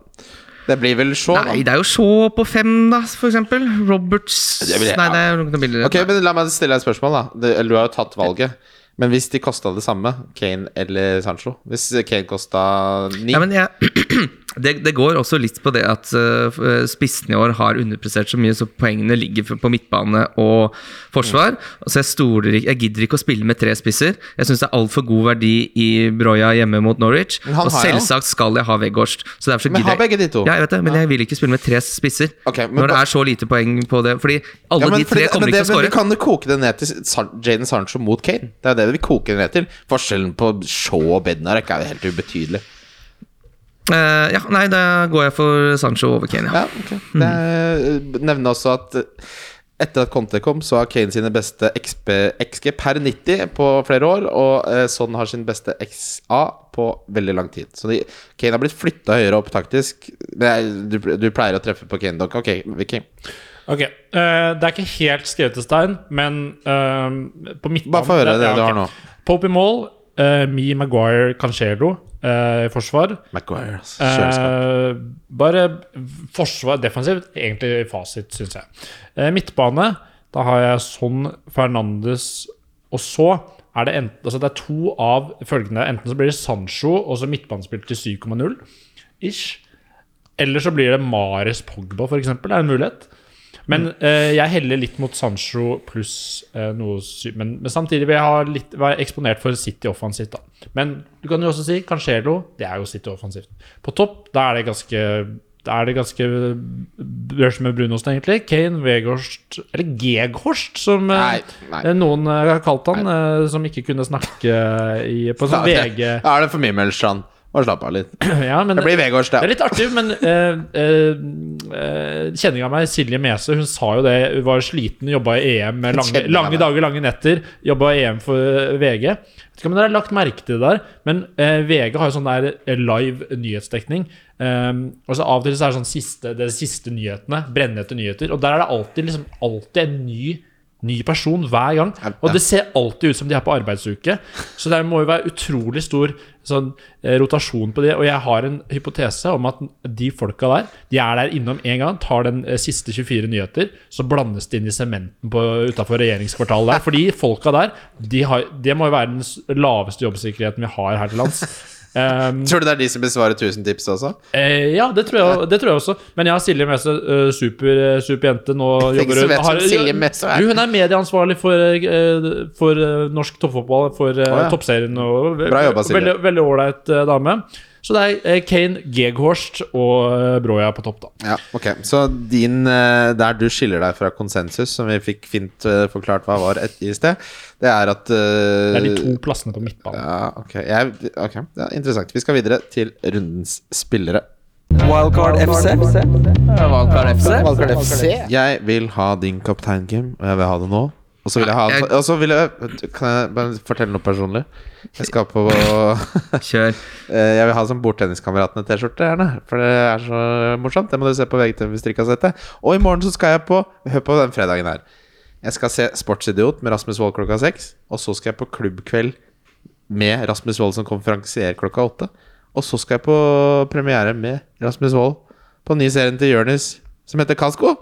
[SPEAKER 3] Det blir vel Shaw. da.
[SPEAKER 4] Nei, det er jo Shaw på fem, da, for eksempel. Roberts
[SPEAKER 3] Det vil jeg-
[SPEAKER 4] Nei, det er jo ikke noe billigere.
[SPEAKER 3] Ok, men La meg stille deg et spørsmål. da Det- Eller Du har jo tatt valget. Men hvis de kosta det samme, Kane eller Sancho Hvis Kane kosta ni
[SPEAKER 4] Ja, men jeg, det, det går også litt på det at eh, spissene i år har underprestert så mye, så poengene ligger på midtbane og forsvar. Så jeg, stoler, ikke- jeg gidder ikke å spille med tre spisser. Jeg syns det er altfor god verdi i Broya hjemme mot Norwich.
[SPEAKER 3] Men han
[SPEAKER 4] Og
[SPEAKER 3] har jeg jo.
[SPEAKER 4] selvsagt skal jeg ha Weghorst. Så derfor så
[SPEAKER 3] Men har
[SPEAKER 4] gidder jeg-
[SPEAKER 3] begge de to?
[SPEAKER 4] Ja, jeg vet det, men jeg vil ikke spille med tre spisser.
[SPEAKER 3] Ok, men
[SPEAKER 4] når det
[SPEAKER 3] ba-
[SPEAKER 4] er så lite poeng på det. Fordi alle
[SPEAKER 3] Ja, men
[SPEAKER 4] de tre
[SPEAKER 3] fordi-
[SPEAKER 4] kommer
[SPEAKER 3] men
[SPEAKER 4] ikke
[SPEAKER 3] det-
[SPEAKER 4] til å
[SPEAKER 3] Men vi
[SPEAKER 4] skåre.
[SPEAKER 3] kan jo koke det ned til San Jaden Sancho mot Kane. Det er det vi koker det ned til. Forskjellen på Shaw og Bednarek er jo helt ubetydelig.
[SPEAKER 4] Eh, ja, nei, da går jeg for Sancho over Kane, ja.
[SPEAKER 3] Ja, ok Det er, Nevne også at etter at Conte kom, så har Kane sine beste XP, XG per 90 på flere år, og eh, Son har sin beste XA på veldig lang tid. Så de, Kane har blitt flytta høyere opp taktisk. Det er, du, du pleier å treffe på Kane, Doc. Ok, Vicky.
[SPEAKER 5] Ok, eh, Det er ikke helt skrevet til stein, men eh, på midtbanen
[SPEAKER 3] Bare få høre det
[SPEAKER 5] ja,
[SPEAKER 3] du har
[SPEAKER 5] ok.
[SPEAKER 3] nå.
[SPEAKER 5] Pope i mål, eh, Me, Maguire, Cancelo eh, i forsvar.
[SPEAKER 3] Maguire, altså. Kjøleskap.
[SPEAKER 5] Eh, bare forsvar defensivt, egentlig fasit, syns jeg. Eh, midtbane, da har jeg sånn Fernandes og så er det, enten, altså det er to av følgende. Enten så blir det Sancho og så midtbanespill til 7,0 ish. Eller så blir det Mares Pogba, f.eks. Det er en mulighet. Men
[SPEAKER 3] Mm.
[SPEAKER 5] eh, jeg heller litt mot Sancho pluss eh, noe sy men, men samtidig vil jeg ha litt, være eksponert for City offensivt. da Men du kan jo også si Cancelo. Det er jo City offensivt. På topp da er det ganske da er det ganske børs med Brunosen, egentlig. Kane, Vegårst Eller Geghorst, som eh,
[SPEAKER 3] Nei, nei.
[SPEAKER 5] eh, noen eh, har kalt han, eh, som ikke kunne snakke i, på
[SPEAKER 3] Da
[SPEAKER 5] sånn
[SPEAKER 3] er
[SPEAKER 5] VG.
[SPEAKER 3] det- da er det for mye Melstrand. Bare slapp av litt. Det
[SPEAKER 5] Ja, men,
[SPEAKER 3] blir Vegårs,
[SPEAKER 5] det er
[SPEAKER 3] det.
[SPEAKER 5] litt artig, men eh, eh, eh, kjenning av meg, Silje Mese, hun sa jo det. Hun var sliten, jobba i EM med lange,
[SPEAKER 3] Kjenning av
[SPEAKER 5] lange
[SPEAKER 3] meg.
[SPEAKER 5] dager, lange netter. Jobba i EM for eh, VG. Vet ikke om dere har lagt merke til det der, men eh, VG har jo sånn der eh, live nyhetsdekning. Um, og så Av og til så er det sånn siste, det er de siste nyhetene. Brennhete nyheter. Og der er det alltid, liksom, alltid en ny Ny person hver gang. Og det ser alltid ut som de er på arbeidsuke. Så det må jo være utrolig stor sånn, eh, rotasjon på det. Og jeg har en hypotese om at de folka der, de er der innom én gang, tar den eh, siste 24 nyheter, så blandes det inn i sementen utafor regjeringskvartalet der. Fordi folka der, de har, det må jo være den s- laveste jobbsikkerheten vi har her til lands. Um,
[SPEAKER 3] Tror du det er de som besvarer 1000 tips også?
[SPEAKER 5] Eh, ja, det tror, jeg, det tror jeg også. Men jeg har Silje Mese, eh, super, eh, super jente. Nå
[SPEAKER 3] er ikke
[SPEAKER 5] jobber
[SPEAKER 3] så
[SPEAKER 5] hun
[SPEAKER 3] vet
[SPEAKER 5] har-
[SPEAKER 3] hvem Silje Mese er.
[SPEAKER 5] Jo, Hun er medieansvarlig for, eh, for eh, norsk toppfotball, for eh,
[SPEAKER 3] Å, ja.
[SPEAKER 5] toppserien. Og, ve-
[SPEAKER 3] Bra jobba, Silje.
[SPEAKER 5] Veldig veldig ålreit eh, dame. Så det er eh, Kane, Geghorst og eh, Broya på topp, da.
[SPEAKER 3] Ja, ok Så din, eh, der du skiller deg fra konsensus, som vi fikk fint eh, forklart hva var et, i sted, det er at eh,
[SPEAKER 5] Det er de to plassene på midtbanen.
[SPEAKER 3] Ja, ok, jeg, ok. Ja, Interessant. Vi skal videre til rundens spillere.
[SPEAKER 1] Wildcard FC.
[SPEAKER 2] Valgkart FC.
[SPEAKER 1] Wildcard FC.
[SPEAKER 3] Jeg vil ha din kaptein, Kim, og jeg vil ha det nå. Og så vil jeg ha
[SPEAKER 4] Ja, jeg-
[SPEAKER 3] Og så vil jeg Kan jeg bare fortelle noe personlig? Jeg skal på Eh,
[SPEAKER 4] Kjør.
[SPEAKER 3] Jeg vil ha sånn Bordtenniskameratene-T-skjorte, gjerne. For det er så morsomt. Det må dere se på VGTV hvis dere ikke har sett det. Og i morgen så skal jeg på Hør på den fredagen her. Jeg skal se Sportsidiot med Rasmus Wold klokka seks. Og så skal jeg på klubbkveld med Rasmus Wold som konferansier klokka åtte. Og så skal jeg på premiere med Rasmus Wold på den nye serien til Jonis som heter Kasko.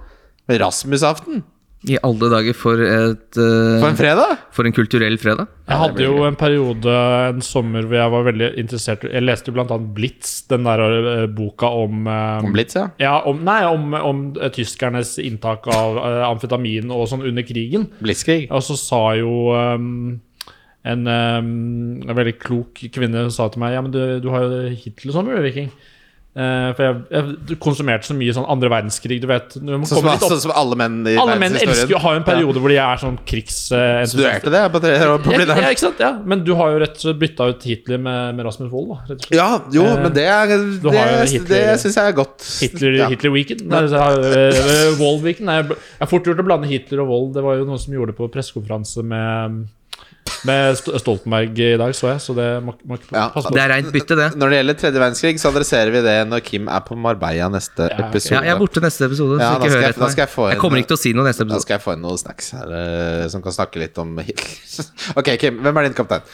[SPEAKER 3] Med Rasmusaften
[SPEAKER 4] I alle dager for et eh,
[SPEAKER 3] på en fredag!
[SPEAKER 4] For en kulturell fredag.
[SPEAKER 5] Jeg hadde jo en periode en sommer hvor jeg var veldig interessert Jeg leste jo blant annet Blitz, den der eh, boka om eh,
[SPEAKER 3] Om Blitz, ja.
[SPEAKER 5] Ja, om, nei, om, om eh, tyskernes inntak av eh, amfetamin og sånn under krigen.
[SPEAKER 3] Blitzkrig.
[SPEAKER 5] Og så sa jo ehm, en, ehm, en veldig klok kvinne sa til meg Ja, men du, du har jo Hitler som viking. Eh, for jeg, jeg konsumerte så mye sånn andre verdenskrig, du vet. Når man
[SPEAKER 3] Sånn som,
[SPEAKER 5] kommer litt
[SPEAKER 3] sånn
[SPEAKER 5] opp,
[SPEAKER 3] som alle menn i
[SPEAKER 5] alle menn elsker jo å ha
[SPEAKER 3] Ja.
[SPEAKER 5] en periode hvor de er sånn krigsentusiaster.
[SPEAKER 3] Studerte det på tre år på
[SPEAKER 5] ja,
[SPEAKER 3] Blindern.
[SPEAKER 5] ikke sant? Ja. Men du har jo rett og slett bytta ut Hitler med, med Rasmus Wold, da. Rett og slett.
[SPEAKER 3] Ja, jo,
[SPEAKER 5] Eh,
[SPEAKER 3] men det, er,
[SPEAKER 5] du har jo
[SPEAKER 3] det,
[SPEAKER 5] Hitler-
[SPEAKER 3] det syns jeg er godt.
[SPEAKER 5] Hitler,
[SPEAKER 3] ja.
[SPEAKER 5] Hitler Weekend? Nei, så, uh, Wold Weekend? Nei, jeg bl- jeg har fort gjort å blande Hitler og Wold. Det var jo noen som gjorde det på pressekonferanse med, med St- Stoltenberg i dag, så jeg. Så det må, må ikke
[SPEAKER 3] Ja.
[SPEAKER 5] passe på.
[SPEAKER 4] Det er reint bytte, det.
[SPEAKER 3] Når det gjelder tredje verdenskrig, så adresserer vi det når Kim er på Marbella neste
[SPEAKER 5] Ja, ok.
[SPEAKER 3] episode.
[SPEAKER 4] Ja, jeg er borte neste
[SPEAKER 3] Ja,
[SPEAKER 4] episode. så
[SPEAKER 3] da
[SPEAKER 4] ikke
[SPEAKER 3] skal
[SPEAKER 4] hør
[SPEAKER 3] jeg-
[SPEAKER 4] etter
[SPEAKER 3] da skal jeg
[SPEAKER 4] meg.
[SPEAKER 3] få en-
[SPEAKER 4] jeg kommer ikke til å si noe neste
[SPEAKER 3] Da
[SPEAKER 4] episode.
[SPEAKER 3] skal jeg få inn noen snacks her eh, som kan snakke litt om Hitler. ok, Kim, hvem er din kaptein?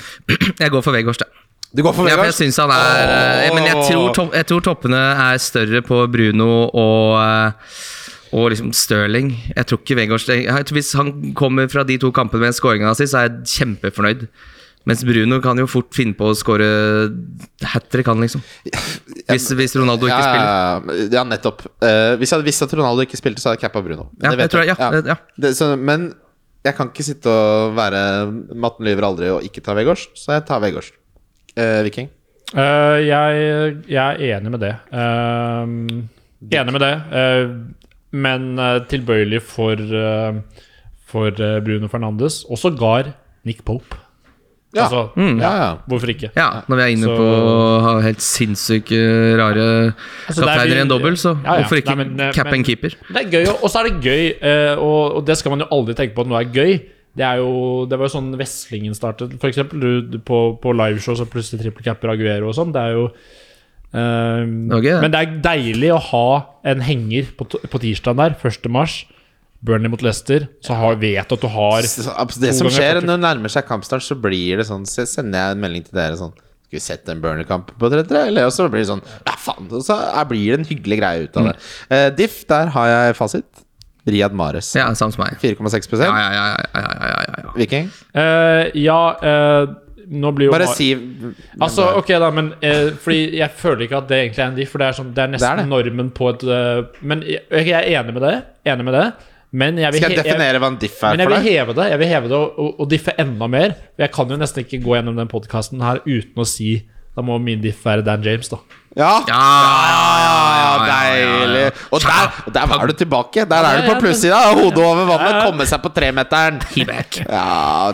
[SPEAKER 4] Jeg går for Vegårs, da.
[SPEAKER 3] Du går for
[SPEAKER 4] Ja, for jeg
[SPEAKER 3] Vegard?
[SPEAKER 4] synes han er eh, Men jeg tror, topp- jeg tror toppene er større på Bruno og eh, og liksom Stirling. Jeg tror ikke Vegårs jeg tror Hvis han kommer fra de to kampene med skåringa si, så er jeg kjempefornøyd. Mens Bruno kan jo fort finne på å skåre hat trick, han liksom. Hvis, hvis Ronaldo ikke spiller.
[SPEAKER 3] ja, ja, nettopp. Eh, hvis jeg hadde visst at Ronaldo ikke spilte, så hadde jeg cappa Bruno.
[SPEAKER 4] Ja, jeg tror jeg- ja, det- ja.
[SPEAKER 3] Det, så, men jeg kan ikke sitte og være Matten lyver aldri og ikke ta Vegårs, så jeg tar Vegårs. Eh, Viking.
[SPEAKER 5] Eh, jeg, jeg er enig med det. Eh, enig med det, eh, men eh, tilbøyelig for, eh, for eh, Bruno Fernandes. Og sågar Nick Pope.
[SPEAKER 3] Ja. Mm.
[SPEAKER 5] Altså,
[SPEAKER 3] ja, ja.
[SPEAKER 5] hvorfor ikke?
[SPEAKER 4] Ja, når vi er inne
[SPEAKER 5] Så-
[SPEAKER 4] på ha helt sinnssyke, rare
[SPEAKER 5] Altså, det er
[SPEAKER 4] kapteiner i en
[SPEAKER 5] vi-
[SPEAKER 4] dobbel, så
[SPEAKER 5] Ja, ja.
[SPEAKER 4] hvorfor ikke
[SPEAKER 5] Nei, men, eh,
[SPEAKER 4] cappe
[SPEAKER 5] men-
[SPEAKER 4] en keeper?
[SPEAKER 5] Det er gøy, og så er det gøy, eh, og, og det skal man jo aldri tenke på at noe er gøy. Det, er jo, det var jo sånn Veslingen startet, for eksempel. Du, du, på, på liveshow så plutselig trippelcapper Aguero og sånn. Det er jo eh,
[SPEAKER 4] var gøy, det.
[SPEAKER 5] Men det er deilig å ha en henger på, t- på tirsdagen der, 1. mars. Burnley mot Leicester, så har, vet du at du har
[SPEAKER 3] Så, abs- Det
[SPEAKER 5] To
[SPEAKER 3] som
[SPEAKER 5] ganger
[SPEAKER 3] skjer
[SPEAKER 5] 40.
[SPEAKER 3] når det nærmer seg kampstart, så blir det sånn Så sender jeg en melding til dere sånn Skal vi sette en burner-kamp på 33? Eller og så blir det sånn Ja, faen. Og så er- blir det en hyggelig greie ut av det. Eh, Diff, der har jeg fasit. Riyad Mahrez.
[SPEAKER 4] Ja, samme som meg.
[SPEAKER 3] 4,6
[SPEAKER 4] Ja, ja, ja, ja, ja, ja, ja, ja.
[SPEAKER 3] Viking?
[SPEAKER 5] Eh, Ja, eh, nå blir jo
[SPEAKER 3] Bare
[SPEAKER 5] Mar-
[SPEAKER 3] si
[SPEAKER 5] Altså, ok da, men eh, Fordi jeg føler ikke at det egentlig er en diff, for det er, sånn, det er nesten
[SPEAKER 3] Det er det.
[SPEAKER 5] normen på et eh, Men jeg, jeg er enig med det, enig med det men jeg vil,
[SPEAKER 3] Skal jeg
[SPEAKER 5] he-
[SPEAKER 3] definere hva en diff er
[SPEAKER 5] men jeg
[SPEAKER 3] for
[SPEAKER 5] vil
[SPEAKER 3] deg?
[SPEAKER 5] heve det Jeg vil heve det og, og, og diffe enda mer. Jeg kan jo nesten ikke gå gjennom den podkasten her uten å si Da må min diff være Dan James, da.
[SPEAKER 3] Ja!
[SPEAKER 4] Ja, ja, ja,
[SPEAKER 3] Ja,
[SPEAKER 4] ja, ja, ja, ja.
[SPEAKER 3] deilig. Og der, og der var du tilbake. Der er du
[SPEAKER 5] Ja,
[SPEAKER 3] på
[SPEAKER 5] ja,
[SPEAKER 3] plussida. Hodet over vannet, komme seg på tremeteren.
[SPEAKER 4] He back.
[SPEAKER 3] Ja,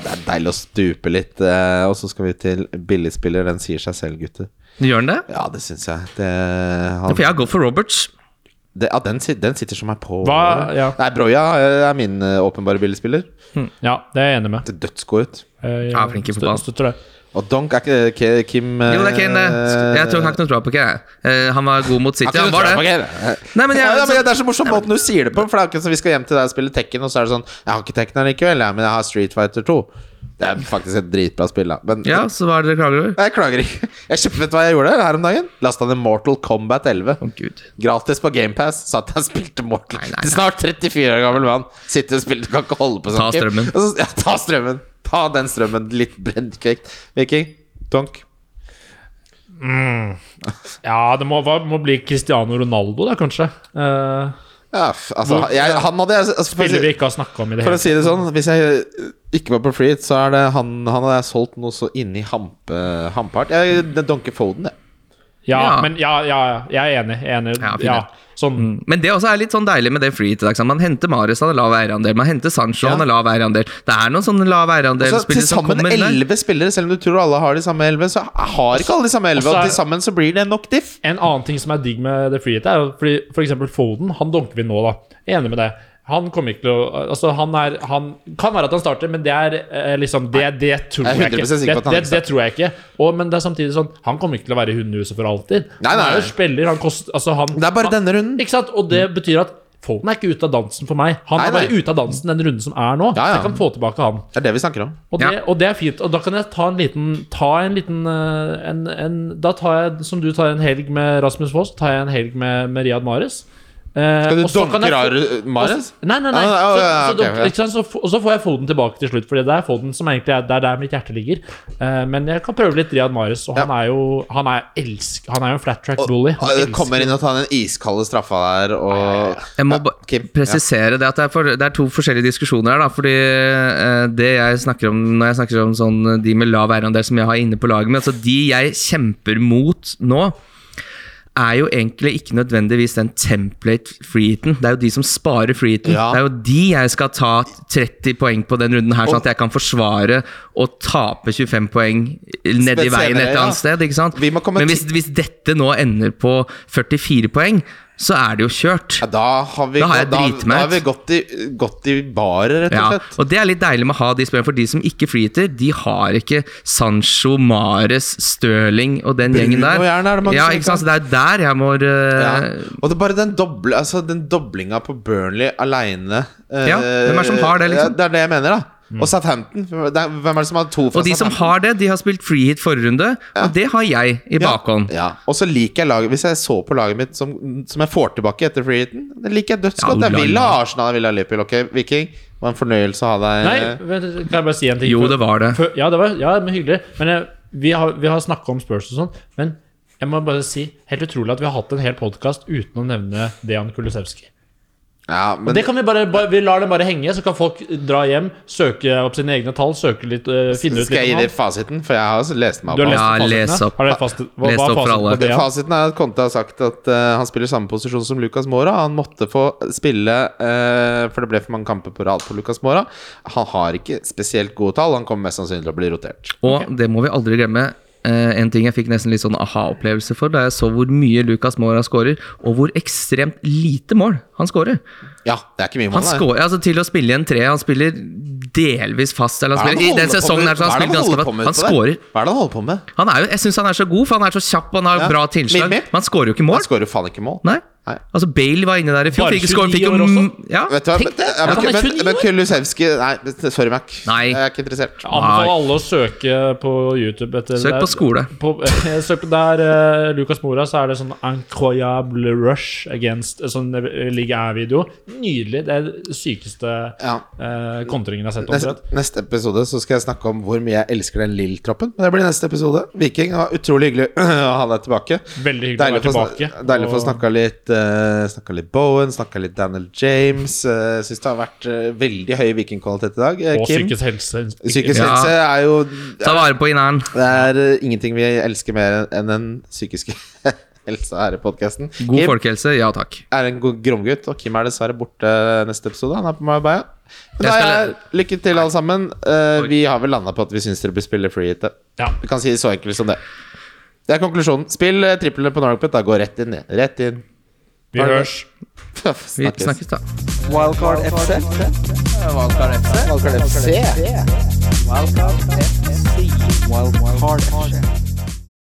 [SPEAKER 3] det er deilig å stupe litt. eh, Og så skal vi til billigspiller. Den sier seg selv, gutter.
[SPEAKER 4] Gjør den det?
[SPEAKER 3] Ja, det syns jeg. Det, han,
[SPEAKER 4] For jeg går for Roberts.
[SPEAKER 3] det, ja, den, sit- den sitter som er på.
[SPEAKER 5] Hva- ja.
[SPEAKER 3] Nei, Broya eh, er min eh, åpenbare billigspiller.
[SPEAKER 5] Ja, det er jeg enig med. Eh,
[SPEAKER 3] Til dødsgod ut.
[SPEAKER 5] Jeg,
[SPEAKER 4] Ja, flink i fotball.
[SPEAKER 5] Støtter det.
[SPEAKER 3] Og Donk er ikke eh, Ke- Kim eh,
[SPEAKER 4] Jo, det er Kane. det. Jeg tror han har ikke noe tro på Kane. Eh, Han var god mot City,
[SPEAKER 3] Har ikke
[SPEAKER 4] han
[SPEAKER 3] du
[SPEAKER 4] var
[SPEAKER 3] troa på
[SPEAKER 4] det.
[SPEAKER 3] Kane?
[SPEAKER 4] Nei, men jeg-
[SPEAKER 3] ja,
[SPEAKER 4] sånn-
[SPEAKER 3] ja, men det er så morsom måten du sier det på. For det er ikke sånn Vi skal hjem til deg og spille Tekken, og så er det sånn Jeg har ikke Tekken allikevel, jeg, men jeg har Street Fighter 2. Det er faktisk et dritbra spill, da. Men
[SPEAKER 4] Ja, så hva er det dere klager over?
[SPEAKER 3] jeg klager ikke. Jeg kjøpte, Vet du hva jeg gjorde her om dagen? Lasta ned Mortal Kombat 11.
[SPEAKER 4] Å, gud.
[SPEAKER 3] Gratis på GamePass. Satt jeg og spilte Mortal
[SPEAKER 4] Nei, nei,
[SPEAKER 3] Til snart 34 år gammel mann. Sitter og spiller, du kan ikke holde på sånn.
[SPEAKER 4] Ta strømmen.
[SPEAKER 3] Og så- Ja, ta strømmen. Ta den strømmen litt brennkvekt. Viking, donk.
[SPEAKER 5] Ja, det må, hva, må bli Cristiano Ronaldo, da, kanskje. Eh,
[SPEAKER 3] Ja, f- altså, jeg, han hadde jeg altså, for, å
[SPEAKER 5] spiller vi
[SPEAKER 3] si-
[SPEAKER 5] ikke har snakka om i det
[SPEAKER 3] for å
[SPEAKER 5] hele tatt.
[SPEAKER 3] si det sånn, hvis jeg eh, ikke var på free hit, så er det han Han hadde jeg solgt noe så inni hampe, hampehart. Jeg det donker Foden, jeg.
[SPEAKER 5] Ja,
[SPEAKER 4] Ja.
[SPEAKER 5] men ja, ja, ja, jeg er enig. Jeg er enig.
[SPEAKER 4] Ja, Mm.
[SPEAKER 5] Ja,
[SPEAKER 4] fin,
[SPEAKER 5] sånn
[SPEAKER 4] Men det også er litt sånn deilig med det free hit i dag. sant? Man henter Marius, han har lav eierandel. Man henter Sancho, han har lav eierandel. Det er noen sånne lav
[SPEAKER 3] Så
[SPEAKER 5] Altså,
[SPEAKER 3] til
[SPEAKER 4] eierandelsspillere som
[SPEAKER 3] sammen
[SPEAKER 4] kommer der.
[SPEAKER 3] elleve spillere, selv om du tror alle har de samme elleve, så har ikke alle de samme elleve.
[SPEAKER 5] Og så
[SPEAKER 3] Og
[SPEAKER 5] er-
[SPEAKER 3] til sammen så blir det nok diff.
[SPEAKER 5] En annen ting som er digg med det freehitet, er jo fordi for eksempel Foden, han donker vi nå, da. Jeg er Enig med deg. Han kommer ikke til å Altså, han er han, Kan være at han starter, men det er eh, liksom Det, det tror
[SPEAKER 3] Jeg er
[SPEAKER 5] jeg, ikke.
[SPEAKER 3] 100% sikker
[SPEAKER 5] Det,
[SPEAKER 3] på at han
[SPEAKER 5] det,
[SPEAKER 3] ikke
[SPEAKER 5] det tror jeg ikke. Og, men det er samtidig sånn Han kommer ikke til å være i hundehuset for alltid.
[SPEAKER 3] Nei,
[SPEAKER 5] Han
[SPEAKER 3] nei.
[SPEAKER 5] er jo spiller, han koster Altså, han
[SPEAKER 3] Det er bare
[SPEAKER 5] han,
[SPEAKER 3] denne runden.
[SPEAKER 5] Ikke sant? Og det betyr at Foden er ikke ute av dansen for meg. Han
[SPEAKER 3] Nei,
[SPEAKER 5] er
[SPEAKER 3] nei.
[SPEAKER 5] bare ute av dansen den runden som er nå.
[SPEAKER 3] Ja, ja.
[SPEAKER 5] Jeg kan få tilbake han.
[SPEAKER 3] Det er det vi snakker om.
[SPEAKER 5] Og det, og det er fint. Og da kan jeg ta en liten, ta en liten eh, en, en, Da tar jeg, som du tar en helg med Rasmus Foss, tar jeg en helg med, med Riyad Mahrez. Eh,
[SPEAKER 3] Skal du
[SPEAKER 5] og så kan
[SPEAKER 3] donke
[SPEAKER 5] jeg få-
[SPEAKER 3] Rar- Mahrez?
[SPEAKER 5] og så- Nei, nei, nei.
[SPEAKER 3] Ah,
[SPEAKER 5] Så,
[SPEAKER 3] ah, ja,
[SPEAKER 5] så
[SPEAKER 3] ok,
[SPEAKER 5] donker-
[SPEAKER 3] ja.
[SPEAKER 5] ikke sant? Så f- og så får jeg Foden tilbake til slutt, Fordi det er Foden som egentlig er det er der mitt hjerte ligger. Eh, men jeg kan prøve litt Riyad Mahrez, og han er jo Han er, elsk, han er jo en flat track bully. Han
[SPEAKER 3] Og
[SPEAKER 5] elsker-
[SPEAKER 3] kommer inn og tar den iskalde straffa der og
[SPEAKER 4] Jeg må
[SPEAKER 3] Ja,
[SPEAKER 4] bare
[SPEAKER 3] Kim,
[SPEAKER 4] presisere det at det er, for, det er to forskjellige diskusjoner her, da. Fordi eh, det jeg snakker om når jeg snakker om sånn, eh, de med lav eierandel som jeg har inne på laget mitt, altså de jeg kjemper mot nå, er jo egentlig ikke nødvendigvis den template freeheaten. Det er jo de som sparer freeheaten.
[SPEAKER 3] Ja.
[SPEAKER 4] Det er jo de jeg skal ta 30 poeng på den runden her, sånn at jeg kan forsvare å tape 25 poeng nedi veien et
[SPEAKER 3] senere,
[SPEAKER 4] eller
[SPEAKER 3] ja.
[SPEAKER 4] annet sted. ikke sant?
[SPEAKER 3] Vi må komme
[SPEAKER 4] Men
[SPEAKER 3] ti-
[SPEAKER 4] hvis, hvis dette nå ender på 44 poeng, så er det jo kjørt.
[SPEAKER 3] Ja, da har vi,
[SPEAKER 4] Da har jeg
[SPEAKER 3] da,
[SPEAKER 4] driti
[SPEAKER 3] da
[SPEAKER 4] meg
[SPEAKER 3] har vi
[SPEAKER 4] ut.
[SPEAKER 3] gått, i, gått i barer, rett og
[SPEAKER 4] Ja,
[SPEAKER 3] slett.
[SPEAKER 4] og det er litt deilig med å ha de spillerne, for de som ikke freeheater, de har ikke Sancho, Mares, Stirling og den
[SPEAKER 3] Bruno
[SPEAKER 4] gjengen der.
[SPEAKER 3] gjerne er det mange
[SPEAKER 4] ja,
[SPEAKER 3] som ikke
[SPEAKER 4] ikke sant? Så det er der jeg må eh,
[SPEAKER 3] Ja. Og det er bare den, doble, altså, den doblinga på Burnley aleine
[SPEAKER 4] Ja, hvem er det som har det, liksom?
[SPEAKER 3] det er det jeg mener, da. Og Southampton. det er- Hvem er det som har to fra
[SPEAKER 4] Og de som
[SPEAKER 3] Southampton?
[SPEAKER 4] har det, de har spilt freehit forrige runde, og det har jeg i bakhånd.
[SPEAKER 3] Ja. Og så liker jeg laget Hvis jeg så på laget mitt som, som jeg får tilbake etter freeheaten, det liker jeg dødsgodt.
[SPEAKER 4] Ja,
[SPEAKER 3] jeg vil ha
[SPEAKER 4] ulala.
[SPEAKER 3] Arsenal, jeg vil ha Liverpool. Ok, Viking, det var en fornøyelse å ha deg
[SPEAKER 5] Nei, vent, kan jeg bare si en ting?
[SPEAKER 4] Jo,
[SPEAKER 5] Før-
[SPEAKER 4] det var det.
[SPEAKER 5] før- Ja, det var ja, men hyggelig. Men jeg, vi har, vi har snakka om Spurs og sånn. Men jeg må bare si helt utrolig at vi har hatt en hel podkast uten å nevne Dejan Kulusevski.
[SPEAKER 3] Ja, men
[SPEAKER 5] Det kan vi bare, bare Vi lar det bare henge, så kan folk dra hjem, søke opp sine egne tall, søke litt, eh, finne ut
[SPEAKER 3] skal jeg gi
[SPEAKER 5] litt om
[SPEAKER 3] dere
[SPEAKER 5] han.
[SPEAKER 3] fasiten? For jeg har også lest meg
[SPEAKER 5] Du
[SPEAKER 3] opp.
[SPEAKER 5] har
[SPEAKER 3] på han.
[SPEAKER 5] lest
[SPEAKER 4] Ja, les
[SPEAKER 5] fasiten,
[SPEAKER 4] opp.
[SPEAKER 5] Har dere fast, hva,
[SPEAKER 4] Les
[SPEAKER 5] hva
[SPEAKER 4] opp
[SPEAKER 5] er
[SPEAKER 4] for
[SPEAKER 5] fasiten
[SPEAKER 4] alle.
[SPEAKER 5] på Dejan?
[SPEAKER 3] Fasiten er at Conte har sagt at eh, han spiller samme posisjon som Lucas Mora. Han måtte få spille, eh, for det ble for mange kamper på rad på Lucas Mora. Han har ikke spesielt gode tall. Han kommer mest sannsynlig til å bli rotert.
[SPEAKER 4] Og det må vi aldri glemme. eh, en ting jeg fikk nesten litt sånn aha-opplevelse for da jeg så hvor mye Lucas Mora skårer, og hvor ekstremt lite mål han skårer.
[SPEAKER 3] Ja, det er ikke mye
[SPEAKER 4] Han
[SPEAKER 3] mål, nei.
[SPEAKER 4] skårer, altså Til å spille i en tre, han spiller delvis fast. Eller
[SPEAKER 3] Hva
[SPEAKER 4] han
[SPEAKER 3] er det
[SPEAKER 4] spiller, I
[SPEAKER 3] han
[SPEAKER 4] den
[SPEAKER 3] holder på
[SPEAKER 4] sesongen
[SPEAKER 3] med? Hva er det
[SPEAKER 4] her så har han spilt
[SPEAKER 3] holder på
[SPEAKER 4] ganske bra.
[SPEAKER 3] med
[SPEAKER 4] Han
[SPEAKER 3] på det?
[SPEAKER 4] skårer.
[SPEAKER 3] Hva er det han holder på med?
[SPEAKER 4] Han er jo, jeg syns han er så god, for han er så kjapp og han har
[SPEAKER 3] Ja.
[SPEAKER 4] bra tilslag.
[SPEAKER 3] Mimmi?
[SPEAKER 4] Men han skårer jo ikke
[SPEAKER 3] Han
[SPEAKER 4] mål.
[SPEAKER 3] skårer jo faen ikke mål.
[SPEAKER 4] Nei.
[SPEAKER 3] Nei.
[SPEAKER 4] Altså, Bale var inne der i fjor.
[SPEAKER 5] Bare
[SPEAKER 4] Fikk ikke score,
[SPEAKER 5] 29
[SPEAKER 4] fikk jo
[SPEAKER 5] år også?
[SPEAKER 4] m- Ja.
[SPEAKER 3] Vet du hva,
[SPEAKER 4] tenk
[SPEAKER 3] men,
[SPEAKER 4] det.
[SPEAKER 3] ja, men,
[SPEAKER 5] Ja, men
[SPEAKER 3] men,
[SPEAKER 5] 29
[SPEAKER 3] men Kulusevski Nei, sorry, Mac.
[SPEAKER 4] Nei.
[SPEAKER 3] Jeg er ikke interessert.
[SPEAKER 5] Jeg anbefaler alle å søke på YouTube. Etter
[SPEAKER 4] Søk
[SPEAKER 5] det.
[SPEAKER 4] på skole.
[SPEAKER 5] På, søk på der eh, Lucas Mora, så er det sånn incroyable rush against eh, sånn eh, Liga Æ-video. Nydelig. Det er det sykeste
[SPEAKER 3] Ja.
[SPEAKER 5] eh, kontringen jeg har sett.
[SPEAKER 3] Neste,
[SPEAKER 5] omtrent.
[SPEAKER 3] neste episode så skal jeg snakke om hvor mye jeg elsker den Lill-troppen. Men det blir neste episode. Viking, det var utrolig hyggelig å ha deg tilbake.
[SPEAKER 5] Veldig hyggelig
[SPEAKER 3] Deilig å
[SPEAKER 5] å
[SPEAKER 3] få
[SPEAKER 5] være
[SPEAKER 3] sn-
[SPEAKER 5] tilbake.
[SPEAKER 3] Deilig å få
[SPEAKER 5] og-
[SPEAKER 3] snakka litt uh, Snakka litt Bowen, snakka litt Daniel James. Uh, Syns det har vært eh, veldig høy vikingkvalitet i dag. Eh,
[SPEAKER 5] Og
[SPEAKER 3] Kim,
[SPEAKER 5] psykisk helse.
[SPEAKER 3] psykisk
[SPEAKER 4] Ja.
[SPEAKER 3] helse er jo
[SPEAKER 4] Ta vare på inneren.
[SPEAKER 3] Det er eh, ingenting vi elsker mer enn den psykiske helsa her i podkasten.
[SPEAKER 4] God
[SPEAKER 3] Kim
[SPEAKER 4] folkehelse. Ja takk.
[SPEAKER 3] er en god gromgutt, og Kim er dessverre borte neste episode. Han er på Marbella. Men
[SPEAKER 4] Jeg
[SPEAKER 3] da
[SPEAKER 4] skal
[SPEAKER 3] er lykke til, alle sammen. Eh, vi har vel landa på at vi syns dere bør spille free hit.
[SPEAKER 5] Ja.
[SPEAKER 3] Vi kan si det så enkelt som det. Det er konklusjonen. Spill eh, triplene på Norway da går rett inn. Rett inn.
[SPEAKER 5] Vi hørs.
[SPEAKER 4] Vi
[SPEAKER 3] Snakkes.
[SPEAKER 4] snakkes, da.
[SPEAKER 1] Wildcard FC. Wildcard FC. Wildcard FC. Wildcard FC.